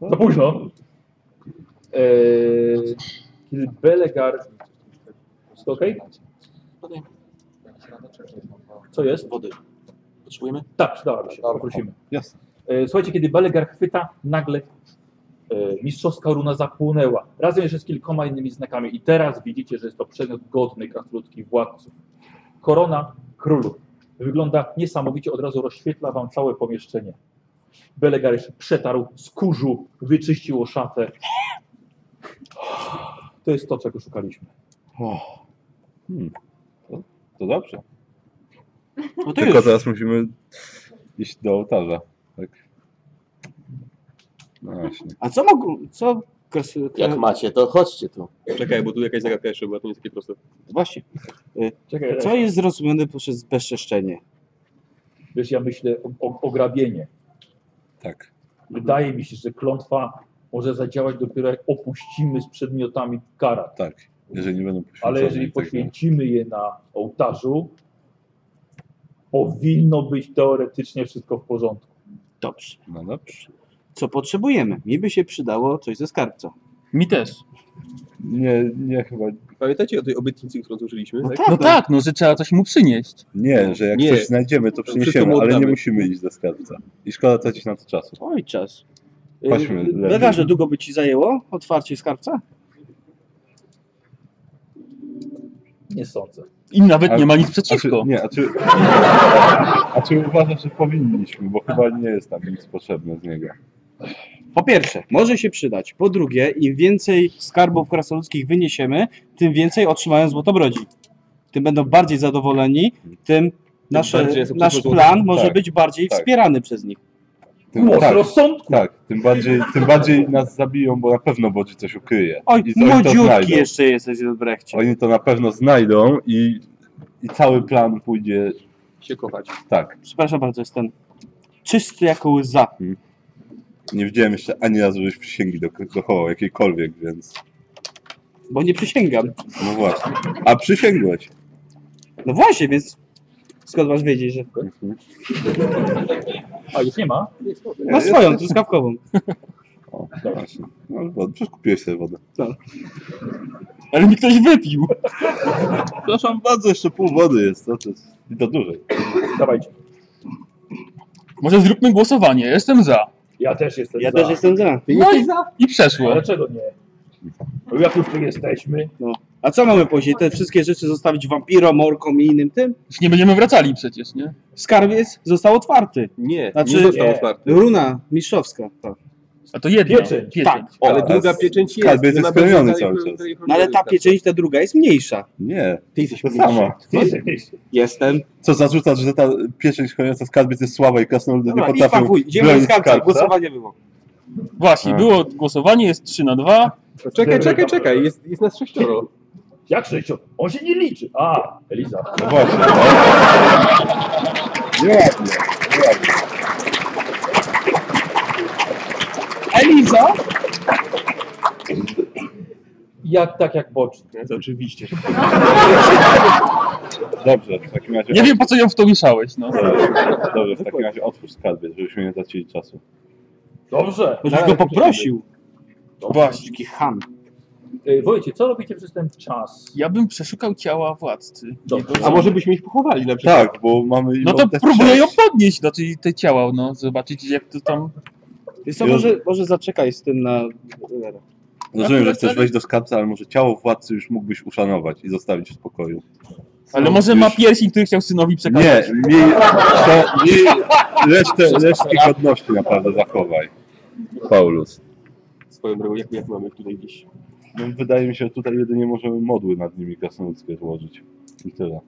S8: Za późno. E, kiedy Belegar... Jest to okej? Co jest?
S2: Wody. Potrzebujemy?
S8: Tak, przydałaby się, poprosimy.
S1: Jasne.
S8: E, Słuchajcie, kiedy Belegar chwyta, nagle e, mistrzowska runa zapłonęła. Razem jeszcze z kilkoma innymi znakami. I teraz widzicie, że jest to przedmiot godny krasnoludzkich władców. Korona królów. Wygląda niesamowicie, od razu rozświetla wam całe pomieszczenie. Belegar jeszcze przetarł, skurzu, wyczyściło szatę. To jest to, czego szukaliśmy.
S1: O. Hmm. To, to dobrze.
S6: No to
S1: Tylko
S6: już.
S1: teraz musimy iść do ołtarza. Tak. No właśnie.
S6: A co mogą, co... Kres...
S3: Tak.
S2: Jak macie, to chodźcie tu.
S3: Czekaj, bo tu jakaś zagadka jeszcze była, to nie jest takie proste.
S6: Właśnie. Y,
S8: Czekaj,
S6: Co jest zrozumiane przez bezczeszczenie?
S8: Wiesz, ja myślę o, o, ograbienie.
S1: Tak.
S8: Wydaje mi się, że klątwa może zadziałać dopiero jak opuścimy z przedmiotami karat.
S1: Tak, jeżeli nie będą poświęcone.
S8: Ale jeżeli
S1: i tak dalej.
S8: poświęcimy je na ołtarzu, powinno być teoretycznie wszystko w porządku.
S6: Dobrze.
S1: No dobrze.
S6: Co potrzebujemy? Mi by się przydało coś ze skarbca.
S4: Mi też.
S1: Nie, nie chyba.
S3: Pamiętacie o tej obietnicy, którą złożyliśmy?
S4: No tak, no, że trzeba coś mu przynieść.
S1: Nie, że jak
S3: Nie.
S1: coś znajdziemy, to
S3: To wszystko
S1: przyniesiemy,
S3: mu
S1: ale nie
S3: oddamy.
S1: musimy iść do skarbca. I szkoda tracić na to czasu.
S6: Oj, czas.
S1: Chodźmy. lepiej.
S6: Lekarze, długo by ci zajęło otwarcie skarbca?
S8: Nie sądzę.
S4: I nawet
S1: A-
S4: nie ma nic
S1: A
S4: przeciwko.
S1: czy, nie, a czy, a czy uważasz, że powinniśmy, bo chyba nie jest tam nic potrzebne z niego.
S6: Po pierwsze, może się przydać. Po drugie, im więcej skarbów krasnoludzkich wyniesiemy, tym więcej otrzymają złotobrodzi. Tym będą bardziej zadowoleni, tym nasze,
S1: bardziej są
S6: nasz
S1: przygotowane.
S6: plan może
S1: Tak,
S6: być bardziej
S1: tak.
S6: wspierany przez nich.
S1: Tym,
S8: Głos rozsądku.
S1: tak, tym bardziej, tym bardziej nas zabiją, bo na pewno Bodzi coś ukryje.
S6: Oj,
S1: I oni to
S6: młodziutki
S1: znajdą.
S6: jeszcze jesteś, Brechcie.
S1: Oni to na pewno znajdą i, i cały plan pójdzie
S3: Się kochać.
S1: tak.
S6: Przepraszam bardzo, jestem czysty jako łza.
S1: Nie widziałem jeszcze ani razu, żeś przysięgi do- dochował jakiejkolwiek, więc
S6: Bo nie przysięgam.
S1: no właśnie. A przysięgłeś.
S6: No właśnie, więc skąd masz wiedzieć, że...
S1: No
S8: A już nie ma?
S6: No swoją, truskawkową.
S1: O, właśnie. No, wodę. Przecież kupiłeś sobie wodę.
S4: Ale mi ktoś wypił.
S1: Przepraszam bardzo, jeszcze pół wody jest. To, to jest I to dużej.
S8: Dawajcie.
S4: Może zróbmy głosowanie. Jestem za.
S8: Ja też jestem
S6: Ja
S8: za.
S6: też jestem za.
S4: No i, i przeszło.
S8: Dlaczego nie? No Jak już tu jesteśmy,
S6: No. A co mamy później? Te wszystkie rzeczy zostawić wampirom, orkom i innym tym?
S4: Już nie będziemy wracali przecież, nie?
S6: Skarbiec został otwarty.
S3: Nie,
S6: Znaczy-
S3: nie został
S8: Nie.
S3: otwarty.
S6: Runa mistrzowska. Tak.
S4: A to jedno.
S8: Pieczęć.
S6: Tak.
S1: O,
S3: Ale
S1: a
S3: druga
S1: z-
S3: pieczęć jest.
S1: skarbiec
S3: nie
S1: jest
S3: ma bez-
S1: spełniony
S3: tej-
S1: cały
S3: tej-
S1: czas.
S3: tej-
S6: No ale ta pieczęć, ta druga jest mniejsza.
S1: Nie,
S3: Ty jesteś
S1: to samo.
S8: ty jesteś.
S6: Jestem.
S1: Co zarzucasz, że ta pieczęć chroniąca skarbiec jest słaba i
S3: No
S1: krasnoludy nie
S6: Dobra, idź pan
S1: potrafią
S6: wuj, idziemy do
S1: bronić
S6: skarbca.
S1: skarbca?
S6: Głosowanie było.
S4: Właśnie,
S1: A.
S4: było głosowanie, jest 3 na 2.
S3: Czekaj, czekaj, czekaj, jest, jest nas sześcioro.
S8: Jak sześcio? On się nie liczy. A, Eliza.
S1: No właśnie.
S3: [LAUGHS]
S1: No. Nie, nie, nie.
S5: Elizo?
S8: Jak tak jak boczny.
S3: Oczywiście.
S1: Dobrze, w takim razie.
S4: Nie wiem po co ją w to mieszałeś, no.
S1: Dobrze, w takim razie otwórz skarbiec, żebyśmy nie tracili czasu.
S8: Dobrze.
S6: Ktoś go poprosił.
S4: No
S6: Właśnie. Taki ham.
S8: Ej, E, Wojcie, co robicie przez ten czas?
S4: Ja bym przeszukał ciała władcy.
S8: Dobrze.
S3: A może byśmy ich pochowali na przykład?
S1: Tak, bo mamy.
S4: No to próbuję ją podnieść, znaczy te ciała, no. Zobaczyć jak to tam...
S6: Wiesz co, może, może zaczekaj z tym na...
S1: Rozumiem, że chcesz wejść do skarbca, ale może ciało władcy już mógłbyś uszanować i zostawić w spokoju.
S4: Ale może ma
S1: Już-
S4: pierścień, który chciał synowi przekazać.
S1: Nie, miej, to, miej resztę, resztki godności naprawdę zachowaj. Paulus.
S3: Swoją drogą, jak, jak mamy tutaj gdzieś.
S1: No, wydaje mi się, że tutaj jedynie możemy modły nad nimi krasnoludzkie złożyć. I tyle.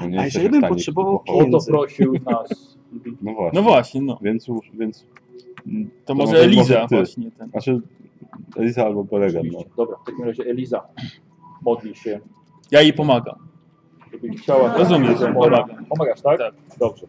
S1: No, nie
S6: A
S1: jesteśmy
S6: jeżeli bym
S1: w stanie
S6: potrzebował
S1: ich
S8: O to
S1: pochować.
S6: pieniędzy?
S8: prosił nas.
S1: No właśnie.
S4: No właśnie, no.
S1: Więc, więc
S4: To,
S1: To
S4: może
S1: No, może-
S4: Eliza
S1: może ty.
S4: właśnie ten.
S1: znaczy, Elisa albo Belegan. No.
S8: Oczywiście. Dobra, w takim razie Eliza modli się,
S4: Ja jej pomagam.
S8: żeby chciała.
S4: Rozumiem,
S8: żeby
S4: pomagam.
S8: Pomagasz, tak?
S4: Tak.
S8: Dobrze.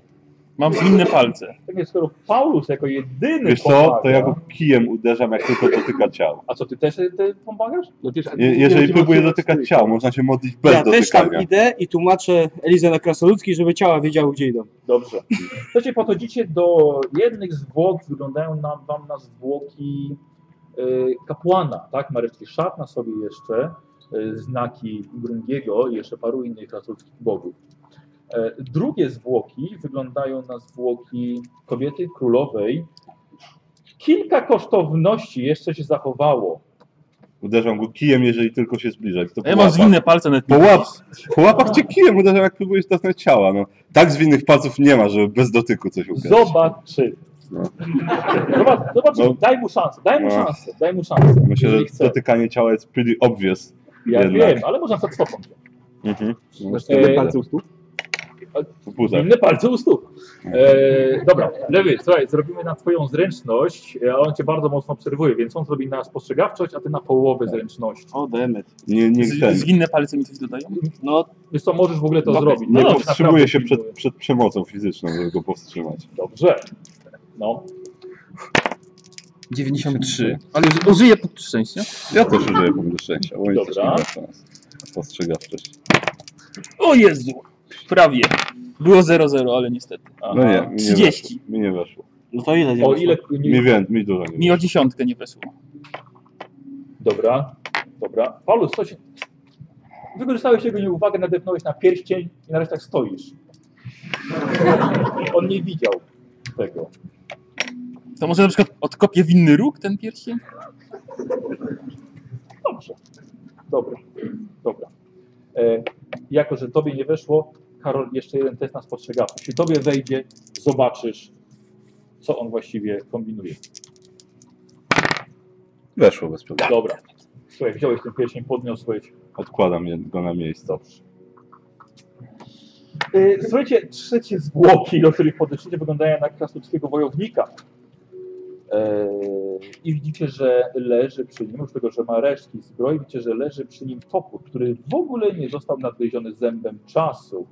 S4: Mam inne palce.
S8: Tak więc skoro Paulus jako jedyny
S1: Wiesz co,
S8: pomaga,
S1: to ja go kijem uderzam, jak tylko dotyka ciał.
S8: A co, ty też e, ty pomagasz?
S3: No przecież-
S1: Je, jeżeli próbuje dotykać ciał, można się modlić bez
S6: Ja też tam
S1: dotykania.
S6: idę i tłumaczę Elizę na krasnoludzki, żeby ciała wiedziały, gdzie idą.
S8: Dobrze. Słuchajcie, podchodzicie do jednych zwłok, wyglądają nam, wam na zwłoki y, kapłana, tak? Mareczki szat na sobie jeszcze, y, znaki Grungiego i jeszcze paru innych katolickich bogów. E, drugie zwłoki wyglądają na zwłoki kobiety królowej. Kilka kosztowności jeszcze się zachowało.
S1: Uderzam go kijem, jeżeli tylko się zbliżać. To
S4: A ja
S1: po
S4: mam
S1: łapach.
S4: zwinne palce nawet
S1: Po, łap, po łapach cię kijem uderzam, jak próbujesz dotknąć ciała. No. Tak zwinnych palców nie ma, żeby bez dotyku coś ukryć.
S8: Zobaczymy.
S1: No.
S8: Zobacz, zobaczymy.
S1: No.
S8: Daj mu szansę, daj mu
S1: No.
S8: szansę, daj mu szansę.
S1: Myślę, że
S8: jeżeli chce.
S1: dotykanie ciała jest pretty obvious.
S8: Ja
S1: jednak.
S8: wiem, ale może na przykład stopą.
S1: Mhm.
S8: E,
S3: Masz cztery palce u stóp?
S1: buzach.
S8: Inne palce u stóp. E, dobra, Lewy, słuchaj, zrobimy na twoją zręczność, a on cię bardzo mocno obserwuje, więc on zrobi na spostrzegawczość, a ty na połowę zręczności.
S6: O, demet.
S1: Nie, nie ten.
S4: Zwinne palce mi coś dodają?
S6: No,
S8: Wiesz co, możesz w ogóle to
S1: Okej,
S8: zrobić.
S1: Nie
S8: No, tak
S1: powstrzymuje
S8: naprawdę
S1: się przed,
S8: pilnuję.
S1: przed przemocą fizyczną, żeby go powstrzymać.
S8: Dobrze. No.
S4: 93. Ale użyję punktu szczęścia.
S1: Ja też użyję punktu szczęścia, bo mi też
S4: Dobra.
S1: nie teraz. Postrzegawczość.
S4: O Jezu! Prawie. Było 0-0, ale niestety.
S1: No nie, mi nie
S4: 30.
S1: weszło. Mi nie weszło.
S6: No to ile
S8: O ile...
S1: Mi, wiem, mi dużo nie
S4: Mi o dziesiątkę nie weszło.
S8: Dobra, dobra. Paulus, co się... Wykorzystałeś jego nieuwagę, nadepnąłeś na pierścień i na resztach stoisz. On nie widział tego.
S4: To może na przykład odkopię winny róg ten pierścień?
S8: Dobrze. Dobra, dobra. E, jako, że tobie nie weszło, Karol, jeszcze jeden test na spostrzegawczość. Jeśli tobie wejdzie, zobaczysz, co on właściwie kombinuje.
S1: Weszło bez problemu.
S8: Dobra. Słuchaj, wziąłeś ten pierścień, podniosłeś.
S1: Odkładam je- go na miejsce.
S8: E, słuchajcie, trzecie zwłoki, do których podeszliście, wyglądają na krasnoludzkiego wojownika. E, I widzicie, że leży przy nim, oprócz tego, że ma resztki zbroi, widzicie, że leży przy nim topór, który w ogóle nie został nadgryziony zębem czasu.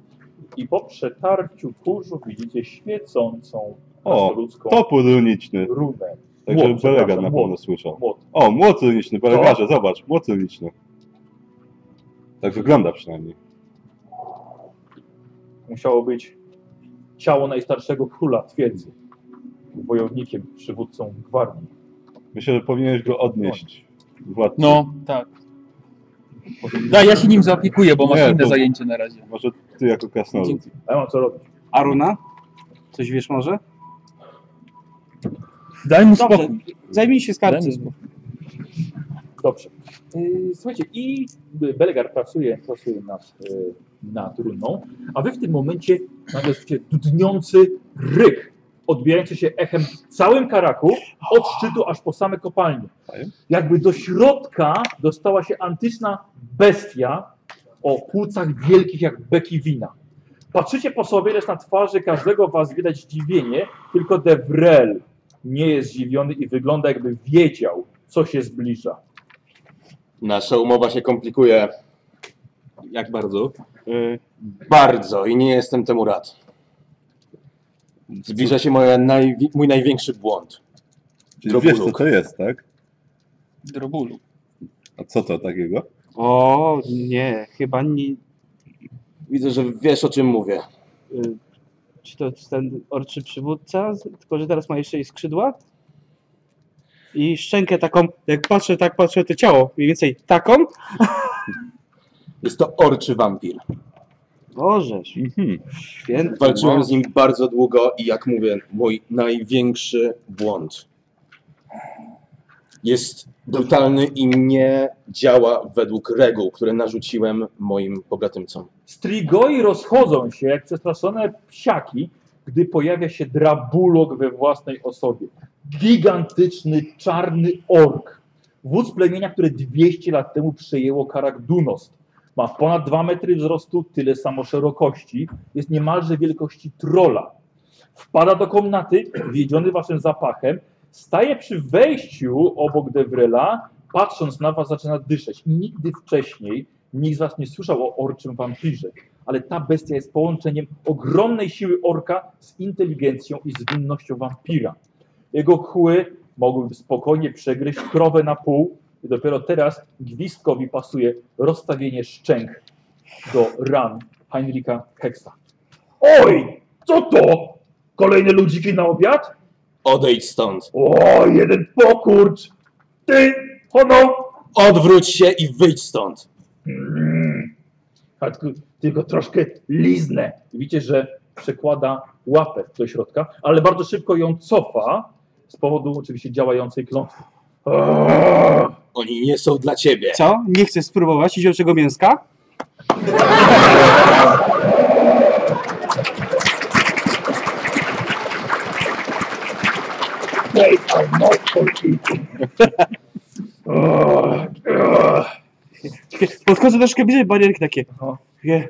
S8: I po przetarciu kurzu widzicie świecącą
S1: O,
S8: krasnoludzką
S1: topór runiczny.
S8: runę.
S1: Także
S8: Młot,
S1: Belegan
S8: przepraszam,
S1: na pewno
S8: młot.
S1: słyszał.
S8: Młot.
S1: O, młot runiczny, Belegarze, zobacz, młot runiczny. Tak wygląda przynajmniej.
S8: Musiało być ciało najstarszego króla twierdzy, wojownikiem, przywódcą gwardii.
S1: Myślę, że powinieneś go odnieść. Władcy.
S4: No, tak. Da, ja się nim zaopiekuję, bo masz
S1: Nie,
S4: inne
S1: to-
S4: zajęcie na razie.
S1: Może ty jako krasnolud.
S8: A ja mam co robić.
S6: Aruna? Coś wiesz może?
S4: Daj mu
S6: Dobrze,
S4: spokój.
S6: zajmij się
S4: Daj
S6: skarbcem.
S4: mi spokój.
S8: Dobrze. Yy, Słuchajcie, i Belegar pracuje, pracuje nad, yy, nad runą, a wy w tym momencie nagle słyszycie dudniący ryk, odbijający się echem w całym Karaku, od szczytu aż po same kopalnie. Jakby do środka dostała się antyczna bestia o płucach wielkich jak beki wina. Patrzycie po sobie, lecz na twarzy każdego was widać zdziwienie, tylko Devrel nie jest zdziwiony i wygląda jakby wiedział, co się zbliża.
S2: Nasza umowa się komplikuje. Jak bardzo?
S6: Y,
S2: Bardzo i nie jestem temu rad. Zbliża się moja najwi- mój największy błąd.
S1: Czyli wiesz, co to jest, tak?
S4: Drobulu.
S1: A co to takiego?
S6: O, nie, chyba nie.
S2: Widzę, że wiesz o czym mówię.
S6: y, Czy to jest ten orczy przywódca? Z- Tylko, że teraz ma jeszcze i skrzydła? I szczękę taką, jak patrzę, tak patrzę, to ciało mniej więcej taką.
S2: Jest to orczy wampir.
S6: Bożeż, święty.
S2: Walczyłem
S6: Boże.
S2: z nim bardzo długo i jak mówię, mój największy błąd. Jest brutalny i nie działa według reguł, które narzuciłem moim pobratymcom.
S8: Strigoi rozchodzą się jak przestraszone psiaki, gdy pojawia się drabulok we własnej osobie. Gigantyczny, czarny ork. Wódz plemienia, które 200 lat temu przejęło Karak Dunost. Ma ponad 2 metry wzrostu, tyle samo szerokości. Jest niemalże wielkości trola. Wpada do komnaty, wiedziony waszym zapachem. Staje przy wejściu obok Devrela, patrząc na was zaczyna dyszeć. I nigdy wcześniej nikt z was nie słyszał o orczym wampirze. Ale ta bestia jest połączeniem ogromnej siły orka z inteligencją i zwinnością wampira. Jego kły mogłyby spokojnie przegryźć krowę na pół i dopiero teraz gwizdkowi pasuje rozstawienie szczęk do ran Heinricha Hexa. Oj, co to? Kolejne ludziki na obiad?
S2: Odejdź stąd.
S8: O, jeden pokurcz! No Ty, hono!
S2: Odwróć się i wyjdź stąd.
S8: A tylko- Tylko troszkę liznę. Widzicie, że przekłada łapę do środka, ale bardzo szybko ją cofa z powodu oczywiście działającej klątwy.
S2: Oni nie są dla ciebie.
S6: Co? Nie chcesz spróbować ziołczego mięska?
S9: They are not for eating. Ugh, ugh.
S6: Podchodzę troszkę bliżej barierki takie.
S8: No.
S6: Je-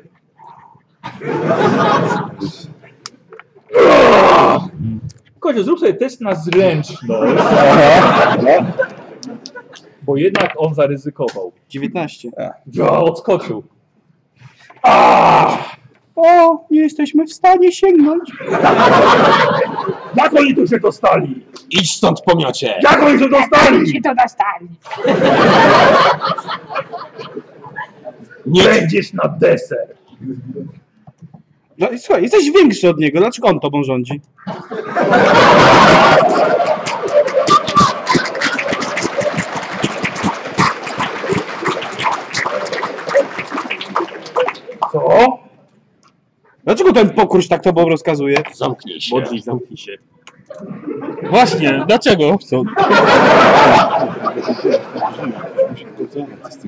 S8: Kościół, zrób sobie test na zręczność. Bo jednak on zaryzykował.
S6: 19.
S8: Ja, odskoczył.
S6: O, nie jesteśmy w stanie sięgnąć.
S8: Jak oni tu się dostali?
S2: Idź stąd pomiocie!
S8: Jak oni się dostali?
S5: Ci to dostali.
S2: Nie
S8: będziesz na deser.
S6: No i słuchaj, jesteś większy od niego, dlaczego on tobą rządzi?
S8: Co?
S6: Dlaczego ten pokrój tak tobą rozkazuje?
S2: Zamknij się.
S3: Modlić, zamknij się.
S4: Właśnie,
S1: No,
S4: dlaczego?
S7: Tak.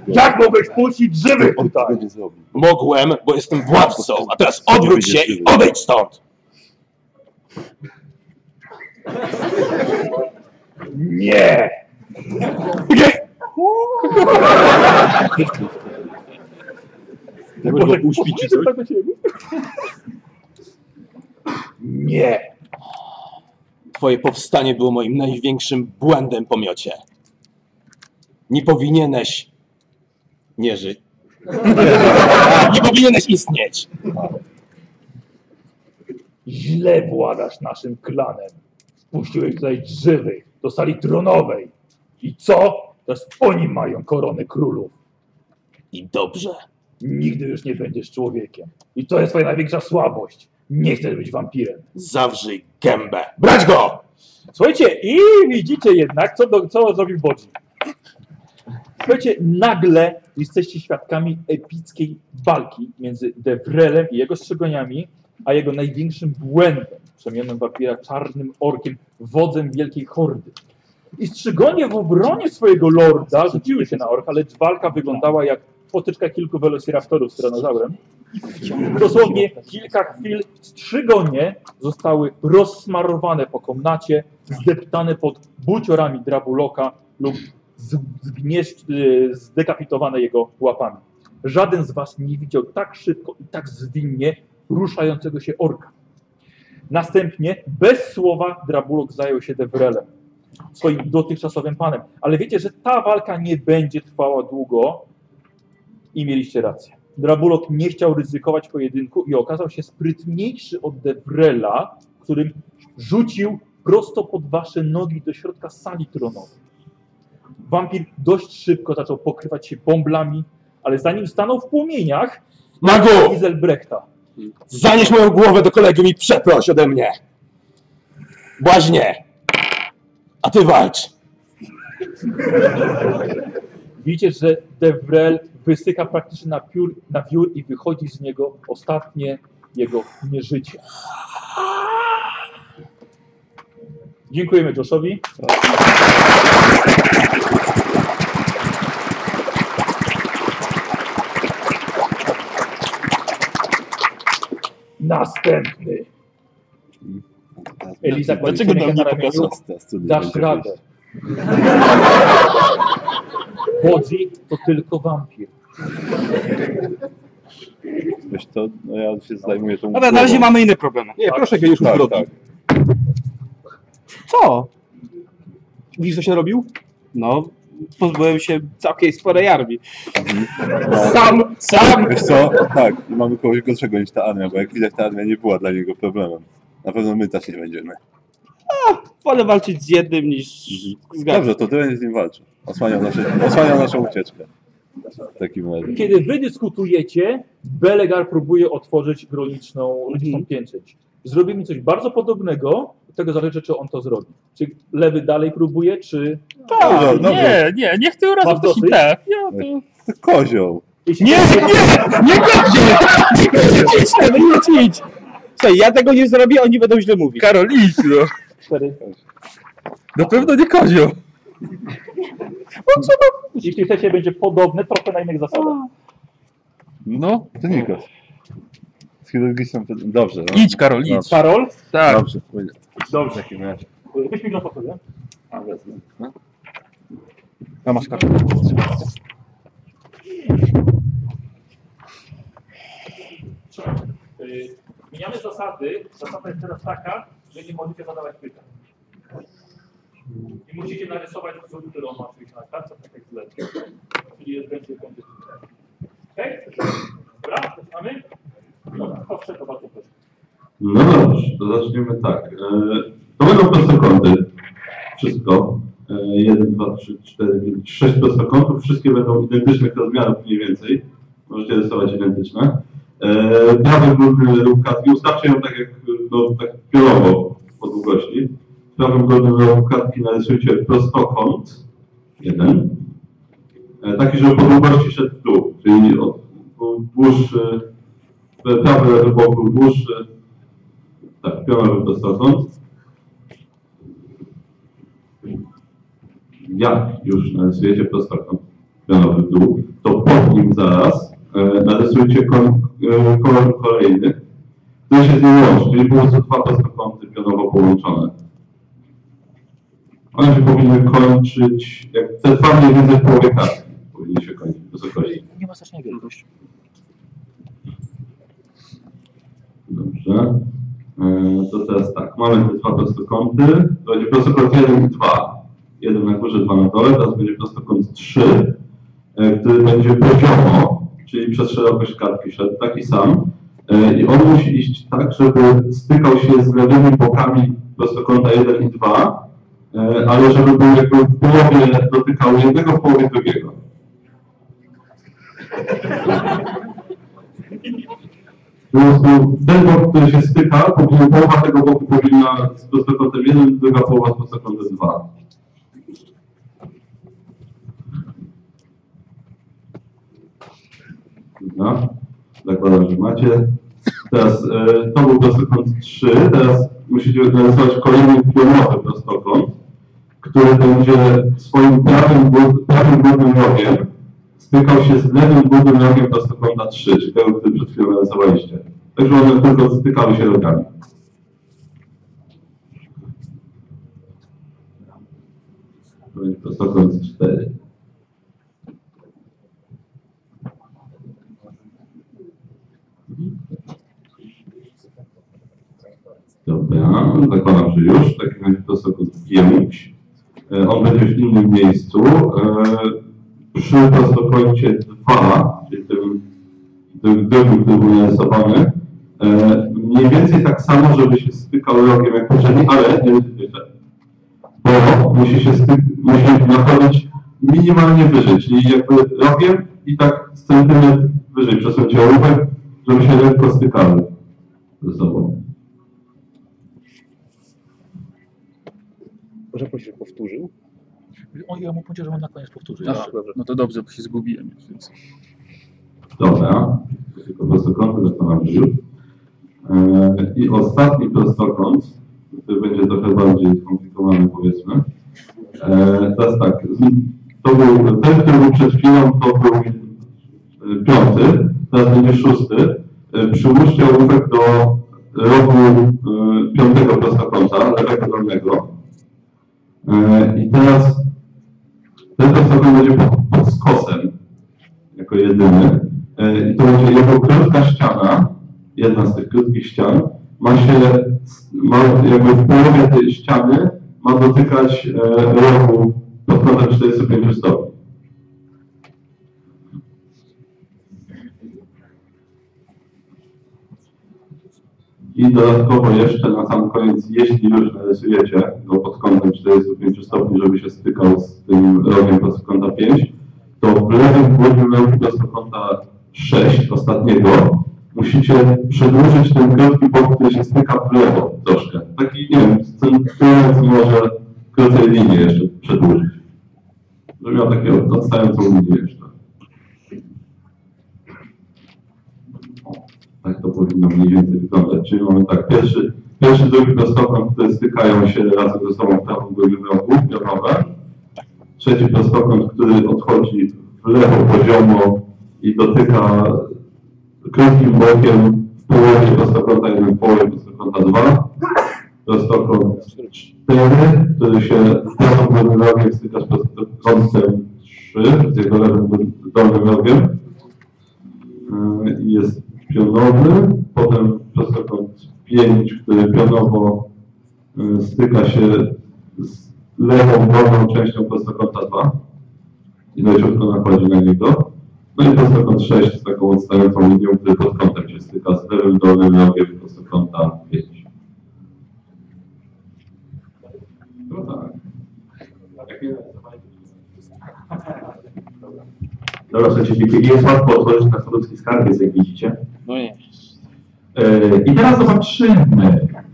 S8: Jak Tak mogłeś puścić żywy tutaj?
S2: Mogłem, bo jestem władcą, a teraz odwróć się i odejdź stąd!
S8: Nie!
S3: Jakby go uśpić czy
S8: Tak
S3: coś.
S8: Nie!
S2: Twoje powstanie było moim największym błędem pomiocie. Nie powinieneś nie żyć. Nie powinieneś istnieć.
S8: Źle władasz naszym klanem. Spuściłeś tutaj żywych do sali tronowej. I co? Teraz oni mają koronę królów.
S2: I dobrze.
S8: Nigdy już nie będziesz człowiekiem. I to jest twoja największa słabość. Nie chcesz być wampirem.
S2: Zawrzyj gębę. Brać go!
S8: Słuchajcie, i widzicie jednak, co, do, co zrobił Bodzi. Słuchajcie, nagle jesteście świadkami epickiej walki między Devrelem i jego strzegoniami, a jego największym błędem, przemianem wampira czarnym orkiem, wodzem wielkiej hordy. I strzygonie w obronie swojego lorda rzuciły się na orka, lecz walka wyglądała jak potyczka kilku velociraptorów z tyranozaurem. Dosłownie kilka chwil strzygonie zostały rozsmarowane po komnacie, zdeptane pod buciorami Drabuloka lub z- zgnieść, y, zdekapitowane jego łapami. Żaden z was nie widział tak szybko i tak zwinnie ruszającego się orka. Następnie bez słowa Drabulok zajął się Devrelem, swoim dotychczasowym panem. Ale wiecie, że ta walka nie będzie trwała długo i mieliście rację. Drabulok nie chciał ryzykować pojedynku i okazał się sprytniejszy od Devrela, którym rzucił prosto pod wasze nogi do środka sali tronowej. Wampir dość szybko zaczął pokrywać się bąblami, ale zanim stanął w płomieniach,
S2: Magu!
S8: Giselbrechta.
S2: Zanieś moją głowę do kolegium i przeproś ode mnie. Błaźnie. A ty walcz.
S8: Widzicie, że Devrel wysyka praktycznie na, piór, na wiór i wychodzi z niego ostatnie jego nieżycie. Dziękujemy Joshowi. Następny. Eliza, kładzie
S4: Dlaczego
S8: rękę
S4: nam
S8: na
S4: nie
S8: ramieniu.
S4: pokazał?
S8: Dasz radę. Chodzi to tylko wampir.
S1: Wiesz to, no ja się zajmuję tą
S6: Dobra, na razie
S1: głową.
S6: mamy inne problemy.
S3: Nie, proszę się już
S1: tak,
S3: uzbrodni.
S1: tak.
S6: Co?
S3: Widzisz, co się narobił?
S6: No, pozbyłem się całkiem sporej armii.
S8: Sam, sam!
S1: Wiesz co, tak, i mamy kogoś gorszego niż ta armia, bo jak widać ta armia nie była dla niego problemem. Na pewno my też nie będziemy.
S6: Wolę walczyć z jednym niż
S3: Mhm.
S6: z gadem.
S1: Dobrze, to ty będziesz z nim walczył. Osłaniał, nasze, osłaniał naszą ucieczkę. W takim razie.
S8: Kiedy wy dyskutujecie, Belegar próbuje otworzyć graniczną,
S6: Mhm.
S8: graniczną piętrzeć. Zrobimy coś bardzo podobnego, od tego zależy, czy on to zrobi. Czy lewy dalej próbuje, czy...
S1: Dobrze, dobrze.
S4: Tak, Nie, nie, niech tym razem
S8: Masz
S4: ktoś im
S8: dosyć?
S4: te. tak. Ja to...
S1: Ty kozioł.
S8: Jeśli
S6: nie będzie! Nie będzie! Idź, Karol, idź, idź! Słuchaj, ja tego nie zrobię, oni będą źle mówić.
S4: Karol, idź, no.
S8: Cztery.
S4: Na pewno nie kozioł.
S8: Jeśli chcecie, będzie podobne, trochę na innych zasadach.
S4: No,
S1: To Nikos. Z chirurgiczną... Dobrze. No.
S4: idź, Karol, idź.
S1: Dobrze.
S8: Karol?
S4: Tak.
S1: Dobrze, pójdę.
S8: Dobrze.
S1: W takim razie.
S8: Weź mikrofon sobie.
S4: A masz kartę.
S13: y, zmieniamy zasady. Zasada jest teraz taka, że nie możecie zadawać pytań. I musicie narysować wzór, który on ma oczywiście na kartce, tak jak zlecę. Czyli jest więcej punktów. Okej? Dobra, zaczynamy? Dobra, to wszedł, to bardzo proszę.
S7: No dobrze, to zaczniemy tak. E, To będą prostokąty. Wszystko. E, 1, 2, 3, 4, 5, 6 prostokątów. Wszystkie będą identycznych rozmiarów mniej więcej. Możecie rysować identyczne. E, Prawy górny lub katki. Ustawcie ją tak jak no, tak pionowo po długości. W prawym górnym lub katki narysujcie prostokąt. Jeden. E, Taki, żeby po długości szedł w dół, czyli od dłuższy, prawy lewy bok był dłuższy, tak, pionowy prostokąt. Jak już narysujecie prostokąt pionowy w dół, to pod nim zaraz e, narysujcie kon, e, kolor kolejny, który się z nim łączy, czyli po prostu dwa prostokąty pionowo połączone. One się powinny kończyć, jak te dwa mniej więcej w połowie kartki powinny się kończyć w wysokości.
S5: Nie ma strasznej wielkości.
S7: Dobrze. E, To teraz tak, mamy te dwa prostokąty. To będzie prostokąt 1 i 2. Jeden na górze, dwa na dole. Teraz będzie prostokąt 3, e, który będzie poziomo, czyli przez szerokość kartki szedł taki sam. E, I on musi iść tak, żeby stykał się z lewymi bokami prostokąta 1 i 2, e, ale żeby był jakby w połowie dotykał jednego, w połowie drugiego. Po prostu ten bok, który się styka, powinien, połowa tego boku powinna z prostokątem 1, druga połowa z prostokątem 2. Dobra, zakładam, że macie. Teraz e, to był prostokąt 3, teraz musicie narysować kolejny pionowy prostokąt, który będzie swoim prawym, gór- prawym górnym rogiem stykał się z lewym górnym rogiem prostokąta 3, czyli tego, który przed chwilą narysowaliście. Także one tylko stykały się rogami. To będzie prostokąt 4. Dobra, zakładam, że już. W takim razie prostokąt 5. E, On będzie w innym miejscu. E, Przy prostokącie 2, czyli tym tym drugim, który był narysowany, e, mniej więcej tak samo, żeby się stykał rogiem jak poprzedni, ale nie wyżej. Bo musi się styk, musi nachodzić minimalnie wyżej, czyli jakby rogiem i tak centymetr wyżej przesunąć ołówek, żeby się lekko stykały ze sobą.
S10: Może prosić, powtórzył?
S4: O, ja mu powiedział, że on na koniec powtórzy.
S14: Tak.
S10: Aha, dobrze.
S4: no to dobrze, bo się zgubiłem już, więc...
S7: Dobra, tylko prostokąty zastanawiam się. Eee, I ostatni prostokąt, który będzie trochę bardziej skomplikowany powiedzmy. Eee, Teraz tak, z- to był ten, który był przed chwilą, to był e, piąty, teraz będzie szósty. E, Przyłóżcie ołówek do rogu e, piątego prostokąta, lewego dolnego. E, I teraz ten prostokąt będzie pod, pod skosem jako jedyny. E, I to będzie jako krótka ściana, jedna z tych krótkich ścian, ma się, ma jakby w połowie tej ściany ma dotykać e, rogu pod kątem 45 stopni. I dodatkowo jeszcze na sam koniec, jeśli już narysujecie go pod kątem 45 stopni, żeby się stykał z tym rogiem prostokąta 5, to w lewym górnym rogu prostokąta 6 ostatniego musicie przedłużyć ten krótki bok, który się styka w lewo troszkę. Taki, nie wiem, centymetr może krócej linię jeszcze przedłużyć. Żeby miał taką odstającą linię jeszcze. Tak to powinno mniej więcej wyglądać. Czyli mamy tak, pierwszy, pierwszy drugi prostokąt, które stykają się razem ze sobą w prawym górnym rogu, pionowe. Trzeci prostokąt, który odchodzi w lewo poziomo i dotyka krótkim bokiem w połowie prostokąta 1, w połowie prostokąta 2. Prostokąt 4, który się z prawym górnym rogiem styka z prostokątem 3, z jego lewym dolnym rogiem. Yy, i Jest pionowy, potem prostokąt 5, który pionowo y, styka się z lewą dolną częścią prostokąta 2 i dośrodkowo nakładzi na niego. No i prostokąt 6 z taką odstającą linią, który pod kątem się styka z lewym dolnym rogiem prostokąta 5. No tak. Dobra, słuchajcie, dzięki. jest łatwo otworzyć na Sadowski Skarbiec, jak widzicie.
S4: No nie.
S7: E, I teraz zobaczymy,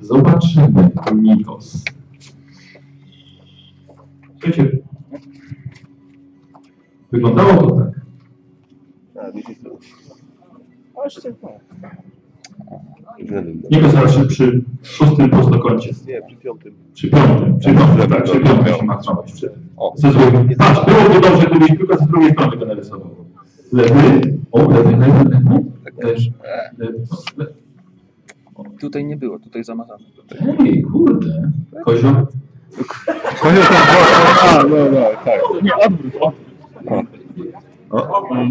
S7: zobaczymy Nikos. Słuchajcie, wyglądało to tak.
S2: Właśnie tak.
S7: Nikos raczej przy szóstym prostokącie.
S1: Nie, przy piątym.
S7: Przy piątym, przy piątym, tak, przy piątym się ma trzymać. Przy- Ze złym. Patrz, byłoby dobrze, gdybyś tylko z drugiej strony go narysował. Lewy, o, lewy, lewy, lewy. Też. lewy, lewy.
S15: Tutaj nie było, tutaj zamazane.
S7: Ej, kurde. Kozio.
S1: Kozio tam A, no, no, tak.
S4: Nie, odwrót, odwrót.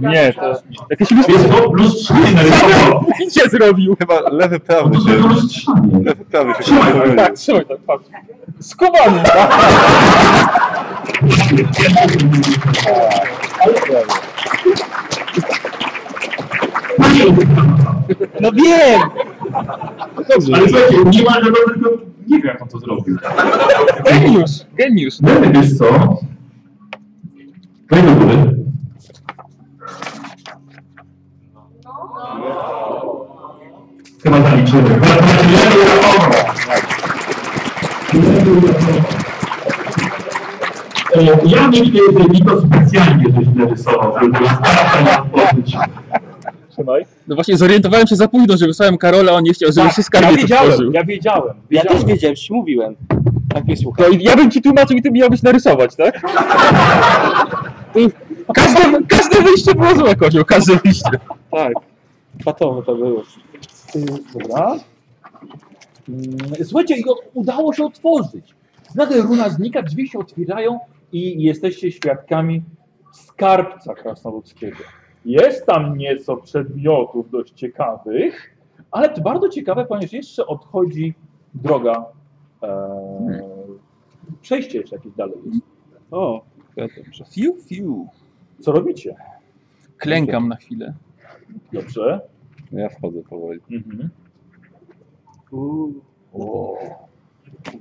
S1: Nie, to
S4: jakieś
S7: lustro. lustrzanie narysował.
S1: Gdzie zrobił? Chyba lewy prawy się... Lewy prawy się...
S4: Trzymaj tak, trzymaj tak, patrz. Skubany!
S7: No wiem! Ale słuchajcie, nie ma żadnego, tylko nie wiem jak on to zrobił.
S4: Geniusz! Geniusz!
S7: No ale wiesz co? Daj do góry. Chyba zaliczymy. Gratulacje, brawo! E, Ja myślę, że Niko specjalnie coś narysował, żeby starać się odpocząć.
S8: Trzymaj.
S4: No właśnie, zorientowałem się za późno, że wysłałem Karola, on nie chciał, żeby się
S8: Ja
S4: skarbiec otworzył.
S8: wiedziałem, ja wiedziałem.
S6: Ja też wiedziałem, ci mówiłem. Tak jest,
S4: No i ja bym ci tłumaczył i ty miałbyś narysować, tak? I Każde, każde wyjście było złe, Kozioł, każde wyjście.
S8: Tak. Fatowe to było. Y, Dobra. Mm, Słuchajcie, i go- udało się otworzyć. Nagle runa znika, drzwi się otwierają i jesteście świadkami skarbca krasnoludzkiego. Jest tam nieco przedmiotów dość ciekawych, ale to bardzo ciekawe, ponieważ jeszcze odchodzi droga. E, Przejście jeszcze jakieś dalej jest.
S4: O, dobrze. Fiu, fiu.
S8: Co robicie?
S4: Klękam na chwilę.
S8: Dobrze.
S1: Ja wchodzę powoli.
S8: Mhm.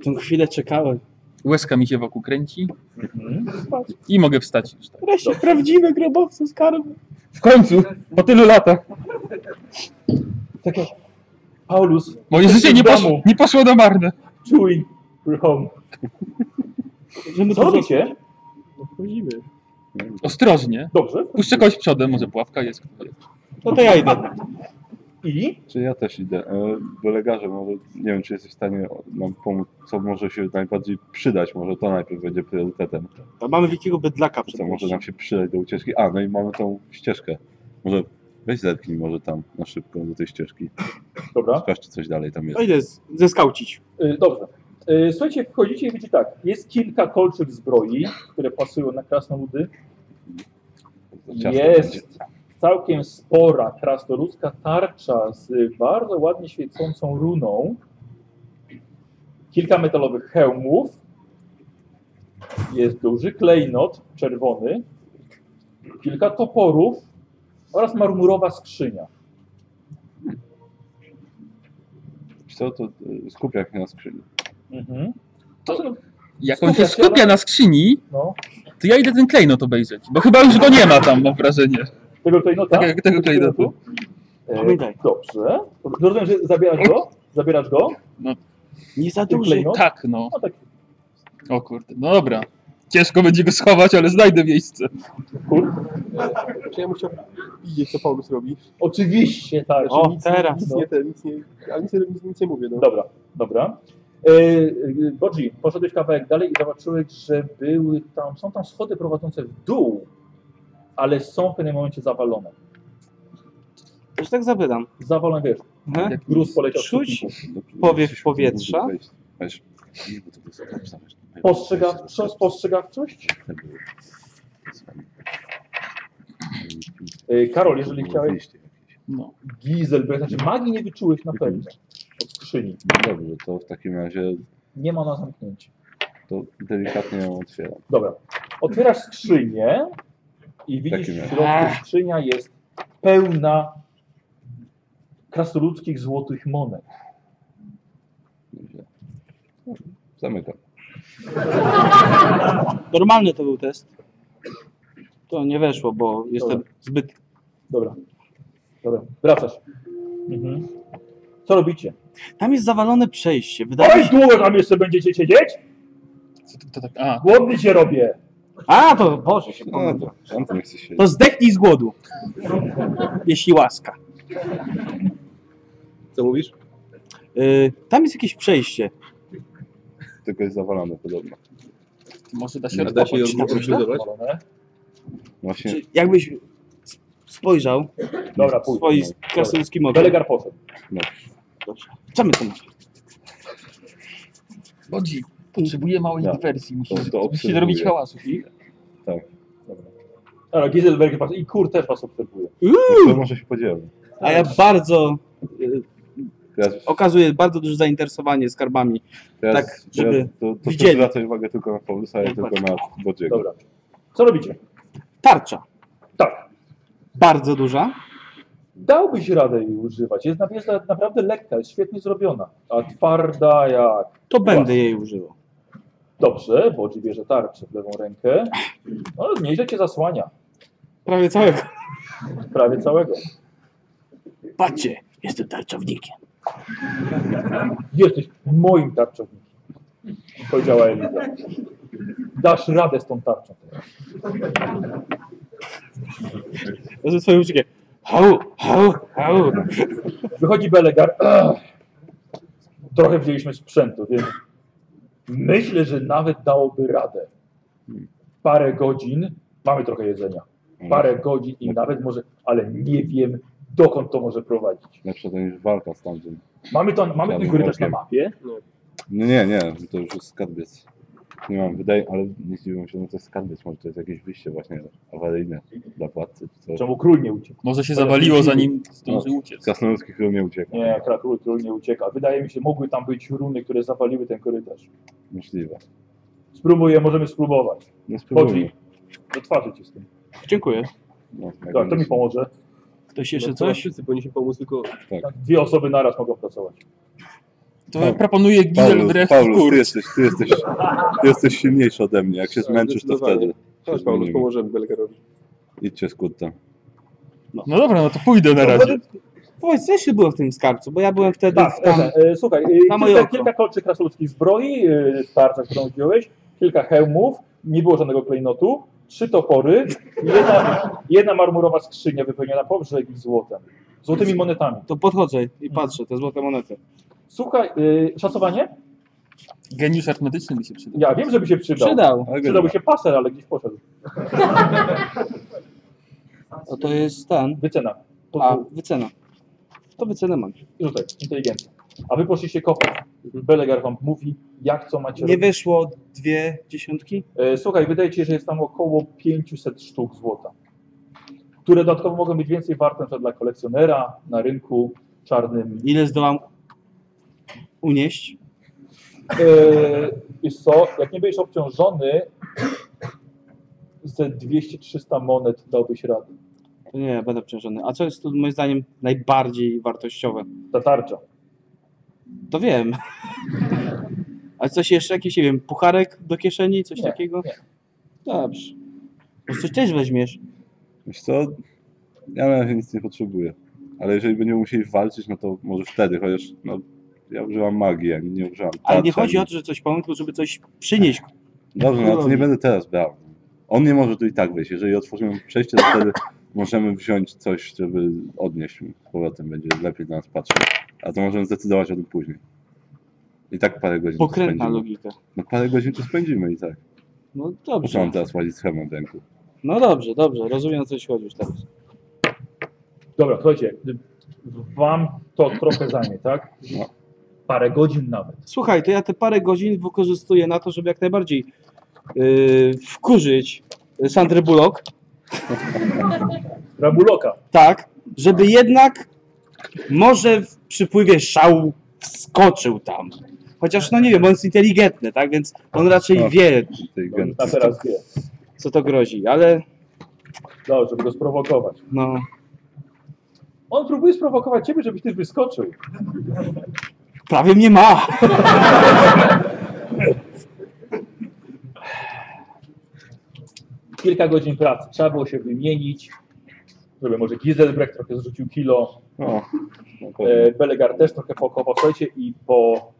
S6: Tą chwilę czekałem.
S4: Łezka mi się wokół kręci
S8: Mhm.
S4: i mogę wstać już. Tak.
S6: Wreszcie prawdziwy grobowcy skarbu.
S4: W końcu, po tylu latach.
S8: Tak jak Paulus.
S4: Moje życie nie poszło, nie poszło do marne.
S8: Czuj, Rom. Co robicie? Wchodzimy.
S4: Ostrożnie.
S8: Dobrze.
S4: Puszczę kogoś przodem, może pułapka jest. kto wie.
S6: No to ja idę.
S8: I?
S1: Czy ja też idę? E, Do lekarza, może nie wiem, czy jesteś w stanie nam pomóc, co może się najbardziej przydać, może to najpierw będzie priorytetem.
S6: A mamy wielkiego bydlaka przed
S1: Co może tak?
S6: nami.
S1: nam się przydać do ucieczki? A, no i mamy tą ścieżkę. Może weź zerknij może tam na szybko do tej ścieżki.
S8: Dobra.
S1: Sprawdź, czy coś dalej tam jest.
S6: No idę z- zeskaucić.
S8: Y, Dobrze. Y, Słuchajcie, wchodzicie i widzicie tak, jest kilka kolczyk zbroi, które pasują na krasnoludy.
S1: ciasno
S8: Jest całkiem spora krasnoludzka tarcza z bardzo ładnie świecącą runą. Kilka metalowych hełmów. Jest duży klejnot czerwony. Kilka toporów oraz marmurowa skrzynia.
S1: Wiesz Co to y, skupia się na skrzyni.
S8: Mhm.
S4: To, jak on się skupia na skrzyni,
S8: No.
S4: to ja idę ten klejnot obejrzeć, bo chyba już go nie ma tam, mam wrażenie.
S8: Tego klejnota?
S4: Tego, Tak, tego klejnotu.
S8: E, Dobrze. Rozumiem, że zabierasz go? Zabierasz go?
S4: No.
S6: Nie za
S8: duży. klejnot?
S4: Tak, no.
S8: No tak.
S4: O kurde, no dobra. Ciężko będzie go schować, ale znajdę miejsce.
S3: Czy ja musiał widzieć, co Paulus robi?
S8: Oczywiście, tak.
S3: Znaczy, nic,
S8: teraz,
S3: Nic,
S8: no.
S3: nie, te, nic, nie, a nic, nic, nic nie mówię. No.
S8: Dobra, dobra. E, e, Bodzi, poszedłeś kawałek dalej i zobaczyłeś, że były tam, są tam schody prowadzące w dół, ale są w pewnym momencie zawalone.
S6: Już tak zapytam.
S8: Zawalone, wiesz,
S6: Mhm.
S8: jak gruz poleciał.
S6: Czuć
S8: z sufitów.
S6: powiew powietrza.
S1: Weź, nie, bo to jest lepsze, weź, weź, weź,
S8: Postrzegawczo, spostrzegawczość?
S1: weź, weź, weź.
S8: E, Karol, jeżeli chciałeś...
S1: Wyjście jakieś.
S4: No.
S8: Giselberg, znaczy magii nie wyczułeś na pewno. Od skrzyni.
S1: No Dobrze, to w takim razie
S8: Nie ma na zamknięcie.
S1: to delikatnie ją otwieram.
S8: Dobra. Otwierasz skrzynię i widzisz,
S1: Taki
S8: w
S1: miałem.
S8: środku skrzynia jest pełna krasnoludzkich złotych monet.
S1: Zamykam.
S6: Normalny to był test. To nie weszło, bo jestem zbyt...
S8: Dobra. Dobra, wracasz. Co robicie?
S6: Tam jest zawalone przejście. Wydaje
S8: Oj,
S6: się...
S8: długo tam jeszcze będziecie siedzieć?
S4: tak, a.
S8: Głodny się robię.
S6: A, to Boże się
S1: No dobra, tam to nie chce się.
S6: To zdechnij z głodu. Jeśli łaska.
S1: Co mówisz?
S6: Y, tam jest jakieś przejście.
S1: Tylko jest zawalone podobno.
S4: Może da
S1: się Da się odkopać, ją tak myślę. odbudować? Właśnie.
S6: Czy jakbyś s- spojrzał
S8: no. Dobra,
S6: w
S8: pójdź.
S6: swoim krasnoludzkim okiem.
S8: Delegar poszedł.
S1: No.
S6: Dobrze. Co my tu mamy?
S4: Lodzi, Tak. potrzebuję małej
S1: Tak.
S4: dywersji. Musimy,
S1: To- to
S4: musimy
S1: obserwuję.
S4: zrobić hałasu.
S1: Tak.
S8: Dobra, Giselberg patrz. I kur też was obserwuje.
S1: To może się podzielę.
S6: A ja bardzo y,
S1: Teraz,
S6: okazuję bardzo duże zainteresowanie skarbami.
S1: teraz,
S6: tak, żeby
S1: teraz to, to ty
S6: widzieli.
S1: zwracaj uwagę tylko na Paulusa, ja tylko na Bodziego.
S8: Dobra. Co robicie?
S6: Tarcza.
S8: Tak.
S6: Bardzo duża.
S8: Dałbyś radę jej używać. Jest, na- jest na- naprawdę lekka, jest świetnie zrobiona. A twarda jak...
S6: To będę jej używał.
S8: Dobrze, bo Oji bierze tarczę w lewą rękę. No, nieźle cię zasłania.
S6: Prawie całego.
S8: Prawie całego.
S6: Patrzcie, jestem tarczownikiem.
S8: Jesteś moim tarczownikiem. Powiedziała Eliza. Dasz radę z tą tarczą.
S6: Ze swoim uciekiem. Hau, hau, hau.
S8: Wychodzi Belegar. Ach, Trochę wzięliśmy sprzętu, więc myślę, że nawet dałoby radę. Parę godzin, mamy trochę jedzenia. Parę godzin i nawet może, ale nie wiem, dokąd to może prowadzić.
S1: Lepsze to niż walka z tamtym.
S8: Mamy, to, mamy
S1: Tam
S8: ten korytarz na
S1: bokiem.
S8: mapie.
S1: No nie, nie, to już jest skarbiec. Nie mam, wydaje, ale nie zdziwiłem się, no to jest skarbiec, może to jest jakieś wyjście właśnie awaryjne dla władcy. czy coś.
S8: Czemu król nie uciekł?
S4: Może się zawaliło, zanim zdążył
S1: No,
S4: uciec.
S1: Krasnoludzki król nie ucieka.
S8: Nie, król, król nie ucieka. Wydaje mi się, mogły tam być runy, które zawaliły ten korytarz.
S1: Możliwe.
S8: Spróbuję, możemy spróbować.
S1: No
S8: Chodzi.
S1: spróbujmy.
S8: Do twarzy ci z tym.
S6: Dziękuję.
S1: No,
S8: Tak, to mi pomoże.
S6: Ktoś
S3: No
S6: jeszcze
S3: to
S6: coś?
S3: Wszyscy powinniśmy pomóc, tylko
S8: Tak, Dwie osoby naraz mogą pracować.
S4: To proponuję Giselbrecht w
S1: Paulus,
S4: kur.
S1: ty jesteś, ty, jesteś, ty jesteś silniejszy ode mnie. Jak się
S8: Tak,
S1: zmęczysz, to
S3: zdecydowanie.
S1: wtedy.
S3: Chodź,
S1: się
S3: Paulus,
S1: zmienimy.
S3: pomożemy Belgarowi.
S1: Idźcie z kurtem.
S4: No dobra, no to pójdę na razie.
S6: Powiedz, co jeszcze było w tym skarbcu, bo ja byłem wtedy
S8: Tak,
S6: w tam...
S8: Ewa, e, słuchaj, e,
S6: Na moje
S8: kilka,
S6: oko.
S8: kilka kolczy krasoludzkich zbroi, e, tarcza, którą zdjąłeś, kilka hełmów, nie było żadnego klejnotu, trzy topory, jedna, jedna marmurowa skrzynia wypełniona po brzegi złotem, złotymi monetami.
S6: To podchodzę i patrzę, te złote monety.
S8: Słuchaj, e, szacowanie?
S4: Geniusz artymetyczny mi się przyda.
S8: Ja wiem, żeby się przydał.
S6: Przydał.
S8: Przydałby się paser, ale gdzieś poszedł.
S6: No to jest ten.
S8: Wycena. Po-
S6: A, wycena. To wycenę mam.
S8: Rzucaj, inteligencja. A wy poszliście kopać. Belegar wam mówi, jak co macie
S6: Nie
S8: robić.
S6: wyszło dwie dziesiątki?
S8: E, Słuchaj, wydaje ci się, że jest tam około 500 sztuk złota, które dodatkowo mogą być więcej warte na przykład dla kolekcjonera na rynku czarnym.
S6: Ile zdołam unieść?
S8: E, Wiesz co, jak nie będziesz obciążony, ze 200-300 monet dałbyś radę.
S6: To nie, będę przerażony. A co jest tu moim zdaniem najbardziej wartościowe?
S8: Ta tarcza.
S6: To wiem. A coś jeszcze? Jakiś, nie wiem, pucharek do kieszeni? Coś
S8: Nie,
S6: takiego?
S8: nie.
S6: Dobrze. Może coś też weźmiesz?
S1: Wiesz co? Ja na razie nic nie potrzebuję. Ale jeżeli będziemy musieli walczyć, no to może wtedy, chociaż no, ja używam magii, ja nie używam
S8: Tak,
S6: Ale nie
S1: tarczy,
S6: chodzi o
S1: ani-
S6: to, że coś pomóc, tylko żeby coś przynieść.
S1: Dobrze, no to nie będę teraz brał. On nie może tu i tak wyjść. Jeżeli otworzymy przejście, to wtedy [CLEARS THROAT] możemy wziąć coś, żeby odnieść z powrotem. Będzie lepiej na nas patrzeć. A to możemy zdecydować o tym później. I tak parę godzin tu
S6: Pokrętna
S1: spędzimy.
S6: logika.
S1: No parę godzin tu spędzimy i tak.
S6: No
S1: Muszę
S6: dobrze.
S1: mam teraz łazić schemę w ręku.
S6: No dobrze, dobrze. Rozumiem, o co ci chodzi już teraz.
S8: Dobra, słuchajcie, wam to trochę zajmie, tak?
S1: No.
S8: Parę godzin nawet.
S6: Słuchaj, to ja te parę godzin wykorzystuję na to, żeby jak najbardziej yy, wkurzyć Sandrę Bullock.
S8: Rabuloka.
S6: Tak, żeby jednak może w przypływie szału wskoczył tam. Chociaż, no nie wiem, on jest inteligentny, tak? Więc on raczej
S8: A,
S6: wie,
S8: A teraz wie.
S6: co to grozi, ale
S8: Dobrze, żeby go sprowokować.
S6: no...
S8: On próbuje sprowokować ciebie, żebyś ty wyskoczył.
S6: Prawie mnie ma!
S8: Kilka godzin pracy. Trzeba było się wymienić, żeby może Giselbrecht trochę zrzucił kilo.
S1: no,
S8: E, Belegar też trochę pokował. Słuchajcie, i po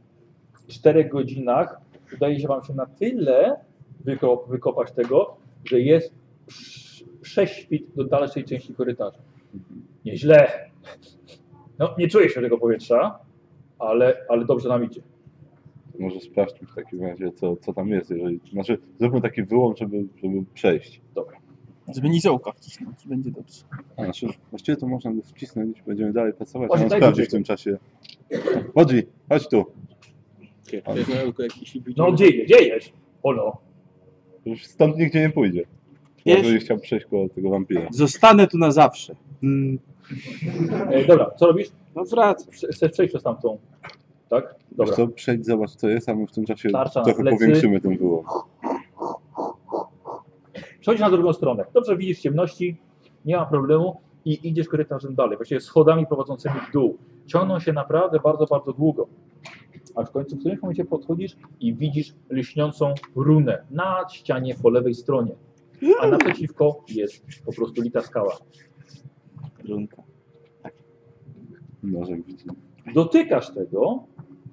S8: czterech godzinach udaje się wam się na tyle wyko wykopać tego, że jest prz- prześwit do dalszej części korytarza. Nieźle. No, nie czuję się tego powietrza, ale, ale dobrze nam idzie. No,
S1: Może sprawdźmy w takim razie, co, co tam jest. Jeżeli, znaczy, zróbmy taki wyłom, żeby, żeby przejść.
S8: Dobra.
S4: Żeby niziołka wcisnąć i będzie dobrze.
S1: Znaczy, właściwie to można go wcisnąć, będziemy dalej pracować,
S4: Chodź,
S1: a on
S4: daj
S1: sprawdzi w
S4: tutaj.
S1: tym czasie. Chodzi, chodź tu.
S8: No, dzieje, dziejesz. Ono.
S1: Już stąd nigdzie nie pójdzie.
S6: Jest.
S1: Jeżeli chciał przejść koło tego wampira.
S6: Zostanę tu na zawsze. Mm,
S8: E, dobra, co robisz?
S6: No wrac.
S8: Chcesz przejść przez tamtą. Tak?
S1: Wiesz
S8: Dobra.
S1: co, przejdź, zobacz co jest, a my w tym czasie
S8: Tarcza na
S1: trochę
S8: plecy.
S1: powiększymy ten wyłom.
S8: Przechodzisz na drugą stronę. Dobrze widzisz ciemności, nie ma problemu i idziesz korytarzem dalej. Właściwie schodami prowadzącymi w dół. Ciągną się naprawdę bardzo, bardzo długo. Aż w końcu w którymś momencie podchodzisz i widzisz lśniącą runę na ścianie po lewej stronie. A naprzeciwko jest po prostu lita skała.
S6: Runka.
S1: Nożem widzi.
S8: Dotykasz tego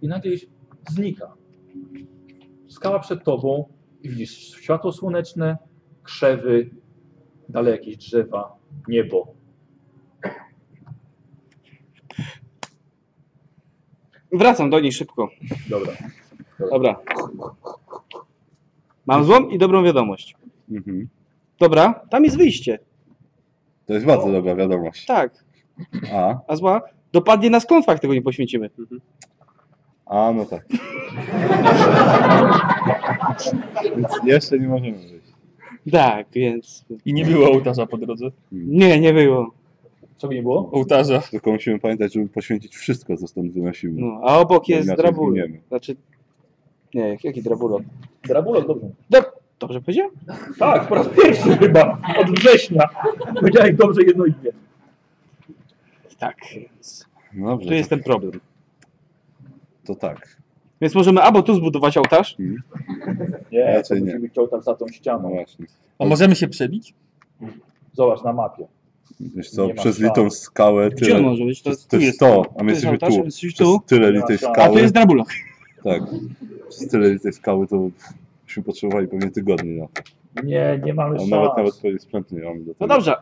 S8: i nagle znika. Skała przed tobą, widzisz światło słoneczne, krzewy, dalej jakieś drzewa, niebo.
S6: Wracam do niej szybko.
S8: Dobra.
S6: Dobra. Mam złą i dobrą wiadomość.
S1: Mhm.
S6: Dobra, tam jest wyjście.
S1: To jest bardzo dobra wiadomość.
S6: Tak.
S1: A?
S6: A zła? Dopadnie nas konfakt, jak tego nie poświęcimy.
S1: A, no tak. [LAUGHS] Więc jeszcze nie możemy wyjść.
S6: Tak, więc...
S4: I nie było ołtarza po drodze.
S6: Nie, nie było.
S8: Co by nie było?
S4: Ołtarza.
S1: Tylko musimy pamiętać, żeby poświęcić wszystko, co stąd wynosimy.
S6: No, a obok
S1: Bo
S6: jest
S1: inaczej
S6: drabul.
S1: zginiemy.
S6: Znaczy... Nie, jak- jaki drabulok?
S8: Drabulok, dobrze.
S6: Dob- Dobrze powiedziałem?
S8: Tak, po raz pierwszy chyba, od września. Powiedziałeś dobrze jedno imię.
S6: Tak, więc...
S1: No dobrze,
S6: Tu jest ten problem.
S1: to tak.
S6: Więc możemy albo tu zbudować ołtarz.
S8: Nie,
S1: Raczej
S8: to
S1: nie.
S8: musi być ołtarz za tą
S1: No
S8: ścianą.
S1: właśnie.
S4: A możemy się przebić?
S8: Zobacz na mapie.
S1: Wiesz co,
S8: Nie ma
S1: przez
S8: szans.
S1: litą skałę
S6: Gdzie
S1: tyle.
S6: on może być? To
S1: To,
S6: jest-
S1: jest- to
S6: tu jest-
S1: jest to, a
S6: tu
S1: my
S6: jest
S1: jesteśmy
S6: ołtarz,
S1: tu.
S6: jesteś
S1: Przez
S6: tu.
S1: tyle
S8: Nie ma
S1: litej
S8: szans.
S1: skały.
S6: A tu jest drabulok.
S1: Tak. Przez tyle litej skały to byśmy potrzebowali pewnie tygodni na to.
S8: Nie, nie mamy
S1: A nawet nawet
S8: szans.
S1: swojej sprzętu nie mamy do
S6: No
S1: tego.
S6: dobrze.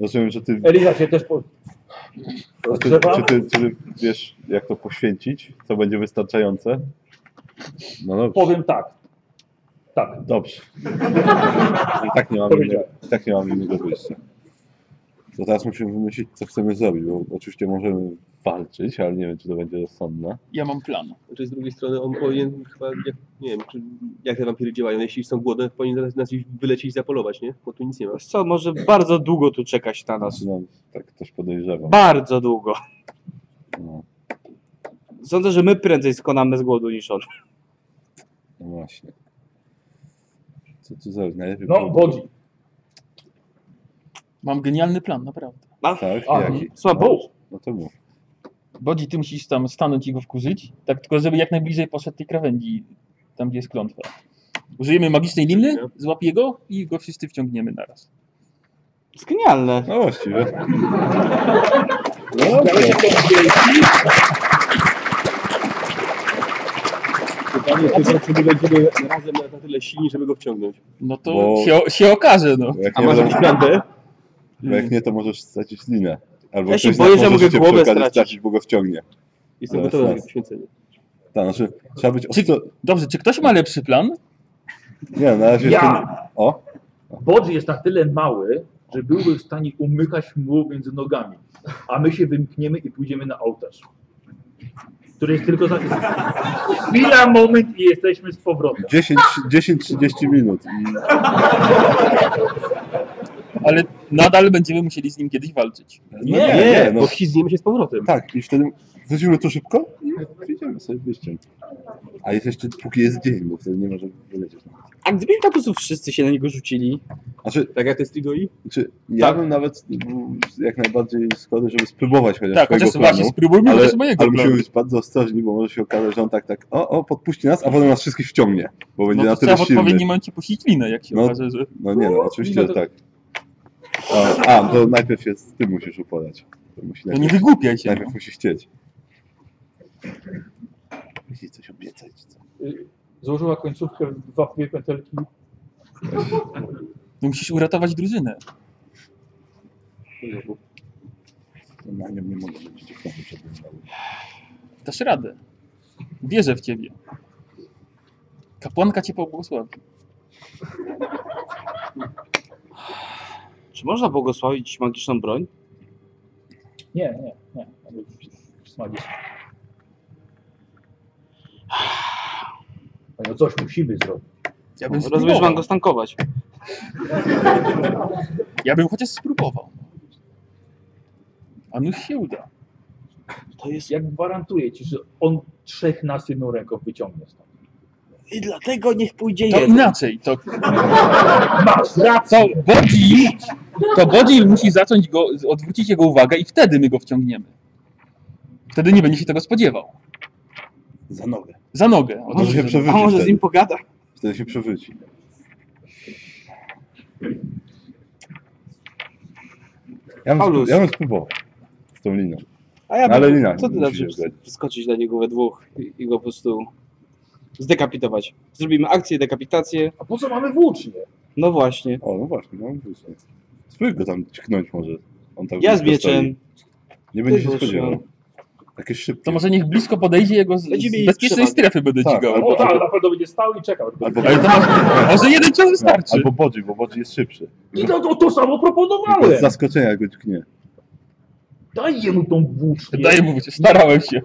S1: Rozumiem, że ty,
S8: Eliza się też po...
S1: a ty,
S8: Rozgrzewa?
S1: czy ty, czy ty wiesz jak to poświęcić, co będzie wystarczające? No dobrze.
S8: Powiem tak. Tak,
S1: Dobrze. I tak nie mamy, innego, i tak nie mamy innego wyjścia. To teraz musimy wymyślić, co chcemy zrobić, bo oczywiście możemy walczyć, ale nie wiem, czy to będzie rozsądne.
S4: Ja mam plan.
S14: Znaczy z drugiej strony on powinien chyba, jak, nie wiem, czy, jak te wampiry działają, jeśli są głodne, powinien nas, nas gdzieś wylecieć i zapolować, nie? Bo tu nic nie ma.
S6: Wiesz co, może bardzo długo tu czekać na nas.
S1: Znaczy, no, tak też podejrzewam.
S6: Bardzo długo.
S1: No,
S6: Sądzę, że my prędzej skonamy z głodu niż on.
S1: no właśnie. Co tu zrobić? Najlepiej
S8: No,
S1: było-
S8: Bodzi.
S4: Mam genialny plan, naprawdę.
S1: Tak,
S4: A,
S1: jaki?
S4: słabo.
S1: No, no to mów.
S4: Bodzi, ty musisz tam stanąć i go wkurzyć. Tak tylko, żeby jak najbliżej poszedł tej krawędzi, tam gdzie jest klątwa. Użyjemy magicznej liny, złapię go i go wszyscy wciągniemy naraz.
S6: Jest genialne.
S1: No właściwie.
S14: Pytanie tylko, czy my będziemy razem na, na tyle silni, żeby go wciągnąć.
S4: No to
S1: Bo-
S4: się, się okaże, no.
S1: Bo jak
S14: A
S1: nie,
S14: masz
S1: będą-
S14: jakiś plan B?
S1: bo jak nie to możesz stracić linę. Albo
S6: Ja się
S1: ktoś z nas
S6: boję, że
S1: może
S6: mogę
S1: cię
S6: głowę
S1: przy okazji
S6: stracić.
S1: stracić, bo go wciągnie.
S14: Jestem
S1: To jest
S14: gotowy na
S1: raz.
S14: poświęcenie.
S1: Tak, znaczy, trzeba być
S4: Czy,
S1: ostro...
S4: dobrze, czy ktoś ma lepszy plan?
S1: Nie, na razie...
S8: Ja!
S1: Ten... O,
S8: Bodzi jest na tyle mały, że byłby w stanie umykać mu między nogami. A my się wymkniemy i pójdziemy na ołtarz. Który jest tylko za... Chwila, moment i jesteśmy z powrotem.
S1: 10, 10-30 minut i
S4: Ale nadal będziemy musieli z nim kiedyś walczyć.
S1: Nie, nie, no.
S4: bo
S1: wślizgniemy się z powrotem. Tak, i wtedy wrócimy tu szybko i wyjdziemy sobie wyjściem. A jest jeszcze, póki jest dzień, bo wtedy nie może wylecieć.
S6: A gdyby po prostu wszyscy się na niego rzucili?
S1: Znaczy,
S6: tak jak to jest Igoi?
S1: Czy ja bym nawet był jak najbardziej skłonny, żeby spróbować chociaż
S4: Tak,
S1: swojego
S4: chociaż właśnie
S1: planu,
S4: spróbujmy
S1: ale,
S4: chociaż mojego
S1: ale
S4: planu.
S1: musimy być bardzo ostrożni, bo może się okazać, że on tak, tak, o, o, podpuści nas, a potem nas wszystkich wciągnie, bo będzie
S4: No
S1: na
S4: to
S1: tyle
S4: trzeba w
S1: silny.
S4: odpowiednim momencie puścić winę, jak się
S1: No,
S4: okaże, że...
S1: no nie, no oczywiście,
S4: No
S1: że
S4: to-
S1: tak. A, a, to najpierw się z tym musisz uporać. To, musi
S4: no nie wygłupiaj się,
S1: Najpierw musi chcieć. Musi coś obiecać. czy co?
S8: Y, Złożyła końcówkę w dwa dwie pętelki.
S4: No musisz uratować drużynę.
S1: Na nią nie mogę być dziewczynką przed nim.
S4: Dasz radę. Wierzę w ciebie. Kapłanka cię pobłogosławi.
S6: Czy można błogosławić magiczną broń?
S8: Nie, nie, nie. Ale już- już smagisz. No coś musimy zrobić.
S4: Ja
S1: No,
S4: bym
S6: Rozumiesz, mam go stankować.
S4: Ja bym chociaż spróbował. A nuż się uda.
S8: To jest... Ja gwarantuję ci, że on trzech nas jedną ręką wyciągnie stąd.
S6: I dlatego niech pójdzie
S4: To
S6: jeden.
S4: inaczej, to...
S8: Masz
S4: To Bodzi... To Bodzi musi zacząć go... odwrócić jego uwagę i wtedy my go wciągniemy. Wtedy nie będzie się tego spodziewał.
S1: Za nogę.
S4: Za nogę.
S1: A może się przewróci
S6: A może z
S1: wtedy.
S6: nim pogada?
S1: Wtedy się przewróci. Ja bym,
S6: Paulus.
S1: spró- ja bym spróbował z tą liną.
S6: A ja
S1: No, ale
S6: bym,
S1: nie,
S6: co
S1: nie
S6: ty
S1: musi
S6: znaczy
S1: się zgodzić.
S6: wyskoczyć na niego we dwóch i, i go po prostu zdekapitować. Zrobimy akcję, dekapitację.
S8: A po co mamy włócznie?
S6: No właśnie.
S1: O, no właśnie, no właśnie. Spróbuj go tam cieknąć może. On tak
S6: Ja z
S1: blisko
S6: mieczem.
S1: stoi. Nie będzie
S6: Ty
S1: się
S6: włócznie.
S1: spodziewał. Takie szybkie.
S4: To może niech blisko podejdzie jego z,
S6: Będziemy
S4: z
S6: ich
S4: bezpiecznej
S6: trzymać.
S4: strefy będę
S1: Tak,
S4: dźgał.
S13: No
S1: albo-
S8: O tak, na pewno będzie stał i czekał.
S1: Albo,
S4: Ale to może- może jeden cios wystarczy.
S1: Albo bodzi, bo bodzi jest szybszy.
S13: no
S8: I to, to, to samo
S1: Tylko Z
S8: proponowałem.
S1: zaskoczenia go dźgnie.
S8: Daj jemu tą włócznię.
S4: Daję mu się, starałem się.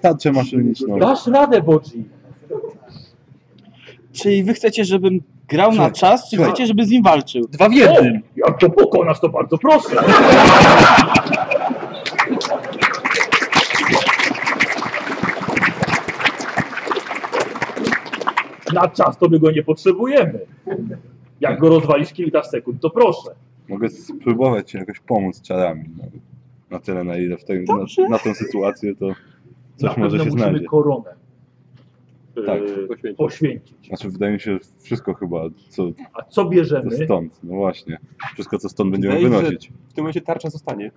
S1: Tarczę maszyniczną.
S8: Dasz radę, Bodzi.
S6: Czyli wy chcecie, żebym grał na
S1: Słuchaj,
S6: czas, czy
S1: słuchaj.
S6: chcecie, żeby z nim walczył?
S4: Dwa w
S8: O,
S4: jednym.
S8: jak to pokonasz, to bardzo proste. Na czas to my go nie potrzebujemy. Jak go rozwalisz kilka sekund, to proszę.
S1: Mogę spróbować ci jakoś pomóc czarami. No. Na tyle, na ile w tej, na,
S6: Dobrze.
S1: na tą sytuację to
S8: Na
S1: coś może
S8: pewno
S1: się
S8: musimy
S1: znajdzie.
S8: koronę e,
S1: Tak.
S8: poświęcić.
S1: Znaczy wydaje mi się, że wszystko chyba, co,
S8: A co
S1: co
S8: bierzemy?
S1: stąd, no właśnie. Wszystko co stąd będziemy
S3: Wydaje mi się,
S1: wynosić.
S3: że W tym momencie tarcza zostanie.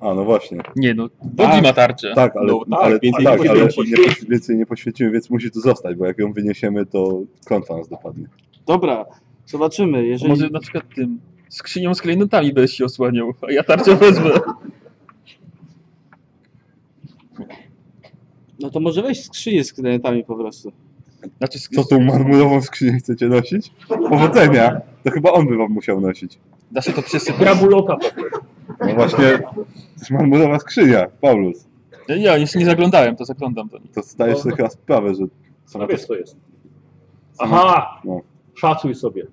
S1: A, no właśnie.
S4: Nie no, Bodzi ma tarczę.
S1: Tak, ale,
S3: No tak,
S1: ale,
S3: więcej
S1: tak,
S3: nie
S1: ale
S3: poświęcić.
S1: nie, poś- więcej nie poświęcimy, więc musi tu zostać, bo jak ją wyniesiemy, to klątwa nas dopadnie.
S6: Dobra, zobaczymy.
S4: To
S6: Jeżeli...
S4: może na przykład tym skrzynią z klejnotami będziesz się osłaniał, a ja tarczę wezmę.
S6: No to może weź skrzynię z klientami po prostu.
S4: Znaczy,
S1: Co tą marmurową skrzynię chcecie nosić? Powodzenia! To chyba on by wam musiał nosić.
S4: da się to przesypać?
S8: Grabuloka po
S1: No właśnie, to jest marmurowa skrzynia, Paulus.
S4: Ja, ja jeszcze nie zaglądałem, to zaglądam do nich.
S1: To zdajesz sobie chyba sprawę, że
S8: No
S1: sama ta
S8: wiesz co jest. Aha!
S1: No.
S8: Szacuj sobie.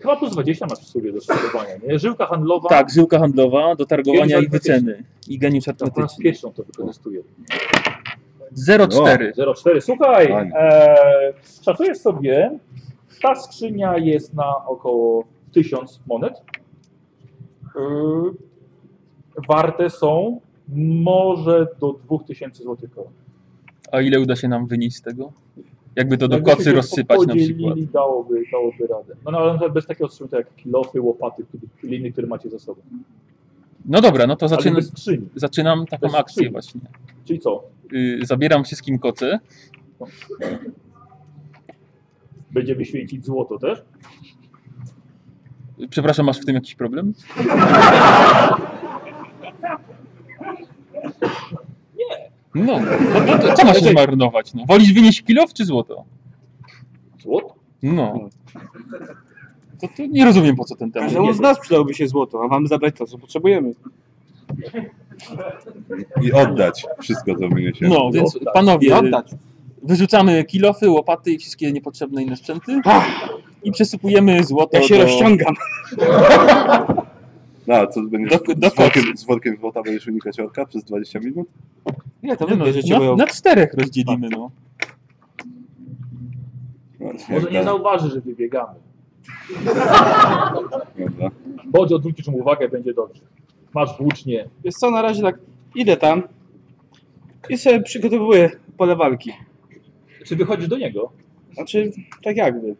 S8: Chyba plus 20 masz w sobie do szacowania, nie? Żyłka handlowa.
S4: Tak, żyłka handlowa, do targowania
S8: Geniusz
S4: i wyceny. I geniusz
S8: to po raz
S4: artystyczny.
S8: pierwszy on to wykorzystuje.
S4: 0,4.
S8: 0,4. Słuchaj,
S1: Fajnie.
S8: e, szacujesz sobie, ta skrzynia jest na około 1000 monet. E, warte są może do 2000 zł.
S4: A ile uda się nam wynieść z tego? Jakby to do kocy rozsypać na przykład.
S8: Dałoby, dałoby radę. No, no ale na przykład bez takiego sprzętu jak kilofy, łopaty, które- liny, które macie ze sobą.
S4: No dobra, no to
S8: Ale
S4: zaczynam,
S8: bez skrzyni.
S4: zaczynam
S8: bez
S4: taką akcję
S8: skrzyni.
S4: właśnie.
S8: Czyli co?
S4: Y, zabieram wszystkim koce.
S8: Będziemy święcić złoto też?
S4: Przepraszam, masz w tym jakiś problem? Nie. No, no, no to co masz się marnować? No? Wolisz wynieść kilof czy złoto?
S8: Złoto?
S4: No. To, to nie rozumiem po co ten temat.
S6: Każdemu z nas przydałoby się złoto, a mamy zabrać to, co potrzebujemy.
S1: I oddać wszystko, co wyniesiemy.
S4: No, więc
S8: Oddać.
S4: panowie,
S6: I oddać.
S4: wyrzucamy kilofy, łopaty i wszystkie niepotrzebne inne sprzęty. i przesypujemy złoto
S6: Ja się
S4: do...
S6: rozciągam.
S1: No, a co będziesz
S4: Do- do
S1: z, workiem, z workiem złota będziesz unikać orka przez 20 minut?
S4: Nie, to
S1: wy bierzecie
S4: na,
S1: moją-
S4: na czterech rozdzielimy, no.
S1: No,
S8: Może nie
S1: tak,
S8: zauważy, że wybiegamy.
S1: Dobra.
S8: Bądź odwrócisz mu uwagę, będzie dobrze. Masz włócznie.
S6: Wiesz co, na razie tak idę tam i sobie przygotowuję pole walki.
S8: Czy wychodzisz do niego?
S6: Znaczy, tak jakby.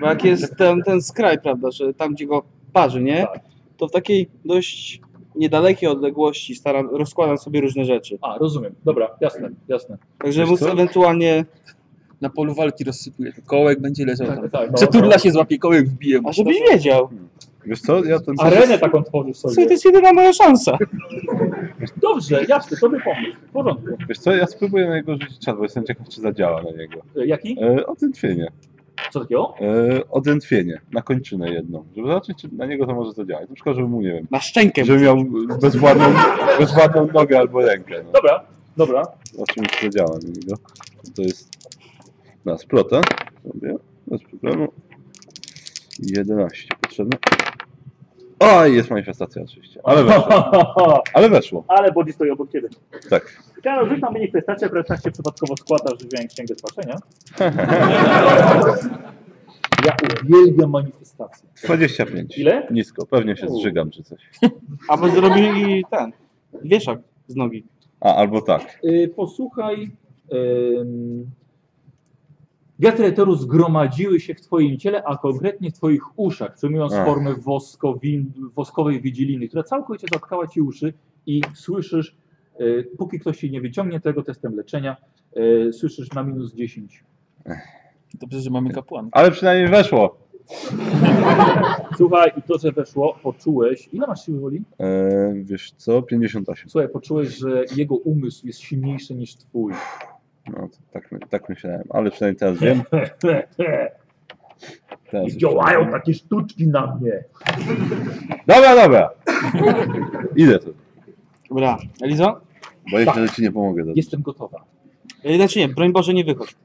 S6: Bo jak jest ten, ten skraj, prawda, że tam gdzie go parzy, nie?
S1: Tak.
S6: To w takiej dość niedalekiej odległości staram, rozkładam sobie różne rzeczy.
S8: A, rozumiem. Dobra, jasne, jasne.
S6: Także
S4: Wiesz
S6: móc
S4: co?
S6: ewentualnie...
S4: Na polu walki rozsypuje. Kołek będzie leżał
S8: Tak,
S4: tam.
S8: tak, no,
S4: Przeturla
S8: no.
S4: się, złapie kołek, wbije mu.
S6: A żebyś
S1: Tak.
S6: wiedział.
S1: Wiesz co, ja ten...
S8: no, Arenę taką tworzysz
S6: Słuchaj, to
S8: sobie.
S6: jest jedyna moja szansa.
S8: Dobrze, jasne, dobry pomysł. W porządku.
S1: Wiesz co, ja spróbuję na niego rzucić czar, bo jestem ciekaw, czy zadziała na niego.
S8: E, Jaki?
S1: E, odętwienie.
S8: Co takiego?
S1: E, odętwienie, na kończynę jedną. Żeby zobaczyć, czy na niego to może zadziałać. Na przykład, żeby mu, nie wiem...
S6: Na szczękę.
S1: Żeby miał bezwładną, bezwładną nogę albo rękę. No.
S8: Dobra, dobra.
S1: Zobaczymy, czy zadziała na niego. To jest... Na splotę sobie, bez problemu. 11 potrzebne. O, i jest manifestacja oczywiście. Ale weszło. Ale weszło.
S16: Ale Bodzi stoi obok ciebie.
S1: Tak.
S16: Karol, rzuć na mnie kwestację, akurat tak się przypadkowo składa, że wziąłem księgę spaczenia.
S8: [LAUGHS] Ja uwielbiam manifestację.
S1: 25.
S8: Ile?
S1: Nisko, pewnie się zżygam czy coś.
S6: Albo zrobili ten, wieszak z nogi.
S1: A, albo tak.
S8: Y, posłuchaj. ym, wiatry eteru zgromadziły się w Twoim ciele, a konkretnie w Twoich uszach, przyjmując
S1: Ach.
S8: formę woskowin, woskowej widziliny, która całkowicie zatkała Ci uszy i słyszysz, y, póki ktoś się nie wyciągnie tego testem leczenia, y, słyszysz na minus 10.
S4: Dobrze, że
S1: Tak.
S4: mamy kapłan.
S1: Ale przynajmniej weszło.
S8: Słuchaj, i to, że weszło, poczułeś. Ile masz siły woli?
S1: Eee, wiesz co, 58.
S8: Słuchaj, poczułeś, że jego umysł jest silniejszy niż Twój.
S1: No, to tak, my- tak myślałem, ale przynajmniej teraz [LAUGHS] wiem. Teraz
S8: I
S1: już
S8: działają
S1: wiem.
S8: takie sztuczki na mnie.
S1: Dobra, dobra. Idę tu.
S6: Dobra, Elizo?
S1: Bo jeszcze ci nie pomogę. Dobrze.
S8: Jestem gotowa.
S6: E, Znaczy nie, broń Boże nie wychodź.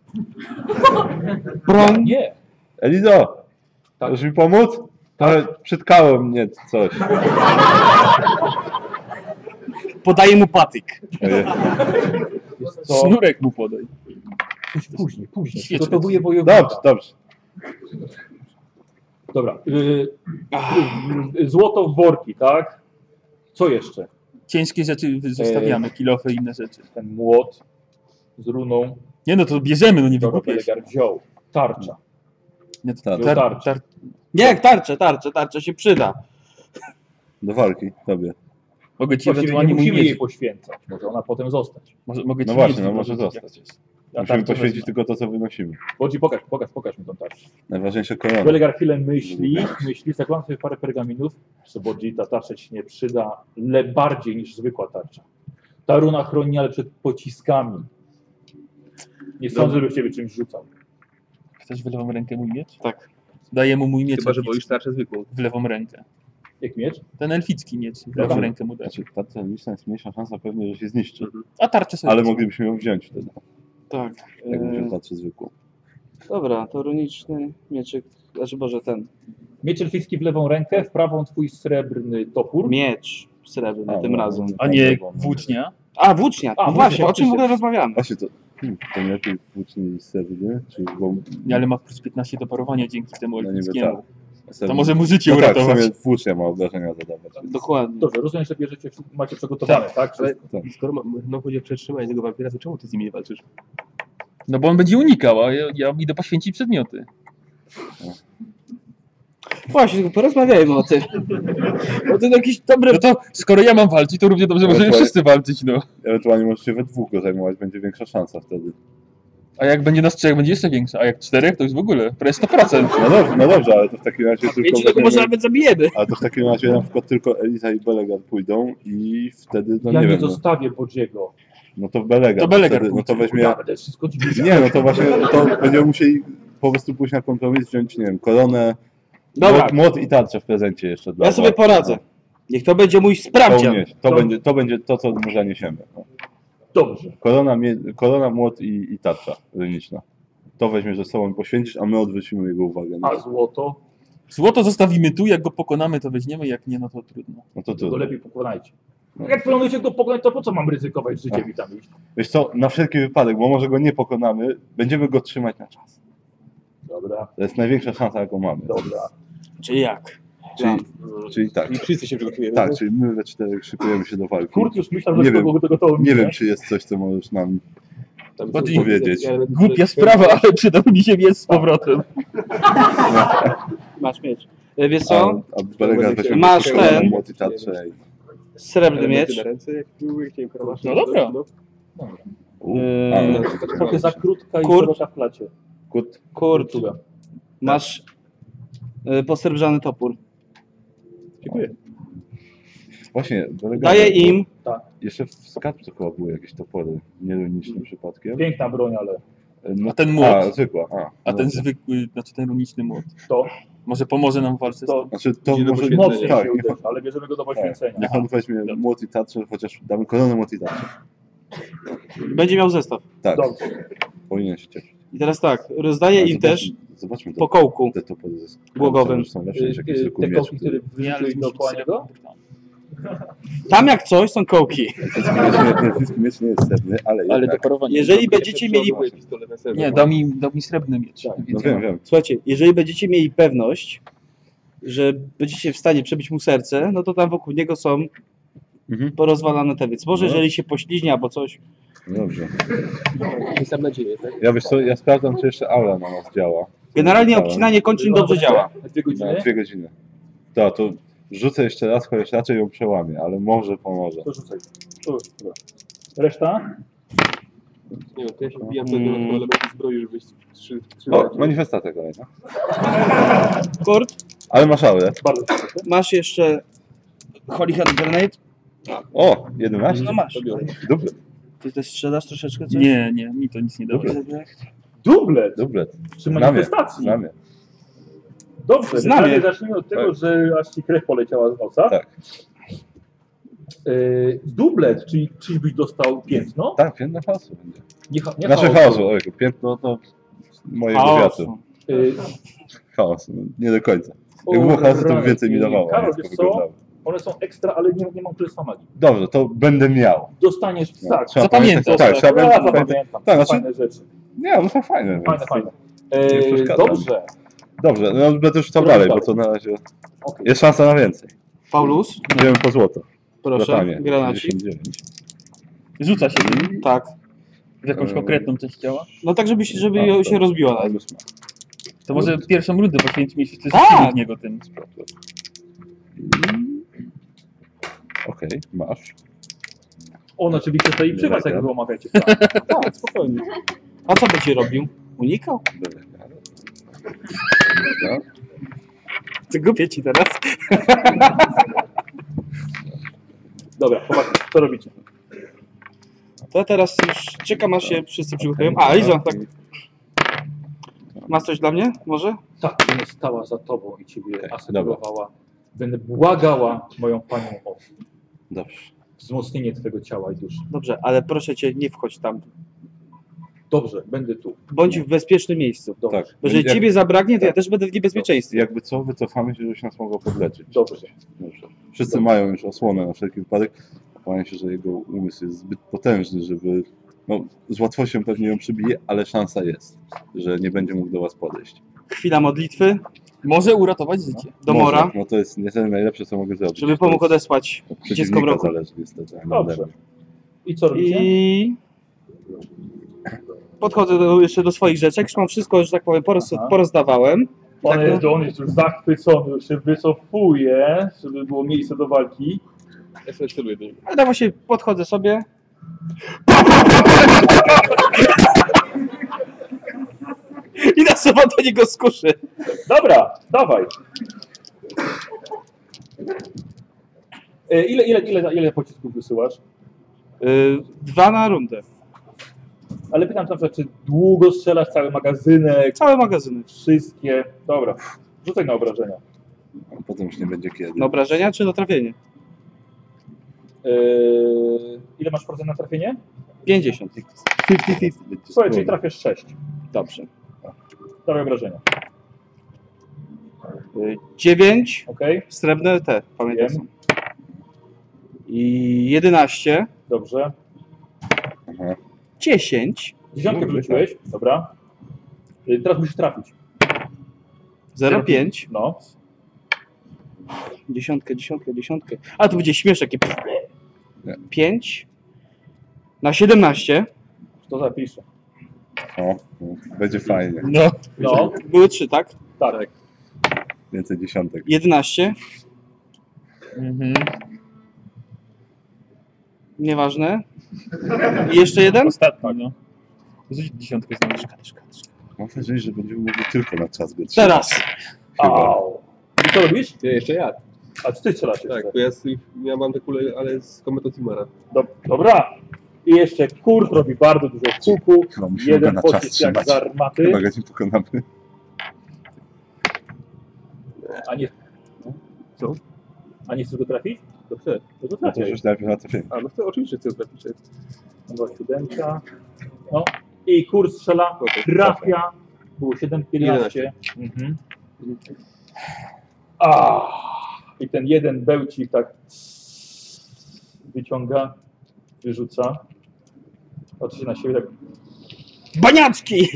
S6: Broń?
S8: Nie.
S1: Elizo, możesz mi pomóc? Ale przytkało mnie coś.
S6: Podaję mu patyk.
S1: Ojej.
S8: To...
S4: Sznurek mu podaj.
S8: Później, później.
S4: Świetnie.
S8: Przygotowuję wojownika.
S1: Dobrze, dobrze.
S8: Dobra. y, y, Złoto w worki, tak? Co jeszcze?
S4: Ciężkie rzeczy zostawiamy, kilofy i inne rzeczy.
S8: Ten młot z runą.
S4: Nie no, to bierzemy, no nie wykupię się.
S8: Belegar wziął. Tarcza.
S4: Nie,
S1: to
S8: Wziął tarczę.
S6: Nie, tarczę, tarczę, tarczę się przyda.
S1: Do walki, tobie.
S4: Mogę ci
S8: Właściwie
S4: ewentualnie
S8: nie musimy
S4: mówić.
S8: jej poświęcać. Może ona potem zostać.
S4: Może, mogę
S1: No
S4: ci
S1: właśnie,
S4: mieć
S1: no
S4: tylko
S1: może
S4: powiedzieć, jak
S1: zostać.
S4: chcesz.
S8: Ja
S1: Musimy
S8: tak to
S1: poświęcić
S8: wezmę.
S1: tylko to, co wynosimy.
S8: Bodzi, pokaż, pokaż, pokaż mi tą tarczę.
S1: Najważniejsze korony.
S8: Belegar chwilę myśli, myśli, zakładam sobie parę pergaminów. Co Bodzi, ta tarcza ci się nie przyda, le bardziej niż zwykła tarcza. Ta runa chroni, ale przed pociskami. Nie sądzę, żeby ciebie czymś rzucał.
S4: Chcesz w lewą rękę mój miecz?
S6: Tak.
S4: Daję mu mój miecz.
S3: Chyba, że
S4: elficki.
S3: boisz tarczę zwykłą.
S4: W lewą rękę.
S8: Jak miecz?
S4: Ten elficki miecz. W lewą
S1: Dobra.
S4: rękę mu daję.
S1: Znaczy, ta termiczna jest mniejsza szansa pewnie, że się zniszczy.
S4: A tarczę sobie
S1: Ale
S4: wezmę.
S1: moglibyśmy ją wziąć wtedy.
S6: Tak.
S1: Jakbym wziął
S6: e,
S1: tarczę zwykłą.
S6: Dobra, to runiczny mieczyk, znaczy Boże ten,
S8: Miecz elficki w lewą rękę, w prawą twój srebrny topór.
S6: miecz srebrny
S1: A,
S6: tym
S1: no,
S6: razem.
S1: A nie
S4: włócznia?
S6: A, włócznia, no
S8: A, włócznia,
S6: właśnie, o czym w ogóle rozmawiamy?
S1: Właśnie to, hmm, to lepiej włóczni serdy, czy bo
S4: Nie, ale ma plus 15 do parowania dzięki temu
S1: no niby
S4: elfickiemu.
S1: tak.
S4: To może mu życie
S1: no tak,
S4: uratować.
S1: w sumie włócznia ma obrażenia zadawać.
S6: Dokładnie.
S8: Dobrze, rozumiem, że bierzecie, macie przygotowane, tak?
S3: Ale
S8: Wszystko.
S3: skoro ma- no chodzi o przetrzymanie tego wampira, to czemu ty z nimi nie walczysz?
S4: No bo on będzie unikał, a ja, ja idę poświęcić przedmioty.
S6: Właśnie, tylko porozmawiajmy o tym. Bo to jakiś dobry...
S4: No to skoro ja mam walczyć, to równie dobrze możemy
S1: Ewentualnie-
S4: wszyscy walczyć, no.
S1: Ewentualnie możesz się we dwóch go zajmować, będzie większa szansa wtedy.
S4: A jak będzie nas trzech, będzie jeszcze większa, a jak czterech, to już w ogóle prawie 100%.
S1: No dobrze, no dobrze ale to w takim razie tylko...
S6: Wiecie, tylko może nawet zabijemy.
S1: Ale to w takim razie na przykład tylko Eliza i Belegar pójdą i wtedy, no
S8: ja
S1: nie
S8: nie
S1: wiem, no,
S8: zostawię Bodziego.
S1: no to Belegar.
S4: To Belegar
S1: wtedy, no to
S4: pójdzie.
S1: weźmie...
S8: Będę wszystko ci
S1: Nie, no to właśnie, to będziemy musieli po prostu pójść na kompromis, wziąć, nie wiem, koronę,
S6: Dobra.
S1: młot, młot i tarczę w prezencie jeszcze. Dla
S6: Ja sobie
S1: was.
S6: poradzę. Niech to będzie mój
S1: To,
S6: sprawdzian.
S1: unieś, to, będzie, to będzie to, co my zaniesiemy.
S8: Dobrze.
S1: Korona, mie- korona młot i, i tarcza runiczna. To To weźmiesz ze sobą i poświęcisz, a my odwrócimy jego uwagę.
S8: A złoto?
S4: Złoto zostawimy tu, jak go pokonamy, to weźmiemy, jak nie, no to trudno.
S1: No to
S8: To
S1: trudno.
S8: lepiej pokonajcie.
S1: No.
S8: Jak planujecie go pokonać, to po co mam ryzykować
S1: Tak.
S8: życiem i tam iść?
S1: Wiesz co, na wszelki wypadek, bo może go nie pokonamy, będziemy go trzymać na czas.
S8: Dobra.
S1: To jest największa szansa, jaką mamy.
S8: Dobra.
S4: Czyli jak?
S1: Czyli, czyli tak.
S3: I wszyscy się przygotujemy.
S1: Tak, czyli my we czterech szykujemy się do walki.
S8: Kurt już myślał, że
S1: Nie
S8: to
S1: wiem-
S8: byłoby to gotowe,
S1: Nie
S8: nie?
S1: wiem, czy jest coś, co możesz nam
S4: Bardziej
S1: powiedzieć.
S4: Głupia sprawa, ale przydał mi się wiec z powrotem.
S6: Masz miecz. E, Wiesz co?
S1: A, a Belega
S6: Masz
S1: weźmie
S6: ten.
S1: koronę, młot i tarczę i-
S6: Srebrny miecz.
S4: No dobra.
S1: U, no,
S6: Eee,
S1: ale-
S8: Trochę za krótka i
S6: Kurt.
S8: szeroka w klacie.
S1: Kurt.
S6: Kurt. Masz e, posrebrzany topór.
S8: Dziękuję.
S1: Właśnie, Belega...
S6: Daję im.
S8: Tak.
S1: Jeszcze w skarbcu chyba były jakieś topory, nieronicznym przypadkiem.
S8: Piękna broń, ale...
S1: No,
S4: A ten młot?
S1: A, zwykła. A,
S4: A ten
S1: dobra.
S4: zwykły, znaczy ten runiczny młot.
S8: To?
S4: Może pomoże nam w walce z
S8: To-
S4: tym.
S1: Znaczy, to może...
S8: Mocniej
S1: Tak,
S8: się
S1: niech on,
S8: uderzy, ale bierzemy go do poświęcenia.
S1: niech on weźmie młot i tarczę, chociaż damy koronę młot i tarczę.
S6: Będzie miał zestaw.
S1: Tak,
S8: Dobrze.
S1: powinien się cieszyć.
S6: I teraz tak, rozdaję
S1: Ale
S6: im też
S1: zobaczmy- Zobaczmy te-
S6: po kołku.
S1: Te topory ze skarbca,
S6: Głogowym.
S1: już Są lepsze niż jakiś
S8: Yy,
S1: zwykły
S8: Te
S1: miecz,
S8: kołki, które wyrzuciłeś dookoła niego?
S6: Tam jak coś są kołki.
S1: Fisk miecz nie jest srebrny, ale
S4: Ale
S1: jednak...
S4: dekorowanie.
S6: Jeżeli będziecie mieli...
S4: Nie, dał mi, dał mi srebrny miecz.
S1: No
S4: więc ja
S1: wiem,
S4: mam-
S1: wiem.
S6: Słuchajcie, jeżeli będziecie mieli pewność, że będziecie w stanie przebić mu serce, no to tam wokół niego są porozwalane te, więc może
S1: Mhm. No.
S6: jeżeli się poślizgnie albo coś,
S1: No Dobrze.
S3: Jest tam nadzieję, tak?
S1: Ja wiesz co, ja sprawdzam, czy jeszcze aura na nas działa.
S6: Generalnie
S1: Sprawdzałem.
S6: obcinanie kończyn dobrze działa.
S8: Na dwie
S1: Na
S8: godziny?
S4: Tak.
S1: dwie godziny. To, to rzucę jeszcze raz, chociaż raczej ją przełamię, ale może pomoże.
S8: To rzucaj. Tu, dobra. Reszta?
S3: Nie wiem, to ja się wbijam do
S4: Mm.
S3: dodatkowe elementy zbroi, żeby trzy... trzy
S1: O,
S4: no
S1: manifestacja kolejna.
S6: Kurt,
S1: Ale masz aurę.
S8: Bardzo
S6: masz jeszcze Holy Hand Grenade?
S1: O, 11?
S6: No masz.
S1: Dobry,
S6: Ty też strzelasz troszeczkę coś?
S4: Nie, nie, mi to nic nie dało.
S1: dobry,
S8: Dublet!
S1: dobry.
S8: Przy manifestacji.
S1: Znamie.
S8: Dobrze,
S6: Znamie.
S8: znamy. zacznijmy od tego,
S1: Tak.
S8: że aż ci krew poleciała z nosa.
S1: Tak.
S8: Yy, dublet, czyli, czyli byś dostał piętno?
S1: Tak, piętno hałasu będzie.
S8: Nie, ha- nie
S1: Znaczy
S8: chaosu.
S1: chaosu, ojku, piętno to mojego wiatru.
S6: Chaosu.
S8: Yy,
S1: Chaos, no, nie do końca.
S8: o,
S1: Jak było chaosu, to by więcej mi
S8: rany.
S1: dawało. a
S8: Karol,
S1: nie
S8: wiesz
S1: tylko
S8: co?
S1: wyglądało.
S8: One są ekstra, ale nie, nie mam królestwa magii.
S1: Dobrze, to będę miał.
S8: Dostaniesz
S1: No,
S8: tak.
S1: trzeba
S4: Zapamiętasz,
S1: pamiętać- Tak, trzeba
S8: ja
S1: pamiętać.
S8: zapamiętam.
S1: Tak, znaczy-
S8: Fajne rzeczy.
S1: Nie, one są fajne.
S8: Fajne,
S1: więc-
S8: fajne.
S1: nie
S8: Yy,
S1: przeszkadza.
S8: dobrze.
S1: Dobrze, no będę już tam
S8: Dobra,
S1: dalej, bo
S8: dalej.
S1: to na razie
S8: Okej.
S1: jest szansa na więcej.
S6: Paulus,
S1: Idziemy po złoto.
S6: proszę,
S1: Latanie,
S6: granacik.
S1: 69.
S4: Rzuca się nim
S6: Tak.
S4: w jakąś
S1: Eee.
S4: konkretną część ciała.
S6: No tak, żeby się, żeby
S1: A,
S6: ją
S1: dobra.
S6: się rozbiła. nawet.
S1: Plus ma.
S4: To może pierwszą rundę poświęcimy się
S6: Tak!
S4: wszyscy w niego tym.
S1: Okej, masz.
S8: On oczywiście stoi przy was, jak wy omawiacie. plan.
S6: Tak, spokojnie. A co będzie robił? Unikał?
S1: Dobra.
S6: Ty głupie ci teraz.
S8: Dobra, popatrzcie, co robicie?
S6: To teraz już czekam aż
S1: Tak.
S6: się wszyscy przygotują. A, Liza, tak. Masz coś dla mnie? Może?
S8: Tak, będę stała za tobą i ciebie asekurowała. Będę błagała moją panią o
S1: Dobrze.
S8: wzmocnienie twojego ciała i duszy.
S6: Dobrze, ale proszę cię, nie wchodź tam.
S8: Dobrze, będę tu.
S6: Bądź w bezpiecznym miejscu.
S8: Dobrze,
S1: Tak.
S6: Bo Jeżeli
S1: Jak-
S6: ciebie zabraknie, to ja
S1: tak.
S6: też będę w niebezpieczeństwie.
S1: Jakby co, wycofamy się, żebyś nas mogło podleczyć.
S8: dobrze.
S1: Dobrze. Wszyscy mają już osłonę na wszelki wypadek. Obawiam się, że jego umysł jest zbyt potężny, żeby... No, z łatwością pewnie ją przybije, ale szansa jest, że nie będzie mógł do was podejść.
S6: Chwila modlitwy
S4: Może uratować życie.
S6: do
S1: No. Może.
S6: mora,
S1: No to jest niestety najlepsze, co mogę zrobić.
S6: żeby
S1: To
S6: pomógł
S1: jest
S6: odesłać
S1: od
S6: dziecko w
S1: przeciwnika
S6: roku.
S1: zależy niestety. a nie
S8: Dobrze.
S1: ode mnie.
S8: I co robicie?
S6: I podchodzę do, jeszcze do swoich rzeczek. Już mam wszystko, że tak powiem, poroz,
S8: Aha.
S6: porozdawałem.
S8: On
S6: Tak,
S8: jest, on jest już zachwycony, już się wycofuje, żeby było miejsce do walki.
S3: Ja sobie celuję do niego.
S6: Ale tak właśnie podchodzę sobie. I na sobą do niego skuszy.
S8: Dobra, dawaj. E, Ile, ile, ile, ile pocisków wysyłasz?
S6: Yy, dwa na rundę.
S8: Ale pytam tam, czy długo strzelasz cały magazynek,
S6: Całe magazyny.
S8: wszystkie. Dobra, rzucaj na obrażenia.
S1: A potem już nie będzie kiedy.
S6: Na obrażenia czy na trafienie?
S8: E, ile masz procent na trafienie?
S6: 50.
S1: 50-50.
S8: Słuchaj, czyli trafiasz 6.
S6: Dobrze.
S8: Dawaj obrażenia.
S6: 9.
S8: Okej.
S6: Y, Srebrne te, pamiętam. są. I 11.
S8: Dobrze.
S6: 10.
S8: Dziesiątkę wrzuciłeś,
S3: tak.
S8: dobra. Y, Teraz musisz trafić.
S6: 0,5.
S8: No.
S6: Dziesiątkę, dziesiątkę, dziesiątkę. A to będzie śmieszek. 5. Na 17.
S8: To zapiszę.
S1: O, będzie fajnie.
S6: No.
S8: No.
S6: Były 3, tak?
S8: Tak.
S1: Więcej dziesiątek.
S6: 11.
S1: No.
S4: Mhm.
S6: Nieważne. I jeszcze jeden?
S4: Ostatni, no. Rzuć dziesiątkę znowu.
S1: Mam nadzieję, że będziemy mogli tylko na czas go trzymać.
S6: Teraz.
S8: Au. I co robisz?
S3: Ja jeszcze ja.
S8: A czy ty strzelasz jeszcze?
S3: Tak, bo ja, z- ja mam te kule, ale z kometą Timara.
S8: Dob- Dobra. I jeszcze kurt robi bardzo dużo kuku.
S1: Chyba No, musimy go
S8: Jeden
S1: na czas
S8: pocisk jak
S1: trzymać.
S8: z armaty.
S1: Chyba go nie pokonamy.
S8: A nie... Co? A nie chcesz go trafić?
S3: To chcę.
S8: No to
S1: No to
S8: trafiaj.
S1: już najpierw na trafienie.
S3: A no to oczywiście chcę trafić.
S8: Dwa siódemka. No. I kurs strzela. Trafia. Było 7, 11. Mhm. Ah, I ten jeden bełcik tak wyciąga, wyrzuca. Patrzy na siebie tak.
S6: Baniaczki!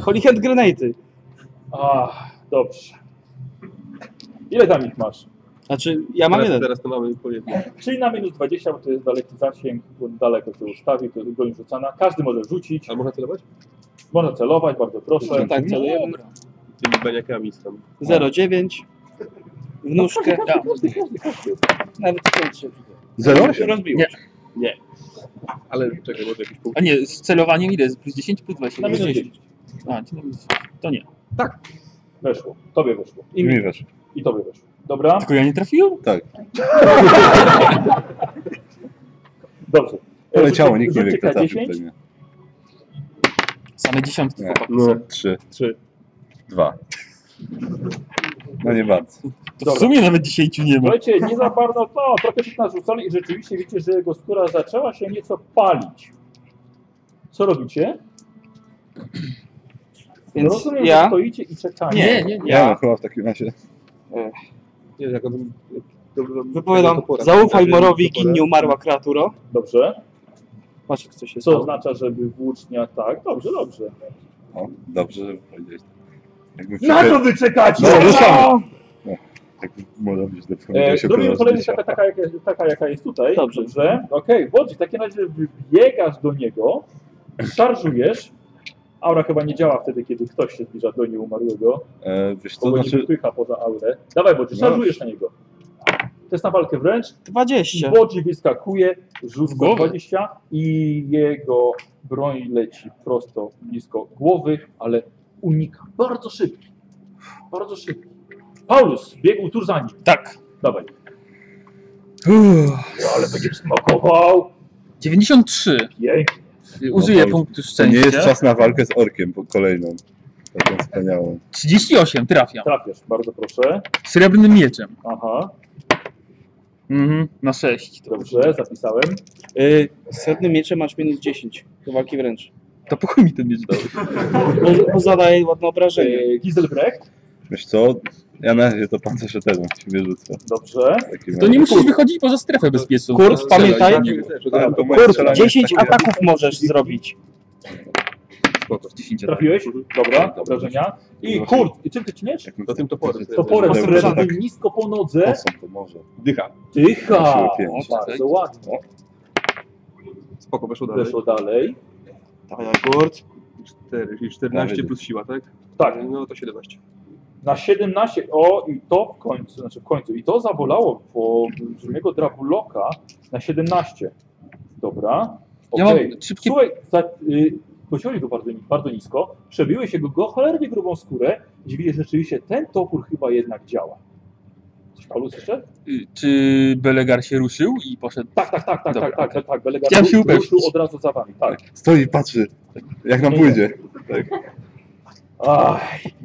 S6: Holy hand grenady.
S8: Ah, dobrze. Ile tam ich masz?
S6: Znaczy, ja mam
S3: teraz,
S6: jeden.
S3: Teraz to mamy po jednym.
S8: Czyli na minus 20, bo to jest daleki zasięg, bo daleko się ustawi, to jest broń rzucana. Każdy może rzucić.
S3: A można celować?
S8: Można celować, bardzo proszę.
S6: Tak, celujemy.
S3: Tymi baniakami z tam.
S6: 0,9. W nóżkę.
S8: Tak.
S6: Nawet kończy.
S1: Zero?
S6: Rozbiło.
S4: Nie.
S3: Nie. Ale czekaj, może jakiś punkt.
S4: A nie, z celowaniem ile? Plus 10, plus 20?
S8: Na
S4: Plus
S8: minus
S4: 10. A, czyli na minus 10. To nie.
S8: Weszło. Tobie weszło.
S1: I mi wiesz.
S8: I tobie weszło. Dobra.
S4: Tylko ja nie trafiłem?
S1: Tak.
S8: Dobrze.
S1: Poleciało, nikt nie wie, kto
S8: Rzucie
S1: trafił
S8: K10.
S1: pewnie.
S4: Same dziesiątki,
S1: Nie,
S4: chłopaki.
S1: no, trzy,
S8: Trzy.
S1: dwa. No nie bardzo.
S4: To w
S8: Dobra.
S4: sumie nawet 10 nie ma.
S8: Słuchajcie, nie za bardzo to, trochę się narzucali i rzeczywiście wiecie, że jego skóra zaczęła się nieco palić. Co robicie?
S6: Więc
S8: Rozumiem,
S6: ja-
S8: że stoicie i czekacie.
S6: Nie, nie, nie.
S1: Ja no, chyba w takim razie.
S3: Nie, jak on...
S6: Wypowiadam. Zaufaj morowi, gin nie umarła kreaturo.
S8: Dobrze.
S6: Patrz, jak coś się
S8: Co znaczy?
S6: stało.
S8: oznacza, żeby włócznia... Tak, dobrze, dobrze.
S1: O, dobrze, że powiedziałeś. tak. Jakby
S8: Na
S1: przyszedł-
S8: to wy czekacie!
S1: No, ruszamy.
S8: No!
S1: No, jakby może być
S8: E,
S1: depchnięcie się
S8: Zrobimy
S1: po
S8: kolejność
S1: nas
S8: taka, taka, jaka, taka, jaka jest tutaj. Dobrze. Dobrze. Okej, Wodzi, w takim razie wybiegasz do niego, szarżujesz. Aura chyba nie działa wtedy, kiedy ktoś się zbliża do nieumarłego.
S1: e, Wiesz
S8: To
S1: co,
S8: bo nie
S1: znaczy,
S8: wypycha poza aurę. Dawaj, Bodzi,
S1: No.
S8: szarżujesz na niego. To jest na walkę wręcz.
S6: 20.
S8: Bodzi wyskakuje, rzuca
S6: głowę.
S8: 20 i jego broń leci prosto blisko głowy, ale unika. Bardzo szybki. Bardzo szybki. Paulus biegł tuż za nim.
S4: Tak.
S8: Dawaj. Ale będziesz smakował.
S4: 93.
S8: Pięknie.
S4: Użyję
S1: to-
S4: punktu
S1: to
S4: szczęścia.
S1: nie jest czas na walkę z orkiem po- kolejną. Taką wspaniałą.
S4: 38, trafiam.
S8: Trafiasz, bardzo proszę.
S4: Srebrnym mieczem.
S8: Aha,
S4: Mhm, na 6.
S8: dobrze, zapisałem.
S6: Yy, z srebrnym mieczem masz minus 10 do walki wręcz.
S4: To po chuj mi ten miecz dałeś.
S6: Bo, bo zadaje ładne obrażenie.
S8: Yy, Giselbrecht,
S1: Wiesz co, ja na razie to pancerze temu się wyrzucę.
S8: dobrze.
S1: W takim
S4: To nie
S1: razie.
S4: musisz wychodzić poza strefę bezpieczną.
S6: Kurt, pamiętaj.
S1: Ale to moje
S6: Kurt,
S1: strzelanie
S6: 10
S1: jest takie-
S6: ataków możesz zrobić.
S4: Spoko, 10 ataków.
S8: Trafiłeś? Dobra, obrażenia. I kurt, i czym ty ciniesz?
S3: To tym toporem.
S8: no. Toporem
S1: Dobrze.
S8: srebrnym nisko po nodze.
S1: Osą to może.
S3: Dycha.
S8: Dycha!
S1: Weszło pięć.
S8: Bardzo ładnie.
S3: Spoko, weszło dalej.
S8: Weszło dalej.
S6: Dawaj, Kurt.
S3: 4, czyli 14
S1: Nawet.
S3: plus siła, tak?
S8: Tak,
S3: No to 17.
S8: na 17. O, i to w końcu, znaczy w końcu. I to zabolało po brzmiego Drabuloka na 17. Dobra.
S4: Ja mam
S8: Okej.
S4: szybkie-
S8: Słuchaj, za, y, pociągnij go bardzo, bardzo nisko, przebiłeś jego go cholernie grubą skórę. Dziwię, że rzeczywiście ten topór chyba jednak działa. Coś Paulus jeszcze?
S4: Y, Czy Belegar się ruszył i poszedł?
S8: Tak, tak, tak, tak,
S4: Dobra,
S8: tak, tak, tak, tak. Belegar
S4: Chciałem się
S8: ru-
S4: upewnić.
S8: ruszył od razu za wami, tak.
S1: Stoi i patrzy, jak nam
S8: Nie.
S1: pójdzie.
S8: Aj,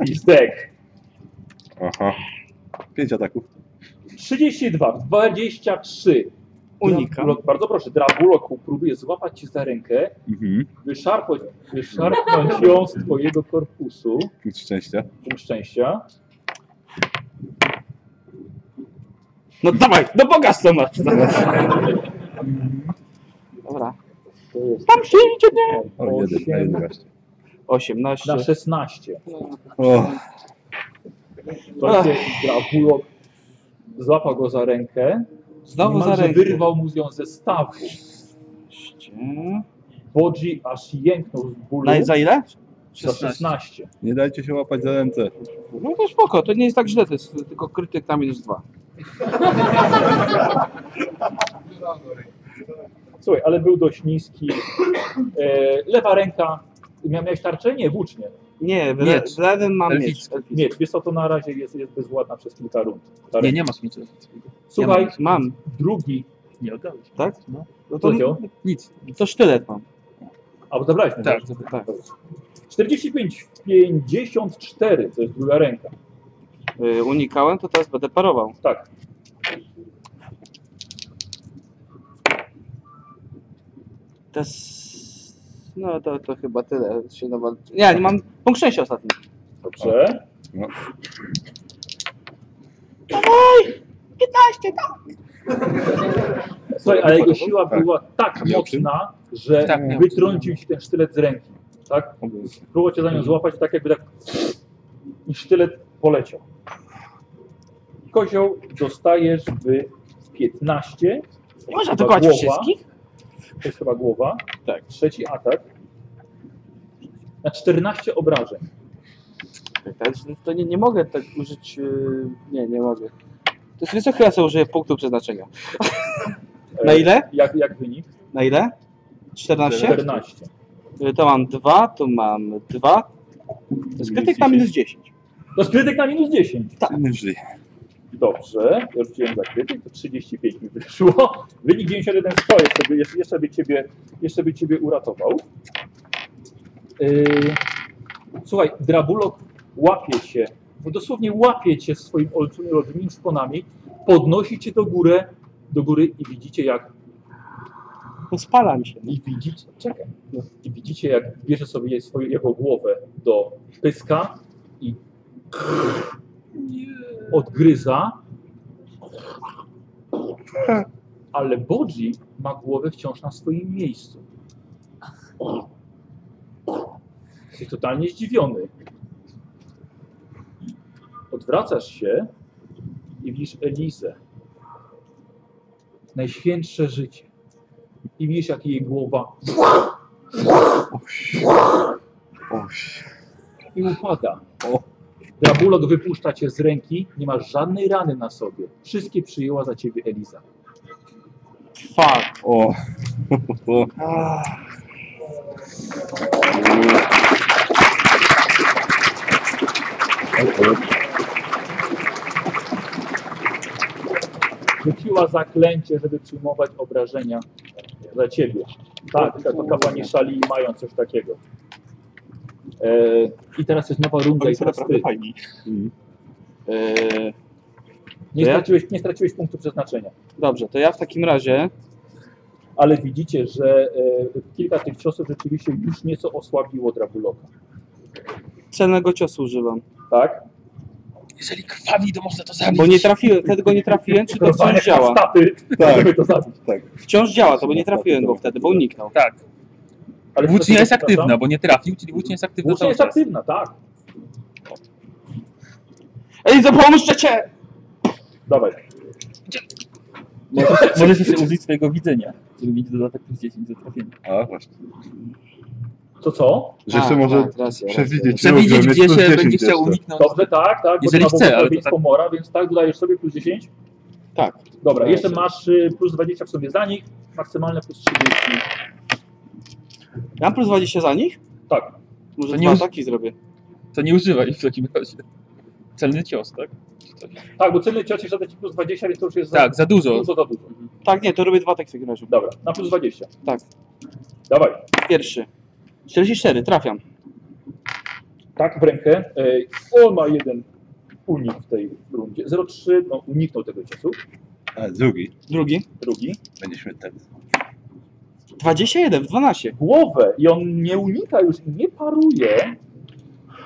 S8: listek.
S1: Aha. Pięć ataków.
S8: 32, 23.
S6: Unikam.
S8: Drabulok, bardzo proszę, Drabulok próbuje złapać cię za rękę,
S1: Mhm.
S8: wyszarpać,
S6: [LAUGHS]
S8: wyszarpnąć ją z twojego korpusu,
S1: Punkt szczęścia.
S8: punkt szczęścia.
S6: No dawaj, do Boga z tą masz. Dobra. Tam się idzie, nie?
S1: O, jeden na 11.
S6: 18.
S8: Na 16.
S1: O,
S8: Słuchajcie, Drabulok złapał go za rękę.
S6: Znowu
S8: niemalże
S6: za rękę.
S8: wyrwał mu ją ze stawu. Bodzi aż jęknął z bólu.
S6: Na, za ile?
S8: Za 16.
S1: nie dajcie się łapać za ręce.
S6: No to spoko, to nie jest tak źle, to jest tylko krytyk na minus dwa.
S8: Słuchaj, ale był dość niski. E, lewa ręka. Mia, miałeś tarczę? Nie, włócznie.
S6: Nie, w,
S8: Miecz.
S6: w lewym mam miecz.
S8: Elficki. Miecz. Wiesz co, to na razie jest, jest bezładna przez kilka rund. Ta
S4: Nie,
S8: ręka.
S4: nie masz nic.
S8: Słuchaj,
S6: Ja mam. mam.
S8: drugi.
S4: Nie oddałeś.
S6: Tak?
S4: No.
S6: No to
S8: Powiedział?
S6: nic. To sztylet mam.
S8: A, bo zabrałeś ten
S6: Tak,
S8: miecz.
S6: tak.
S8: 45, 54, to jest druga ręka.
S6: Y, unikałem, to teraz będę parował.
S8: Tak.
S6: To jest... No to, to chyba tyle. Się nawal... Nie, nie mam punkt szczęścia ostatni.
S8: Dobrze.
S1: No.
S6: Dawaj! 15, tak!
S8: Słuchaj, ale jego siła była tak
S1: Miał czym?
S8: mocna, że
S4: Tak, miał
S8: wytrącił ci ten sztylet z ręki. Tak? Próbował cię za nią złapać, tak jakby tak. I sztylet poleciał. Kozioł dostajesz w 15.
S6: Nie można
S8: Chyba
S6: atakować
S8: głowa.
S6: wszystkich?
S8: To jest chyba głowa.
S6: Tak.
S8: Trzeci atak. Na 14 obrażeń.
S6: Tak, To nie, nie mogę tak użyć... y, Nie, nie mogę. To jest wysoko, ja sobie użyję punktu przeznaczenia. Na
S8: E,
S6: ile?
S8: Jak, jak wynik?
S6: Na ile? 14?
S8: 14.
S6: Y, To mam 2, to mam 2. To jest krytyk na minus 10.
S8: To jest No krytyk na minus 10.
S4: Tak.
S1: Niżej.
S8: Dobrze, ja rzuciłem za krytyk, to 35 mi wyszło. Wynik 91 100, jeszcze by, jeszcze- jeszcze by, ciebie, jeszcze by ciebie uratował. Yy, słuchaj, Drabulok łapie cię, bo dosłownie łapie cię swoim olbrzymim, olbrzymim szponami, podnosi cię do góry, do góry i widzicie jak,
S6: No spalam się.
S8: i widzicie, czekaj, no, i widzicie jak bierze sobie swoją, jego głowę do pyska i odgryza, ale Bodzi ma głowę wciąż na swoim miejscu. Jesteś totalnie zdziwiony. Odwracasz się i widzisz Elizę. Najświętsze życie. I widzisz, jak jej głowa
S1: Oś.
S8: i upada. Drabulok wypuszcza cię z ręki, nie masz żadnej rany na sobie. Wszystkie przyjęła za ciebie Eliza.
S6: Fuck.
S1: O.
S8: Rzuciła zaklęcie, żeby przyjmować obrażenia za ciebie. Tak, to kapłani szali mają coś takiego. E, I teraz jest nowa runda i teraz ty. E,
S1: Mhm.
S6: Y,
S8: Nie
S6: Ja?
S8: straciłeś, nie straciłeś punktu przeznaczenia.
S6: Dobrze, to ja w takim razie
S8: Ale widzicie, że e, kilka tych ciosów rzeczywiście już nieco osłabiło Drabuloka.
S6: celnego ciosu używam.
S8: Tak?
S4: Jeżeli krwawi, to można to zabić.
S6: Bo nie trafiłem, wtedy go nie trafiłem, czy to wciąż działa?
S8: Staty,
S1: Tak.
S8: żeby to zabić.
S1: Tak.
S6: Wciąż działa, to bo nie trafiłem go wtedy, bo uniknął.
S4: Tak.
S8: Ale
S4: Włócznia jest aktywna,
S8: przepraszam,
S4: bo nie trafił, czyli włócznia jest aktywna
S8: Włócznia
S4: cały
S8: jest
S4: czas.
S8: aktywna, tak.
S6: Ej, zapomóżcie cię!
S8: Dawaj.
S4: Możesz, możesz jeszcze użyć swojego widzenia, żeby mieć dodatek plus 10 do trafienia.
S1: A, właśnie.
S8: To co?
S1: Że jeszcze
S6: A,
S1: może
S6: tak, racja,
S1: przewidzieć,
S4: racja. Przewidzieć,
S1: ruch, żeby
S4: gdzie
S1: mieć plus
S4: się
S1: 10
S4: będzie chciał
S1: jeszcze.
S4: uniknąć.
S8: Dobrze, tak, tak.
S4: Jeżeli
S8: bo trzeba
S4: chce,
S8: było
S4: ale to
S8: zrobić
S4: tak-
S8: pomora, więc tak, dodajesz sobie plus 10.
S6: Tak.
S8: Dobra,
S6: Tak.
S8: jeszcze masz y, plus 20 w sobie za nich, maksymalne plus 30.
S6: Ja mam plus 20 za nich?
S8: Tak.
S6: Może
S4: To nie
S6: dwa
S4: już-
S6: ataki zrobię.
S4: To nie używaj w takim razie. Celny cios, tak?
S8: Tak, bo celny cios jeszcze da ci plus 20, więc to już jest
S4: Tak, za dużo.
S8: dużo, za dużo.
S6: Tak, nie, to robię dwa ataki w takim razie.
S8: Dobra, na plus 20.
S6: Tak.
S8: Dawaj.
S6: Pierwszy. 44, trafiam.
S8: Tak, w rękę. Ej, on ma jeden unik w tej rundzie. 0,3, no uniknął tego ciosu.
S10: A, drugi.
S6: Drugi?
S8: Drugi.
S10: Będzie śmiertelny.
S6: 21 w 12.
S8: Głowę i on nie unika już, nie paruje.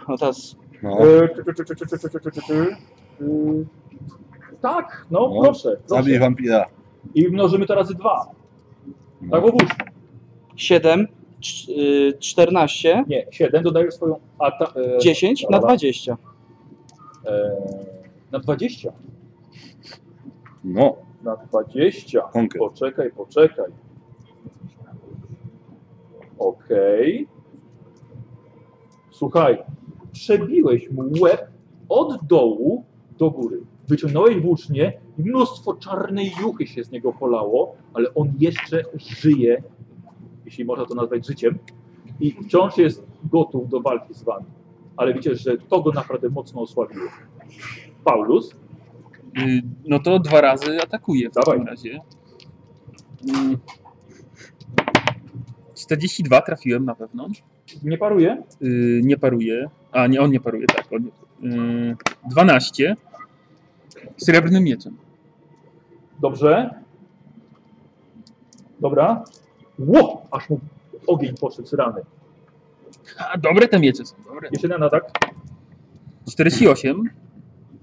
S6: No teraz...
S8: E, czy, czy, czy, czy, czy, czy, czy, czy, czy, czy, czy. Y, Tak, no,
S10: No.
S8: proszę.
S10: Zabij
S8: proszę.
S10: wampira.
S8: I mnożymy to razy dwa.
S10: No.
S8: Tak, bo
S6: 7, y, 14.
S8: Nie, 7 dodajesz swoją. Ata, e,
S6: 10 na
S8: dobra.
S6: 20.
S8: E, na 20.
S10: No.
S8: Na 20. Poczekaj, poczekaj. Okej. Słuchaj, przebiłeś mu łeb od dołu do góry. Wyciągnąłeś włócznie, mnóstwo czarnej juchy się z niego polało, ale on jeszcze żyje, jeśli można to nazwać życiem, i wciąż jest gotów do walki z wami. Ale widzicie, że to go naprawdę mocno osłabiło. Paulus,
S4: Y, No to dwa razy atakuje w
S8: Dawaj.
S4: takim razie. Mm. 42 trafiłem na wewnątrz.
S8: Nie paruje?
S4: y, nie paruje. A, nie, on nie paruje, tak. On, y, 12. Srebrnym mieczem.
S8: Dobrze. Dobra. Ło! Aż mu ogień poszedł z rany.
S4: A, dobre te miecze są, dobre.
S8: Jeszcze jeden atak.
S4: 48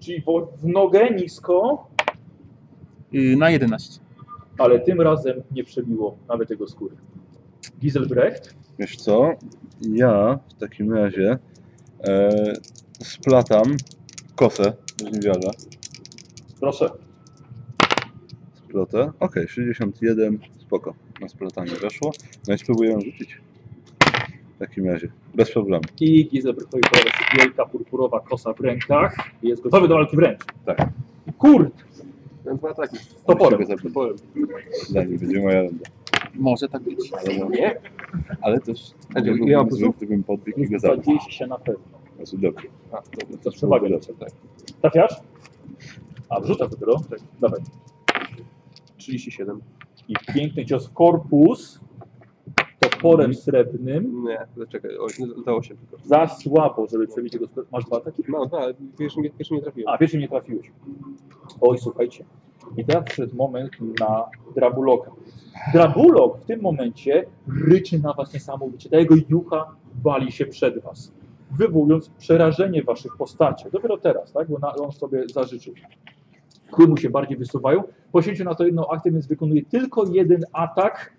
S8: Czyli wo- w nogę nisko,
S4: y, na 11.
S8: ale tym razem nie przebiło nawet jego skóry. Giselbrecht,
S1: Wiesz co? Ja w takim razie e, splatam kosę z niewiara.
S8: proszę.
S1: Splatę. Okej, 61, spoko. Na splatanie weszło. No i spróbuję ją rzucić. W takim razie, bez problemu.
S8: I Giselbrechtowi pojawia się wielka purpurowa kosa w rękach i jest gotowy do walki wręcz.
S1: Tak.
S8: Kurde!
S3: Dwa ataki.
S8: Toporem.
S3: Toporem.
S1: Dla mnie będzie moja runda.
S4: Może tak być.
S1: Nie. Ale też
S3: A,
S1: nie
S3: ja
S1: byłbym
S3: po
S1: zły,
S3: prostu-
S1: gdybym podbiegł i go zabił.
S8: 20 na pewno.
S1: Znaczy, dobrze.
S8: A, to, to przewaga. Trafiasz? A, wrzucasz dopiero? Tak. Dawaj.
S3: 37.
S8: I piękny cios w korpus toporem srebrnym.
S3: Nie, zaczekaj, o- no, za 8 tylko.
S8: Za słabo, żeby przebić jego skor- Masz dwa ataki?
S3: Mam dwa, No, ale pierwszy, nie- pierwszy nie trafiłem.
S8: A, pierwszy nie trafiłeś. Oj, słuchajcie. I teraz przed moment na Drabuloka. Drabulok w tym momencie ryczy na was niesamowicie. Ta jego jucha wali się przed was, wywołując przerażenie w waszych postaciach. Dopiero teraz, tak? Bo na, on sobie zażyczył. Kły mu się bardziej wysuwają. Poświęcił na to jedną akcję, więc wykonuje tylko jeden atak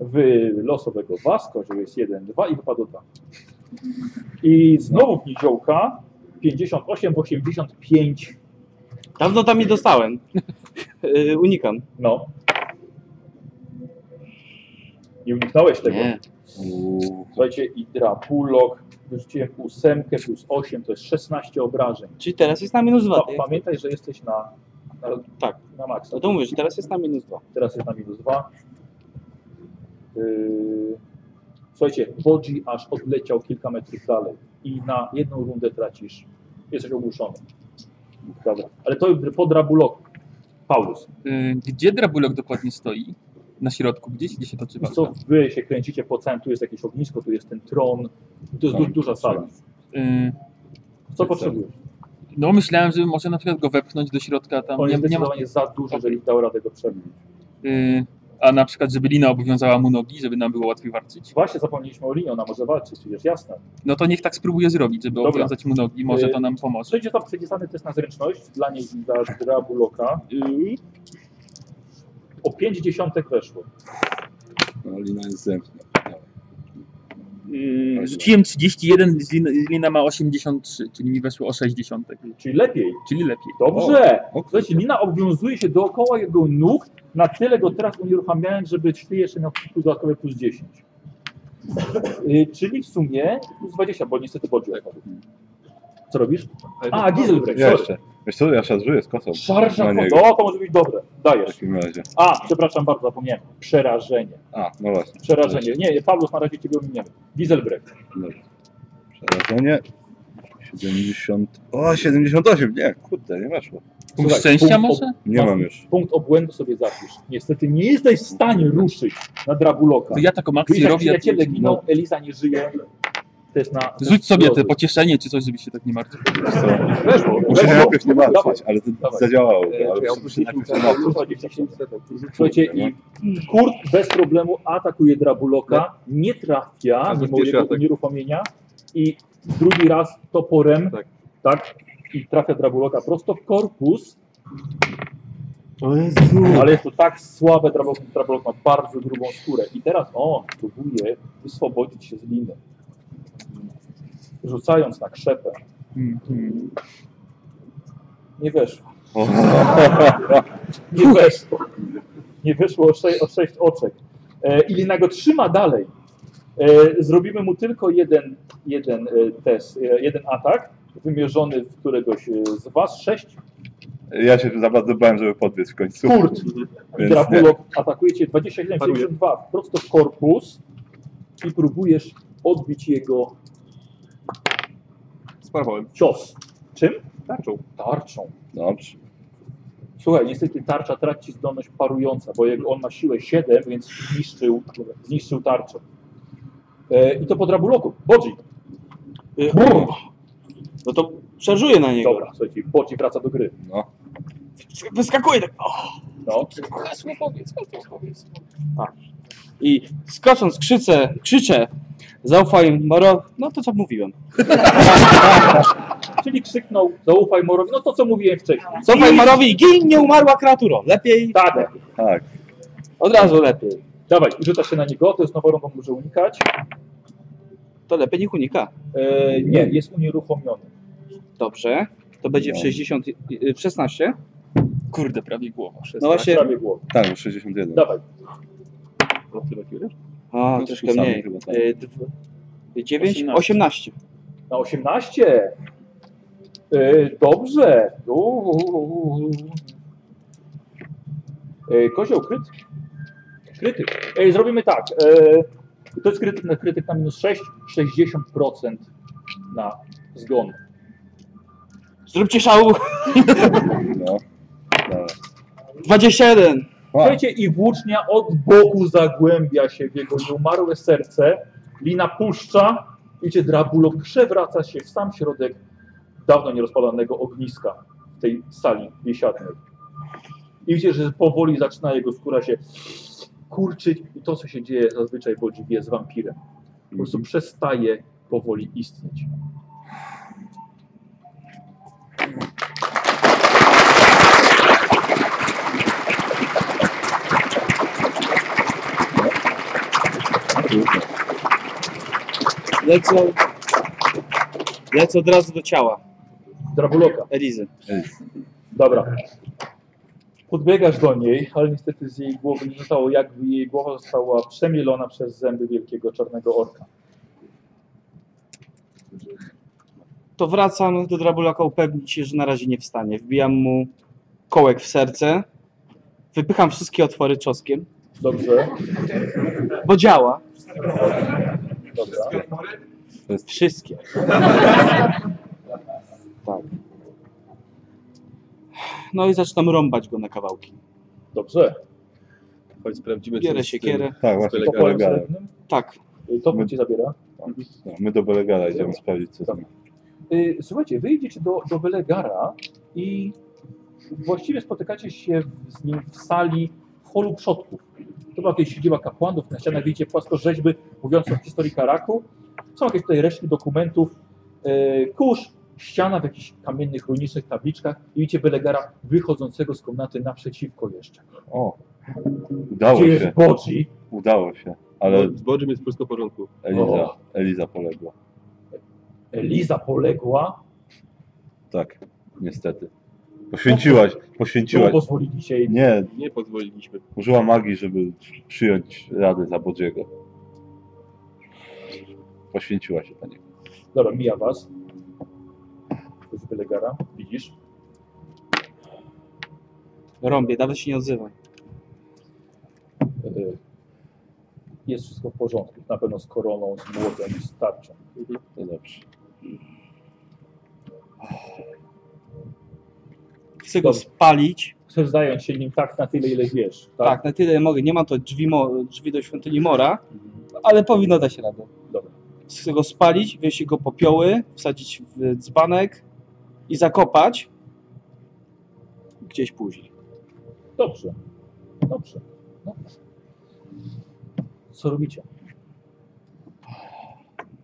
S8: w losowego Wasko, że jest 1-2 i wypadło 2. I znowu niziołka 58 w 85.
S6: Dawno tam nie
S4: [LAUGHS]
S6: dostałem. Y, Unikam.
S8: No. Nie uniknąłeś tego. Słuchajcie, i drapulok. Wyrzuciłem ósemkę plus 8, to jest 16 obrażeń.
S6: Czyli teraz jest na minus tak? 2.
S8: Pa, pamiętaj, że jesteś na, na,
S6: tak.
S8: na maksa.
S6: No to mówisz, teraz jest na minus 2.
S8: Teraz jest na minus 2. Słuchajcie, Wodzi aż odleciał kilka metrów dalej i na jedną rundę tracisz. Jesteś ogłuszony. Dobra. Ale to po drabuloku. Paulus.
S4: Y, Gdzie drabulok dokładnie stoi? Na środku gdzieś? Gdzie się toczy
S8: Wiesz
S4: walka?
S8: co, wy się kręcicie po całym, tu jest jakieś ognisko, tu jest ten tron, to
S4: Tak,
S8: jest du duża sala.
S4: Y,
S8: Co potrzebujesz?
S4: No myślałem, żeby może na przykład go wepchnąć do środka, tam
S8: On
S4: nie,
S8: jest
S4: nie ma... tak.
S8: zdecydowanie za duży, żeby dał radę go przebić.
S4: Y, a na przykład, żeby lina obowiązała mu nogi, żeby nam było łatwiej walczyć.
S8: Właśnie zapomnieliśmy o linii, ona może walczyć, przecież jasne.
S4: No to niech tak spróbuje zrobić, żeby
S8: Dobra.
S4: obowiązać mu nogi, może
S8: Y,
S4: to nam pomoże.
S8: Przejdzie tam przepisany test na zręczność dla niej i dla Drabuloka.
S4: Yy.
S8: O 5 dziesiątek weszło.
S1: No, lina jest zębna.
S4: Yy, Rzuciłem 31, z lin- lina ma 83, czyli mi weszło o tak 60.
S8: Czyli lepiej.
S4: Czyli lepiej.
S8: Dobrze! Słuchajcie, lina obwiązuje się dookoła jego nóg, na tyle go teraz unieruchamiałem, żeby ty jeszcze miał plus dodatkowe plus 10. Y, Czyli w sumie plus 20, bo niestety bodzi Co robisz? A, Giselbrecht,
S1: Ja
S8: sorry.
S1: jeszcze. Wiesz co, ja szarżuję z kosą.
S8: Szarża
S1: na
S8: no,
S1: niego.
S8: to może być dobre.
S1: W
S8: Dajesz.
S1: takim razie.
S8: A, przepraszam bardzo, zapomniałem. Przerażenie.
S1: A, no właśnie.
S8: Przerażenie. Nie, Paulus na razie ciebie ominiemy. Giselbrecht.
S1: Dobra. Przerażenie. 70. O, 78, nie, kurde, nie weszło.
S8: Punkt Słuchaj, szczęścia punkt- może?
S1: Nie mam już.
S8: Punkt obłędu sobie zapisz. Niestety nie jesteś w stanie ruszyć na Drabuloka.
S4: To ja taką akcję
S8: Widzisz, jak
S4: robię, a ty-
S8: Przyjaciele giną, Elisa nie żyje.
S16: To jest na...
S4: Rzuć sobie te pocieszenie czy coś, żeby się tak nie martwić.
S1: Weszło, Muszę się najpierw nie martwić, ale to zadziałało. Ale muszę się najpierw nie martwić.
S8: Słuchajcie, i Kurt bez problemu atakuje Drabuloka, nie trafia,
S3: A,
S8: mimo
S3: Tak. pierwszy
S8: jego
S3: atak.
S8: unieruchomienia i drugi raz toporem, tak, i trafia Drabuloka prosto w korpus, ale jest to tak słabe, Drabulok, Drabulok ma bardzo grubą skórę i teraz on próbuje wyswobodzić się z liny, rzucając na krzepę.
S3: Hmm,
S8: Nie weszło. Nie weszło. Nie wyszło o, sze- o sześć oczek. E, Ilina go trzyma dalej. E, zrobimy mu tylko jeden, jeden e, test, e, jeden atak wymierzony w któregoś e, z was. Sześć
S1: Ja się za bardzo bałem, żeby podbiec w końcu.
S8: kurt.
S1: nie.
S8: Drapulok atakujecie 27,72 prosto w korpus i próbujesz odbić jego
S3: Sparowałem.
S8: cios. Czym?
S3: Tarczą.
S8: Tarczą.
S1: Dobrze.
S8: Słuchaj, niestety tarcza traci zdolność parująca, bo jego- on ma siłę 7, więc zniszczył, zniszczył tarczę. E, I to po drabuloku. Bodzi. E,
S6: No to szarżuję na niego.
S8: Dobra, słuchajcie, Bodzi wraca do gry.
S1: No.
S6: Wyskakuje tak.
S8: No.
S15: Hasło powiedz, hasło powiedz.
S6: A. I skocząc krzycę, krzyczę, zaufaj im, Moro, no to co mówiłem.
S8: Czyli krzyknął, zaufaj Morowi, no to co mówiłem wcześniej.
S6: Zaufaj Morowi, gin nie umarła kreaturo. Lepiej.
S8: Tak.
S1: Tak.
S6: Od razu lepiej.
S8: Dawaj, rzuca się na niego, to jest nowa runda, może unikać.
S6: To lepiej niech unika.
S8: E, nie, jest unieruchomiony.
S6: Dobrze. To będzie w 60, y, w 16.
S4: Kurde, prawie głowa. 16.
S6: No właśnie.
S8: Prawie głowa.
S1: Tak, już 61.
S8: Dawaj.
S6: A,
S1: No,
S6: troszkę
S1: sami
S6: mniej.
S1: chyba, tak.
S6: Y, dw- 9,
S8: 18.
S6: 18.
S8: Na 18. E, dobrze. Uuu. E, kozioł kryt. Krytyk. E, zrobimy tak. E, to jest krytyk na, krytyk na minus 6, 60% na zgon.
S6: Zróbcie szału.
S1: No. Dobra.
S6: 21.
S8: Słuchajcie, i włócznia od boku zagłębia się w jego nieumarłe serce. Lina puszcza, idzie drabulok, przewraca się w sam środek dawno nierozpalanego ogniska w tej sali biesiadnej. I widzicie, że powoli zaczyna jego skóra się kurczyć i to, co się dzieje zazwyczaj w Bodziwie z wampirem. Po prostu przestaje powoli istnieć.
S6: Lecę. Lecę od razu do ciała.
S8: Drabuloka.
S6: Elizy.
S8: Dobra. Podbiegasz do niej, ale niestety z jej głowy nie zostało, jakby jej głowa została przemielona przez zęby wielkiego czarnego orka.
S6: To wracam do Drabulaka upewnić się, że na razie nie wstanie. Wbijam mu kołek w serce. Wypycham wszystkie otwory czoskiem.
S8: Dobrze.
S6: Bo działa.
S8: Dobra.
S6: Wszystkie. Tak. No i zaczynam rąbać go na kawałki.
S8: Dobrze.
S3: Chodź sprawdzimy,
S6: Kierę,
S3: co jest z
S6: siekierę.
S3: tym-
S1: Tak,
S3: z
S1: właśnie.
S3: kolegami.
S8: Toporem
S1: Legale.
S8: srebrnym.
S6: Tak.
S8: Y, Topór ci zabiera.
S1: No, my do Belegala idziemy sprawdzić, co tam.
S8: Y, Słuchajcie, wyjdziecie do, do Belegara i właściwie spotykacie się w- z nim w sali w holu przodków. To była kiedyś siedziba kapłanów, na ścianach widzicie płaskorzeźby mówiące o historii Karaku. Są jakieś tutaj resztki dokumentów, y, kurz, ściana w jakichś kamiennych, runicznych tabliczkach i widzicie Belegara wychodzącego z komnaty naprzeciwko jeszcze.
S1: O, udało
S8: Gdzie
S1: się.
S8: jest Bodzi?
S1: Udało się.
S2: No.
S1: Ale
S3: Z Bodziem jest wszystko w porządku.
S1: Eliza,
S8: O.
S1: Eliza poległa.
S8: Eliza poległa.
S1: Tak, niestety. Poświęciłaś,
S8: Czemu
S1: poświęciłaś.
S8: No, pozwoliliście jej?
S1: Nie,
S3: Nie pozwoliliśmy.
S1: użyła magii, żeby przyjąć radę za Bodziego. Poświęciła się pani.
S8: Dobra, mija was. To jest Belegara, widzisz?
S6: Rąbię, nawet się nie odzywa.
S8: Y, Jest wszystko w porządku. Na pewno z koroną, z młotem, z tarczą.
S1: No dobrze.
S6: Chcę go
S8: Dobrze.
S6: spalić.
S8: Chcesz zająć się nim tak na tyle, ile wiesz.
S6: Tak. na tyle mogę. Nie ma to drzwi, mo- drzwi do świątyni Mora, ale powinno dać radę.
S8: Dobra.
S6: chcę go spalić, wziąć jego popioły, wsadzić w dzbanek i zakopać gdzieś później.
S8: Dobrze, dobrze. No. Co robicie?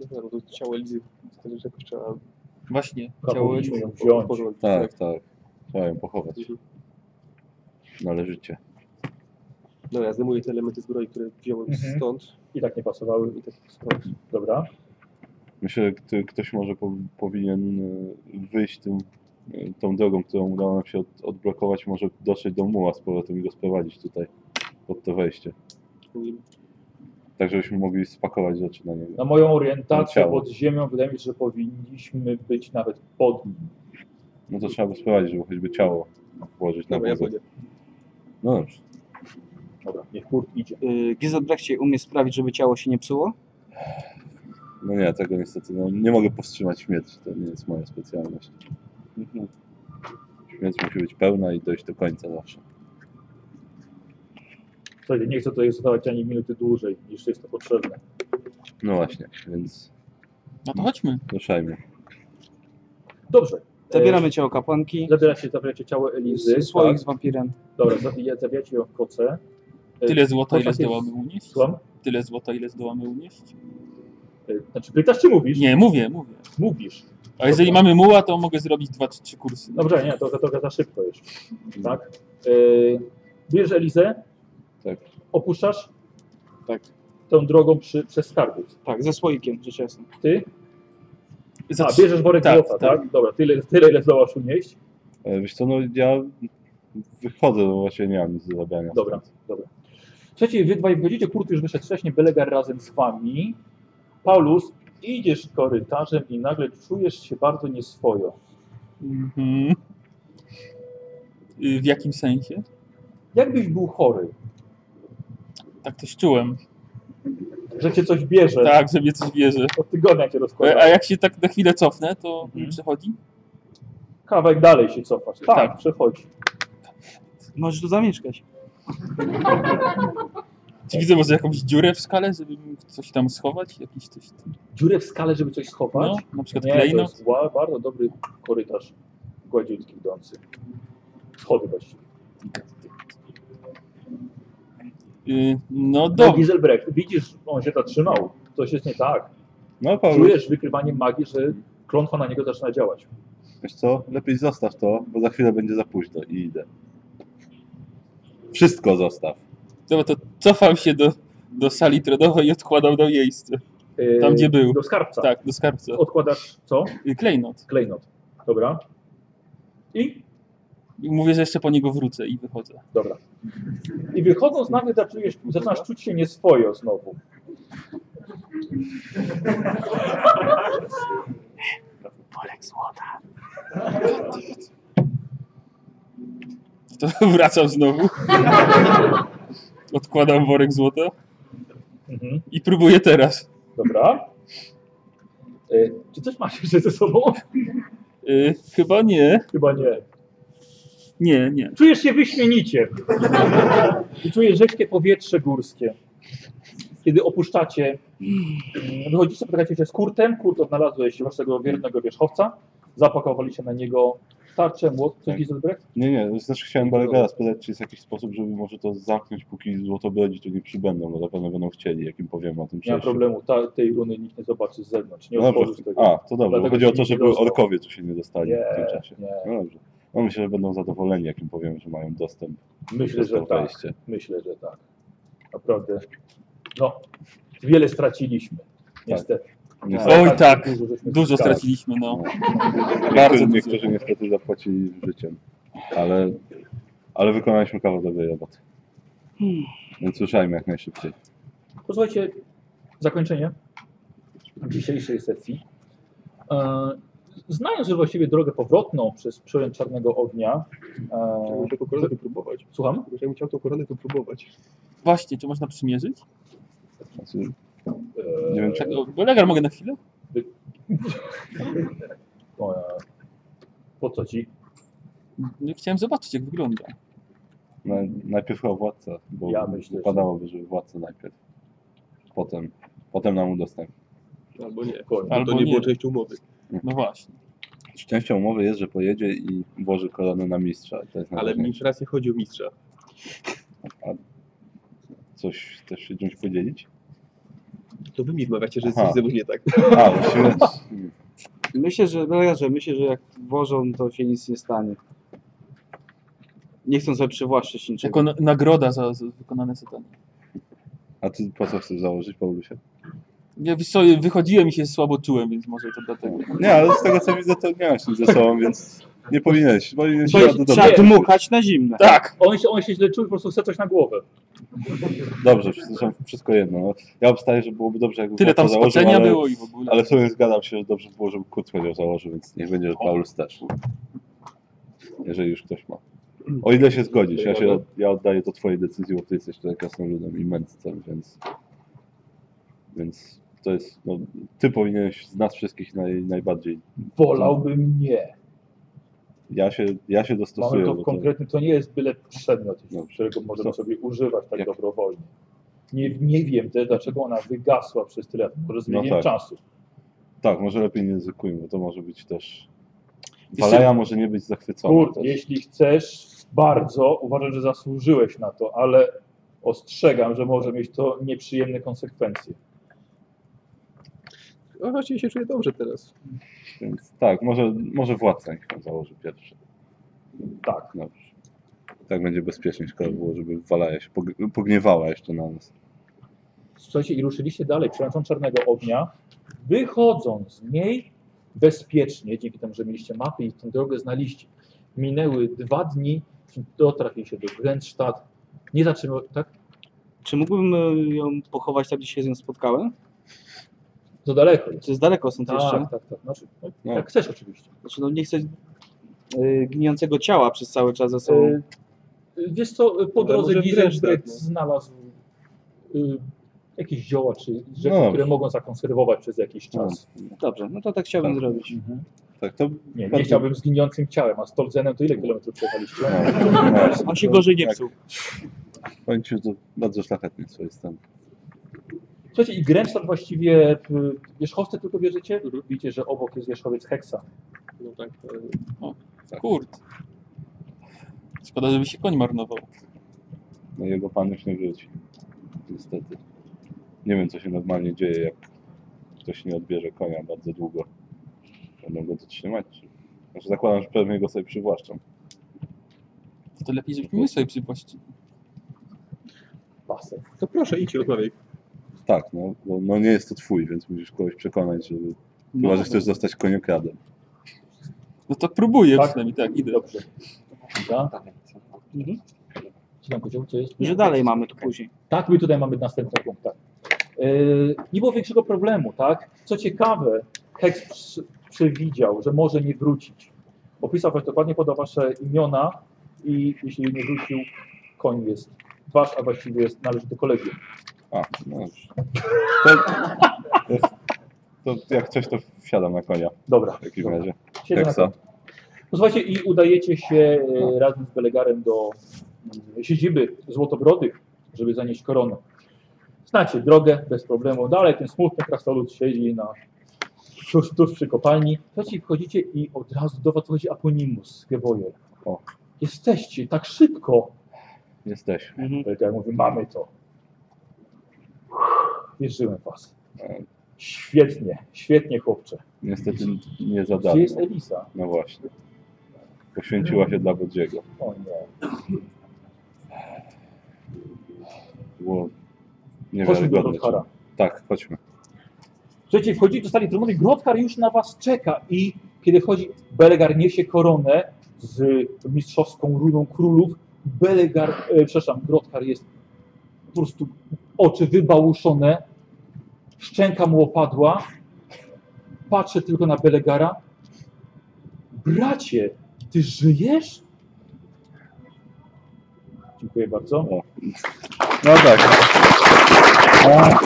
S14: Nie wiem, bo to ciało Elizy, to też jakoś trzeba...
S4: Właśnie,
S14: ciało
S1: Elizy.
S14: wziąć.
S1: Tak, tak. Trzeba ją pochować.
S8: Mhm.
S1: Należycie.
S14: No ja zdejmuję te elementy zbroi, które wziąłem
S8: Mhm.
S14: stąd.
S8: I tak nie pasowały. I tak nie pasowały. Dobra.
S1: Myślę, że kto- ktoś może po, powinien e, wyjść tym, e, tą drogą, którą udało nam się od, odblokować, może dotrzeć do muła z powrotem i go sprowadzić tutaj pod to wejście. Tak, żebyśmy mogli spakować rzeczy na niego.
S8: Na moją orientację
S1: Ciało.
S8: pod ziemią wydaje mi się, że powinniśmy być nawet pod nim.
S1: No to trzeba by sprowadzić, żeby choćby ciało włożyć na
S8: Dobra, ja
S1: wózek. No dobrze.
S8: Dobra, niech kurt idzie.
S6: Yy, Gizot Brechcie umie sprawić, żeby ciało się nie psuło?
S1: No nie, tego niestety no, nie mogę powstrzymać śmierci, to nie jest moja specjalność.
S8: Mhm.
S1: Śmierć musi być pełna i dojść do końca zawsze.
S8: Słuchajcie, nie chcę tutaj zostawać ani minuty dłużej niż jest to potrzebne.
S1: No właśnie, więc
S4: No to chodźmy.
S1: ruszajmy.
S8: Dobrze.
S6: Zabieramy
S8: E,
S6: ciało kapłanki.
S8: Zabieracie, zabieracie ciało Elizy.
S6: Słoik
S8: tak?
S6: z wampirem.
S8: Dobra, zabija, zabijacie ją w koce. E,
S4: Tyle złota, ile
S8: koca
S4: zdołamy
S8: jest-
S4: unieść?
S8: Słucham?
S4: Tyle złota, ile zdołamy unieść?
S8: E, Znaczy pytasz czy mówisz?
S4: Nie, mówię, mówię.
S8: Mówisz.
S4: A jeżeli mamy muła, to mogę zrobić dwa czy trzy kursy.
S8: Dobrze, nie, to trochę za szybko jeszcze. Tak. E, bierzesz Elizę,
S1: Tak.
S8: opuszczasz
S6: Tak.
S8: tą drogą przy, przez skarbiec.
S6: Tak, ze słoikiem, rzecz jasna.
S8: Ty?
S4: Za
S8: A,
S4: trzy-
S8: bierzesz worek
S4: tak,
S8: złota,
S4: tak.
S8: tak? Dobra, tyle, tyle ile zdołasz unieść.
S1: E, Wiesz co, no ja wychodzę, bo właśnie nie mam nic do zabrania.
S8: Dobra, dobra. Słuchajcie, wy dwaj wchodzicie, Kurt już wyszedł wcześniej, Belegar razem z wami. Paulus, idziesz korytarzem i nagle czujesz się bardzo nieswojo.
S4: Mhm. Y, W jakim sensie?
S8: Jakbyś był chory.
S4: Tak też czułem.
S8: Że cię coś bierze.
S4: Tak, że mnie coś bierze.
S8: Od tygodnia cię rozkłada.
S4: A jak się tak na chwilę cofnę, to mi
S8: Mhm.
S4: przechodzi?
S8: Kawałek dalej się cofasz. Tak,
S4: Tak.
S8: przechodzi.
S6: Możesz tu zamieszkać.
S4: Czy widzę może jakąś dziurę w skale, żeby mógł coś tam schować? Jakiś coś tam.
S8: Dziurę w skale, żeby coś schować?
S4: No, na przykład
S8: Nie, to
S4: klejnot.
S8: jest ła- bardzo dobry korytarz gładziutki idący. Schody właściwie.
S4: Y, no
S8: No,
S4: dobrze.
S8: Giselbrecht, widzisz, on się zatrzymał. Coś jest nie tak.
S1: No Paweł,
S8: Czujesz wykrywanie magii, że klątwa na niego zaczyna działać.
S1: wiesz co, lepiej zostaw to, bo za chwilę będzie za późno i idę. Wszystko zostaw.
S4: Dobra, to cofał się do, do sali trodowej i odkładał na miejsce.
S8: Yy,
S4: Tam, gdzie był.
S8: Do skarbca.
S4: Tak, do skarbca.
S8: Odkładasz co?
S4: Y, Klejnot.
S8: Klejnot. Dobra. I?
S4: I Mówię, że jeszcze po niego wrócę i wychodzę. [LAUGHS]
S8: Dobra. I wychodząc nagle zaczujesz, zaczynasz czuć się nieswojo znowu.
S6: Bolek złota.
S4: To wracam
S8: [LAUGHS]
S4: znowu. Odkładam worek złota
S8: Mhm.
S4: i próbuję teraz.
S8: Dobra. E, Czy coś masz jeszcze ze sobą?
S4: Y, chyba nie.
S8: Chyba nie.
S4: Nie, nie.
S8: Czujesz się wyśmienicie. I czujesz rzeźkie powietrze górskie. Kiedy opuszczacie, mm, wychodzicie, spotykacie się z Kurtem. Kurt odnalazłeś waszego wiernego wierzchowca. Zapakowaliście na niego tarczę, młot.
S4: Tak.
S8: Coś Gizelbrecht?
S1: Nie, nie, znaczy chciałem Balegara spytać, czy jest jakiś sposób, żeby może to zamknąć, póki złotobrodzi tu nie przybędą, bo na pewno będą chcieli, jak im powiem o tym
S8: Nie ma
S1: przejściu.
S8: problemu, Ta, tej runy nikt nie zobaczy z zewnątrz. Nie
S1: No dobrze.
S8: otworzysz tego.
S1: A, to dobrze.
S8: Dlatego
S1: Chodzi o
S8: ci
S1: to,
S8: nikt
S1: że
S8: nie
S1: były
S8: dostał.
S1: orkowie, co się nie dostali
S8: Nie,
S1: w tym czasie.
S8: nie.
S1: No dobrze. No myślę, że będą zadowoleni, jak im powiemy, że mają dostęp
S8: Myślę,
S1: przez
S8: że
S1: to
S8: tak.
S1: wejście.
S8: Myślę, że tak. Naprawdę. No, wiele straciliśmy. Niestety.
S1: Niestety.
S4: Tak, Oj tak,
S8: Dużo żeśmy
S4: dużo
S8: zyskali.
S4: straciliśmy, no.
S1: Niektórzy,
S4: Bardzo dużo.
S1: niektórzy niestety zapłacili życiem, ale, ale wykonaliśmy kawał dobrej roboty. Więc ruszajmy jak najszybciej.
S8: Posłuchajcie, zakończenie dzisiejszej sesji. E, Znając już właściwie drogę powrotną przez przełęcz Czarnego Ognia,
S14: Ja
S8: e,
S14: bym taką koronę wypróbować.
S8: słucham?
S14: Ja bym chciał tą koronę wypróbować.
S4: Właśnie, czy można przymierzyć?
S1: Znaczy, nie wiem, czy...
S4: Tak, o, Belegar mogę na chwilę?
S8: O, e, po co ci?
S4: No, chciałem zobaczyć, jak wygląda.
S14: No
S1: Na, najpierw chyba władca, bo
S8: Ja myślę, że-
S1: wypadałoby, żeby władca najpierw. Potem, potem nam udostępnił.
S14: Albo nie. No
S4: Albo
S14: to nie,
S4: nie.
S14: było częścią umowy.
S4: No właśnie.
S1: Szczęścią umowy jest, że pojedzie i włoży kolano na mistrza. To jest
S14: Ale mi teraz nie chodzi o mistrza.
S1: Coś też się czymś podzielić?
S14: To wy mi wmawiacie, że
S1: Aha.
S14: jesteś ze mną nie tak.
S1: A, właściwie.
S6: Myślę, że lekarze, myślę, że jak włożą, to się nic nie stanie. Nie chcą sobie przywłaszczyć niczego.
S4: Jako na, nagroda za, za wykonane zadanie.
S1: A ty po co chcesz założyć, Paulusie?
S4: Ja wiesz co, wychodziłem i się słabo czułem, więc może to dlatego.
S1: Nie, ale z tego co widzę, to nie masz nic ze sobą, więc nie powinieneś. powinieneś
S6: Trzeba- trzeba dmuchać na zimne.
S4: Tak.
S16: On się, on się źle czuje, po prostu chce coś na głowę.
S1: Dobrze, przepraszam, wszystko jedno. No, ja obstaję, że byłoby dobrze, jakby
S4: Tyle tam
S1: Paweł założył,
S4: spaczenia
S1: ale-
S4: było i w ogóle.
S1: Ale sobie zgadzam się, że dobrze by było, żeby Kuc będzie założył, więc niech będzie, że Paulus też. Jeżeli już ktoś ma. O ile się zgodzisz, ja, się, ja oddaję to twojej decyzji, bo ty jesteś tutaj krasnoludem i mędrcem, więc... Więc to jest... No, ty powinieneś z nas wszystkich naj, najbardziej...
S8: Wolałbym nie.
S1: Ja się, ja się
S8: Mamy
S1: dostosuję.
S8: to
S1: bo
S8: w
S1: to-
S8: konkretnym, to nie jest byle przedmiot, którego możemy sobie używać tak dobrowolnie. Nie, nie wiem też, dlaczego ona wygasła przez tyle lat. Może zmieniłem
S1: tak.
S8: czasu.
S1: Tak, może lepiej nie ryzykujmy, bo to może być też...
S8: Jeśli-
S1: Waleja może nie być zachwycona.
S8: Kurt,
S1: też.
S8: jeśli chcesz bardzo, uważam, że zasłużyłeś na to, ale ostrzegam, że może mieć to nieprzyjemne konsekwencje.
S14: No właśnie się czuję dobrze teraz.
S1: Więc tak, może, może władca niech tam założy pierwszy.
S8: Tak.
S1: Dobrze. Tak będzie bezpiecznie, szkoda było, żeby Walaja się pog- pogniewała jeszcze na nas.
S8: Słuchajcie, i ruszyliście dalej, przełęczą Czarnego Ognia, wychodząc z niej bezpiecznie, dzięki temu, że mieliście mapy i tę drogę znaliście. Minęły dwa dni, dotrafiliście do Grenzstadt, nie zatrzymał, tak?
S6: Czy mógłbym e, ją pochować tam, gdzie się z nią spotkałem?
S8: To daleko jest.
S6: To jest daleko stąd
S8: Tak,
S6: jeszcze.
S8: tak, tak. Znaczy, no, Jak chcesz oczywiście.
S6: Znaczy, no nie chcę y, gnijącego ciała przez cały czas ze sobą.
S8: Y, Wiesz co, po drodze
S6: może
S8: Gizenbrecht
S6: Grenzstadt, no.
S8: znalazł y, jakieś zioła czy rzeczy,
S1: No.
S8: które mogą zakonserwować przez jakiś czas.
S6: Dobrze, no to tak chciałbym
S1: Tak.
S6: zrobić.
S1: Tak, to
S8: Nie, nie
S1: bardzo-
S8: chciałbym z giniącym ciałem, a z Tolzenem to ile kilometrów przejechaliście?
S1: No.
S6: On się gorzej nie
S1: Tak.
S6: psuł.
S1: Powiem ci, że to bardzo szlachetnie z twojej strony.
S8: Słuchajcie, i Grenzstadt właściwie, y, wierzchowce tylko wierzycie? Widzicie, że obok jest wierzchowiec Heksa.
S14: Mhm. No tak.
S4: O, Kurt. Szkoda, żeby się koń marnował.
S1: No jego pan już nie wróci. Niestety. Nie wiem, co się normalnie dzieje, jak ktoś nie odbierze konia bardzo długo. Będą go dotrzymać. Czy... Znaczy zakładam, że pewnie go sobie przywłaszczą.
S4: To lepiej, żebyśmy my sobie przywłaszczyli.
S8: Pasek.
S14: To proszę, idź i rozmawiaj.
S1: Tak, no, bo no nie jest to twój, więc musisz kogoś przekonać, żeby...
S4: No.
S1: Chyba, że chcesz zostać koniokradem.
S4: No to próbuję przynajmniej, tak, idę.
S8: Dobrze. Dobra. Ci tam powiedział, co jest?
S6: Że dalej mamy tu później.
S8: Tak, my tutaj mamy następny punkt. Tak. Yy, nie było większego problemu, tak? Co ciekawe, Hex przy- przewidział, że może nie wrócić. Opisał was dokładnie podał wasze imiona i jeśli nie wrócił, koń jest wasz, a właściwie jest, należy do kolegium.
S1: A, no już. To, to, to jak coś, to wsiadam na konia.
S8: Dobra.
S1: W takim razie.
S8: Siedzę na
S1: Heksa.
S8: No Słuchajcie, i udajecie się e, razem z Belegarem do mm, siedziby Złotobrodych, żeby zanieść koronę. Znacie drogę bez problemu. Dalej ten smutny krasnolud siedzi na tuż, tuż przy kopalni. Słuchajcie, wchodzicie i od razu do was wchodzi Aponimus, Gebojer.
S1: O.
S8: Jesteście tak szybko.
S1: Jesteś.
S8: Belegar mówi, mamy to. Wierzyłem w was. Świetnie, świetnie chłopcze.
S1: Niestety nie za
S8: Gdzie
S1: darmo.
S8: jest Elisa?
S1: No właśnie. Poświęciła się dla Bodziego.
S8: O nie.
S1: Było
S8: Chodźmy do
S1: niewiarygodne.
S8: Rothara.
S1: Tak, chodźmy.
S8: Słuchajcie, wchodzicie do sali trumny, Grotkar już na was czeka i kiedy wchodzi, Belegar niesie koronę z mistrzowską runą królów. Belegar, e, przepraszam, Grotkar jest po prostu oczy wybałuszone, szczęka mu opadła. Patrzę tylko na Belegara. Bracie, ty żyjesz? Dziękuję bardzo.
S1: No tak. A,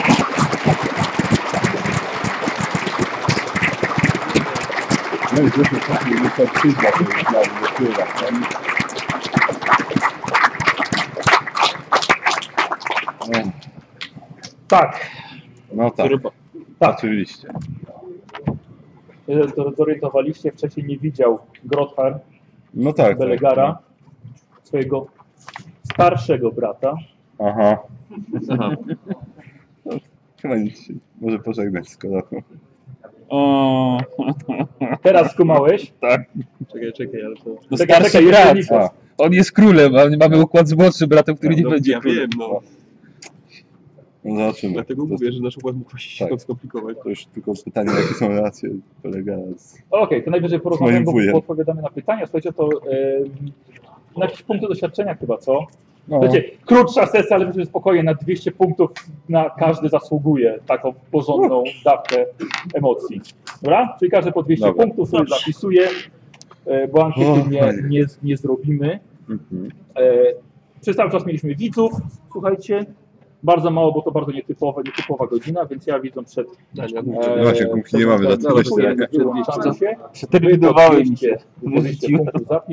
S1: No i zresztą tak nie wystarczyła, to już dla mnie pływa. tam. No,
S8: Tak,
S1: No tak,
S8: tak.
S1: No tak. oczywiście.
S8: nie E, zorientowaliście, wcześniej nie widział Grothar
S1: No tak.
S8: Belegara, swojego starszego brata.
S1: Aha. Chyba nic się może pożegnać z kolatą.
S4: O.
S8: Teraz skumałeś?
S4: Tak.
S3: Czekaj, czekaj, ale to...
S4: No
S8: Czekaj,
S4: starszy
S8: czekaj, jeszcze
S4: brat.
S8: Nikos.
S4: On jest królem, a my mamy układ z młodszym bratem, który nie
S3: no,
S4: będzie
S3: ja
S4: królem.
S3: wiem, no.
S1: No zobaczymy.
S3: Dlatego mówię, że nasz układ mógł właśnie się tak. skomplikować.
S1: To już tylko pytanie, jakie są relacje Belegara z...
S8: Okej, to najwyżej
S1: Z
S8: porozmawiamy,
S1: moim
S8: bo
S1: wujem.
S8: bo odpowiadamy na pytania. Słuchajcie, to em, na jakieś punkty doświadczenia chyba, co?
S4: No.
S8: Słuchajcie, krótsza sesja, ale myślę, że spokojnie, na 200 punktów na każdy zasługuje taką porządną dawkę emocji. Dobra? Czyli każdy po 200
S17: Dobra.
S8: punktów sobie zapisuje, e, bo ankiety
S17: O,
S8: nie,
S17: fajnie.
S8: nie, nie zrobimy.
S1: Mhm.
S8: E, przez cały czas mieliśmy widzów, słuchajcie. Bardzo mało, bo to bardzo nietypowe, nietypowa godzina, więc ja widzę przed... e,
S1: No właśnie, punkty nie mamy za 200.
S8: Wyłączamy się.
S4: Przeterminowałem
S8: Wy po 200
S4: się.
S8: punktów zapisz-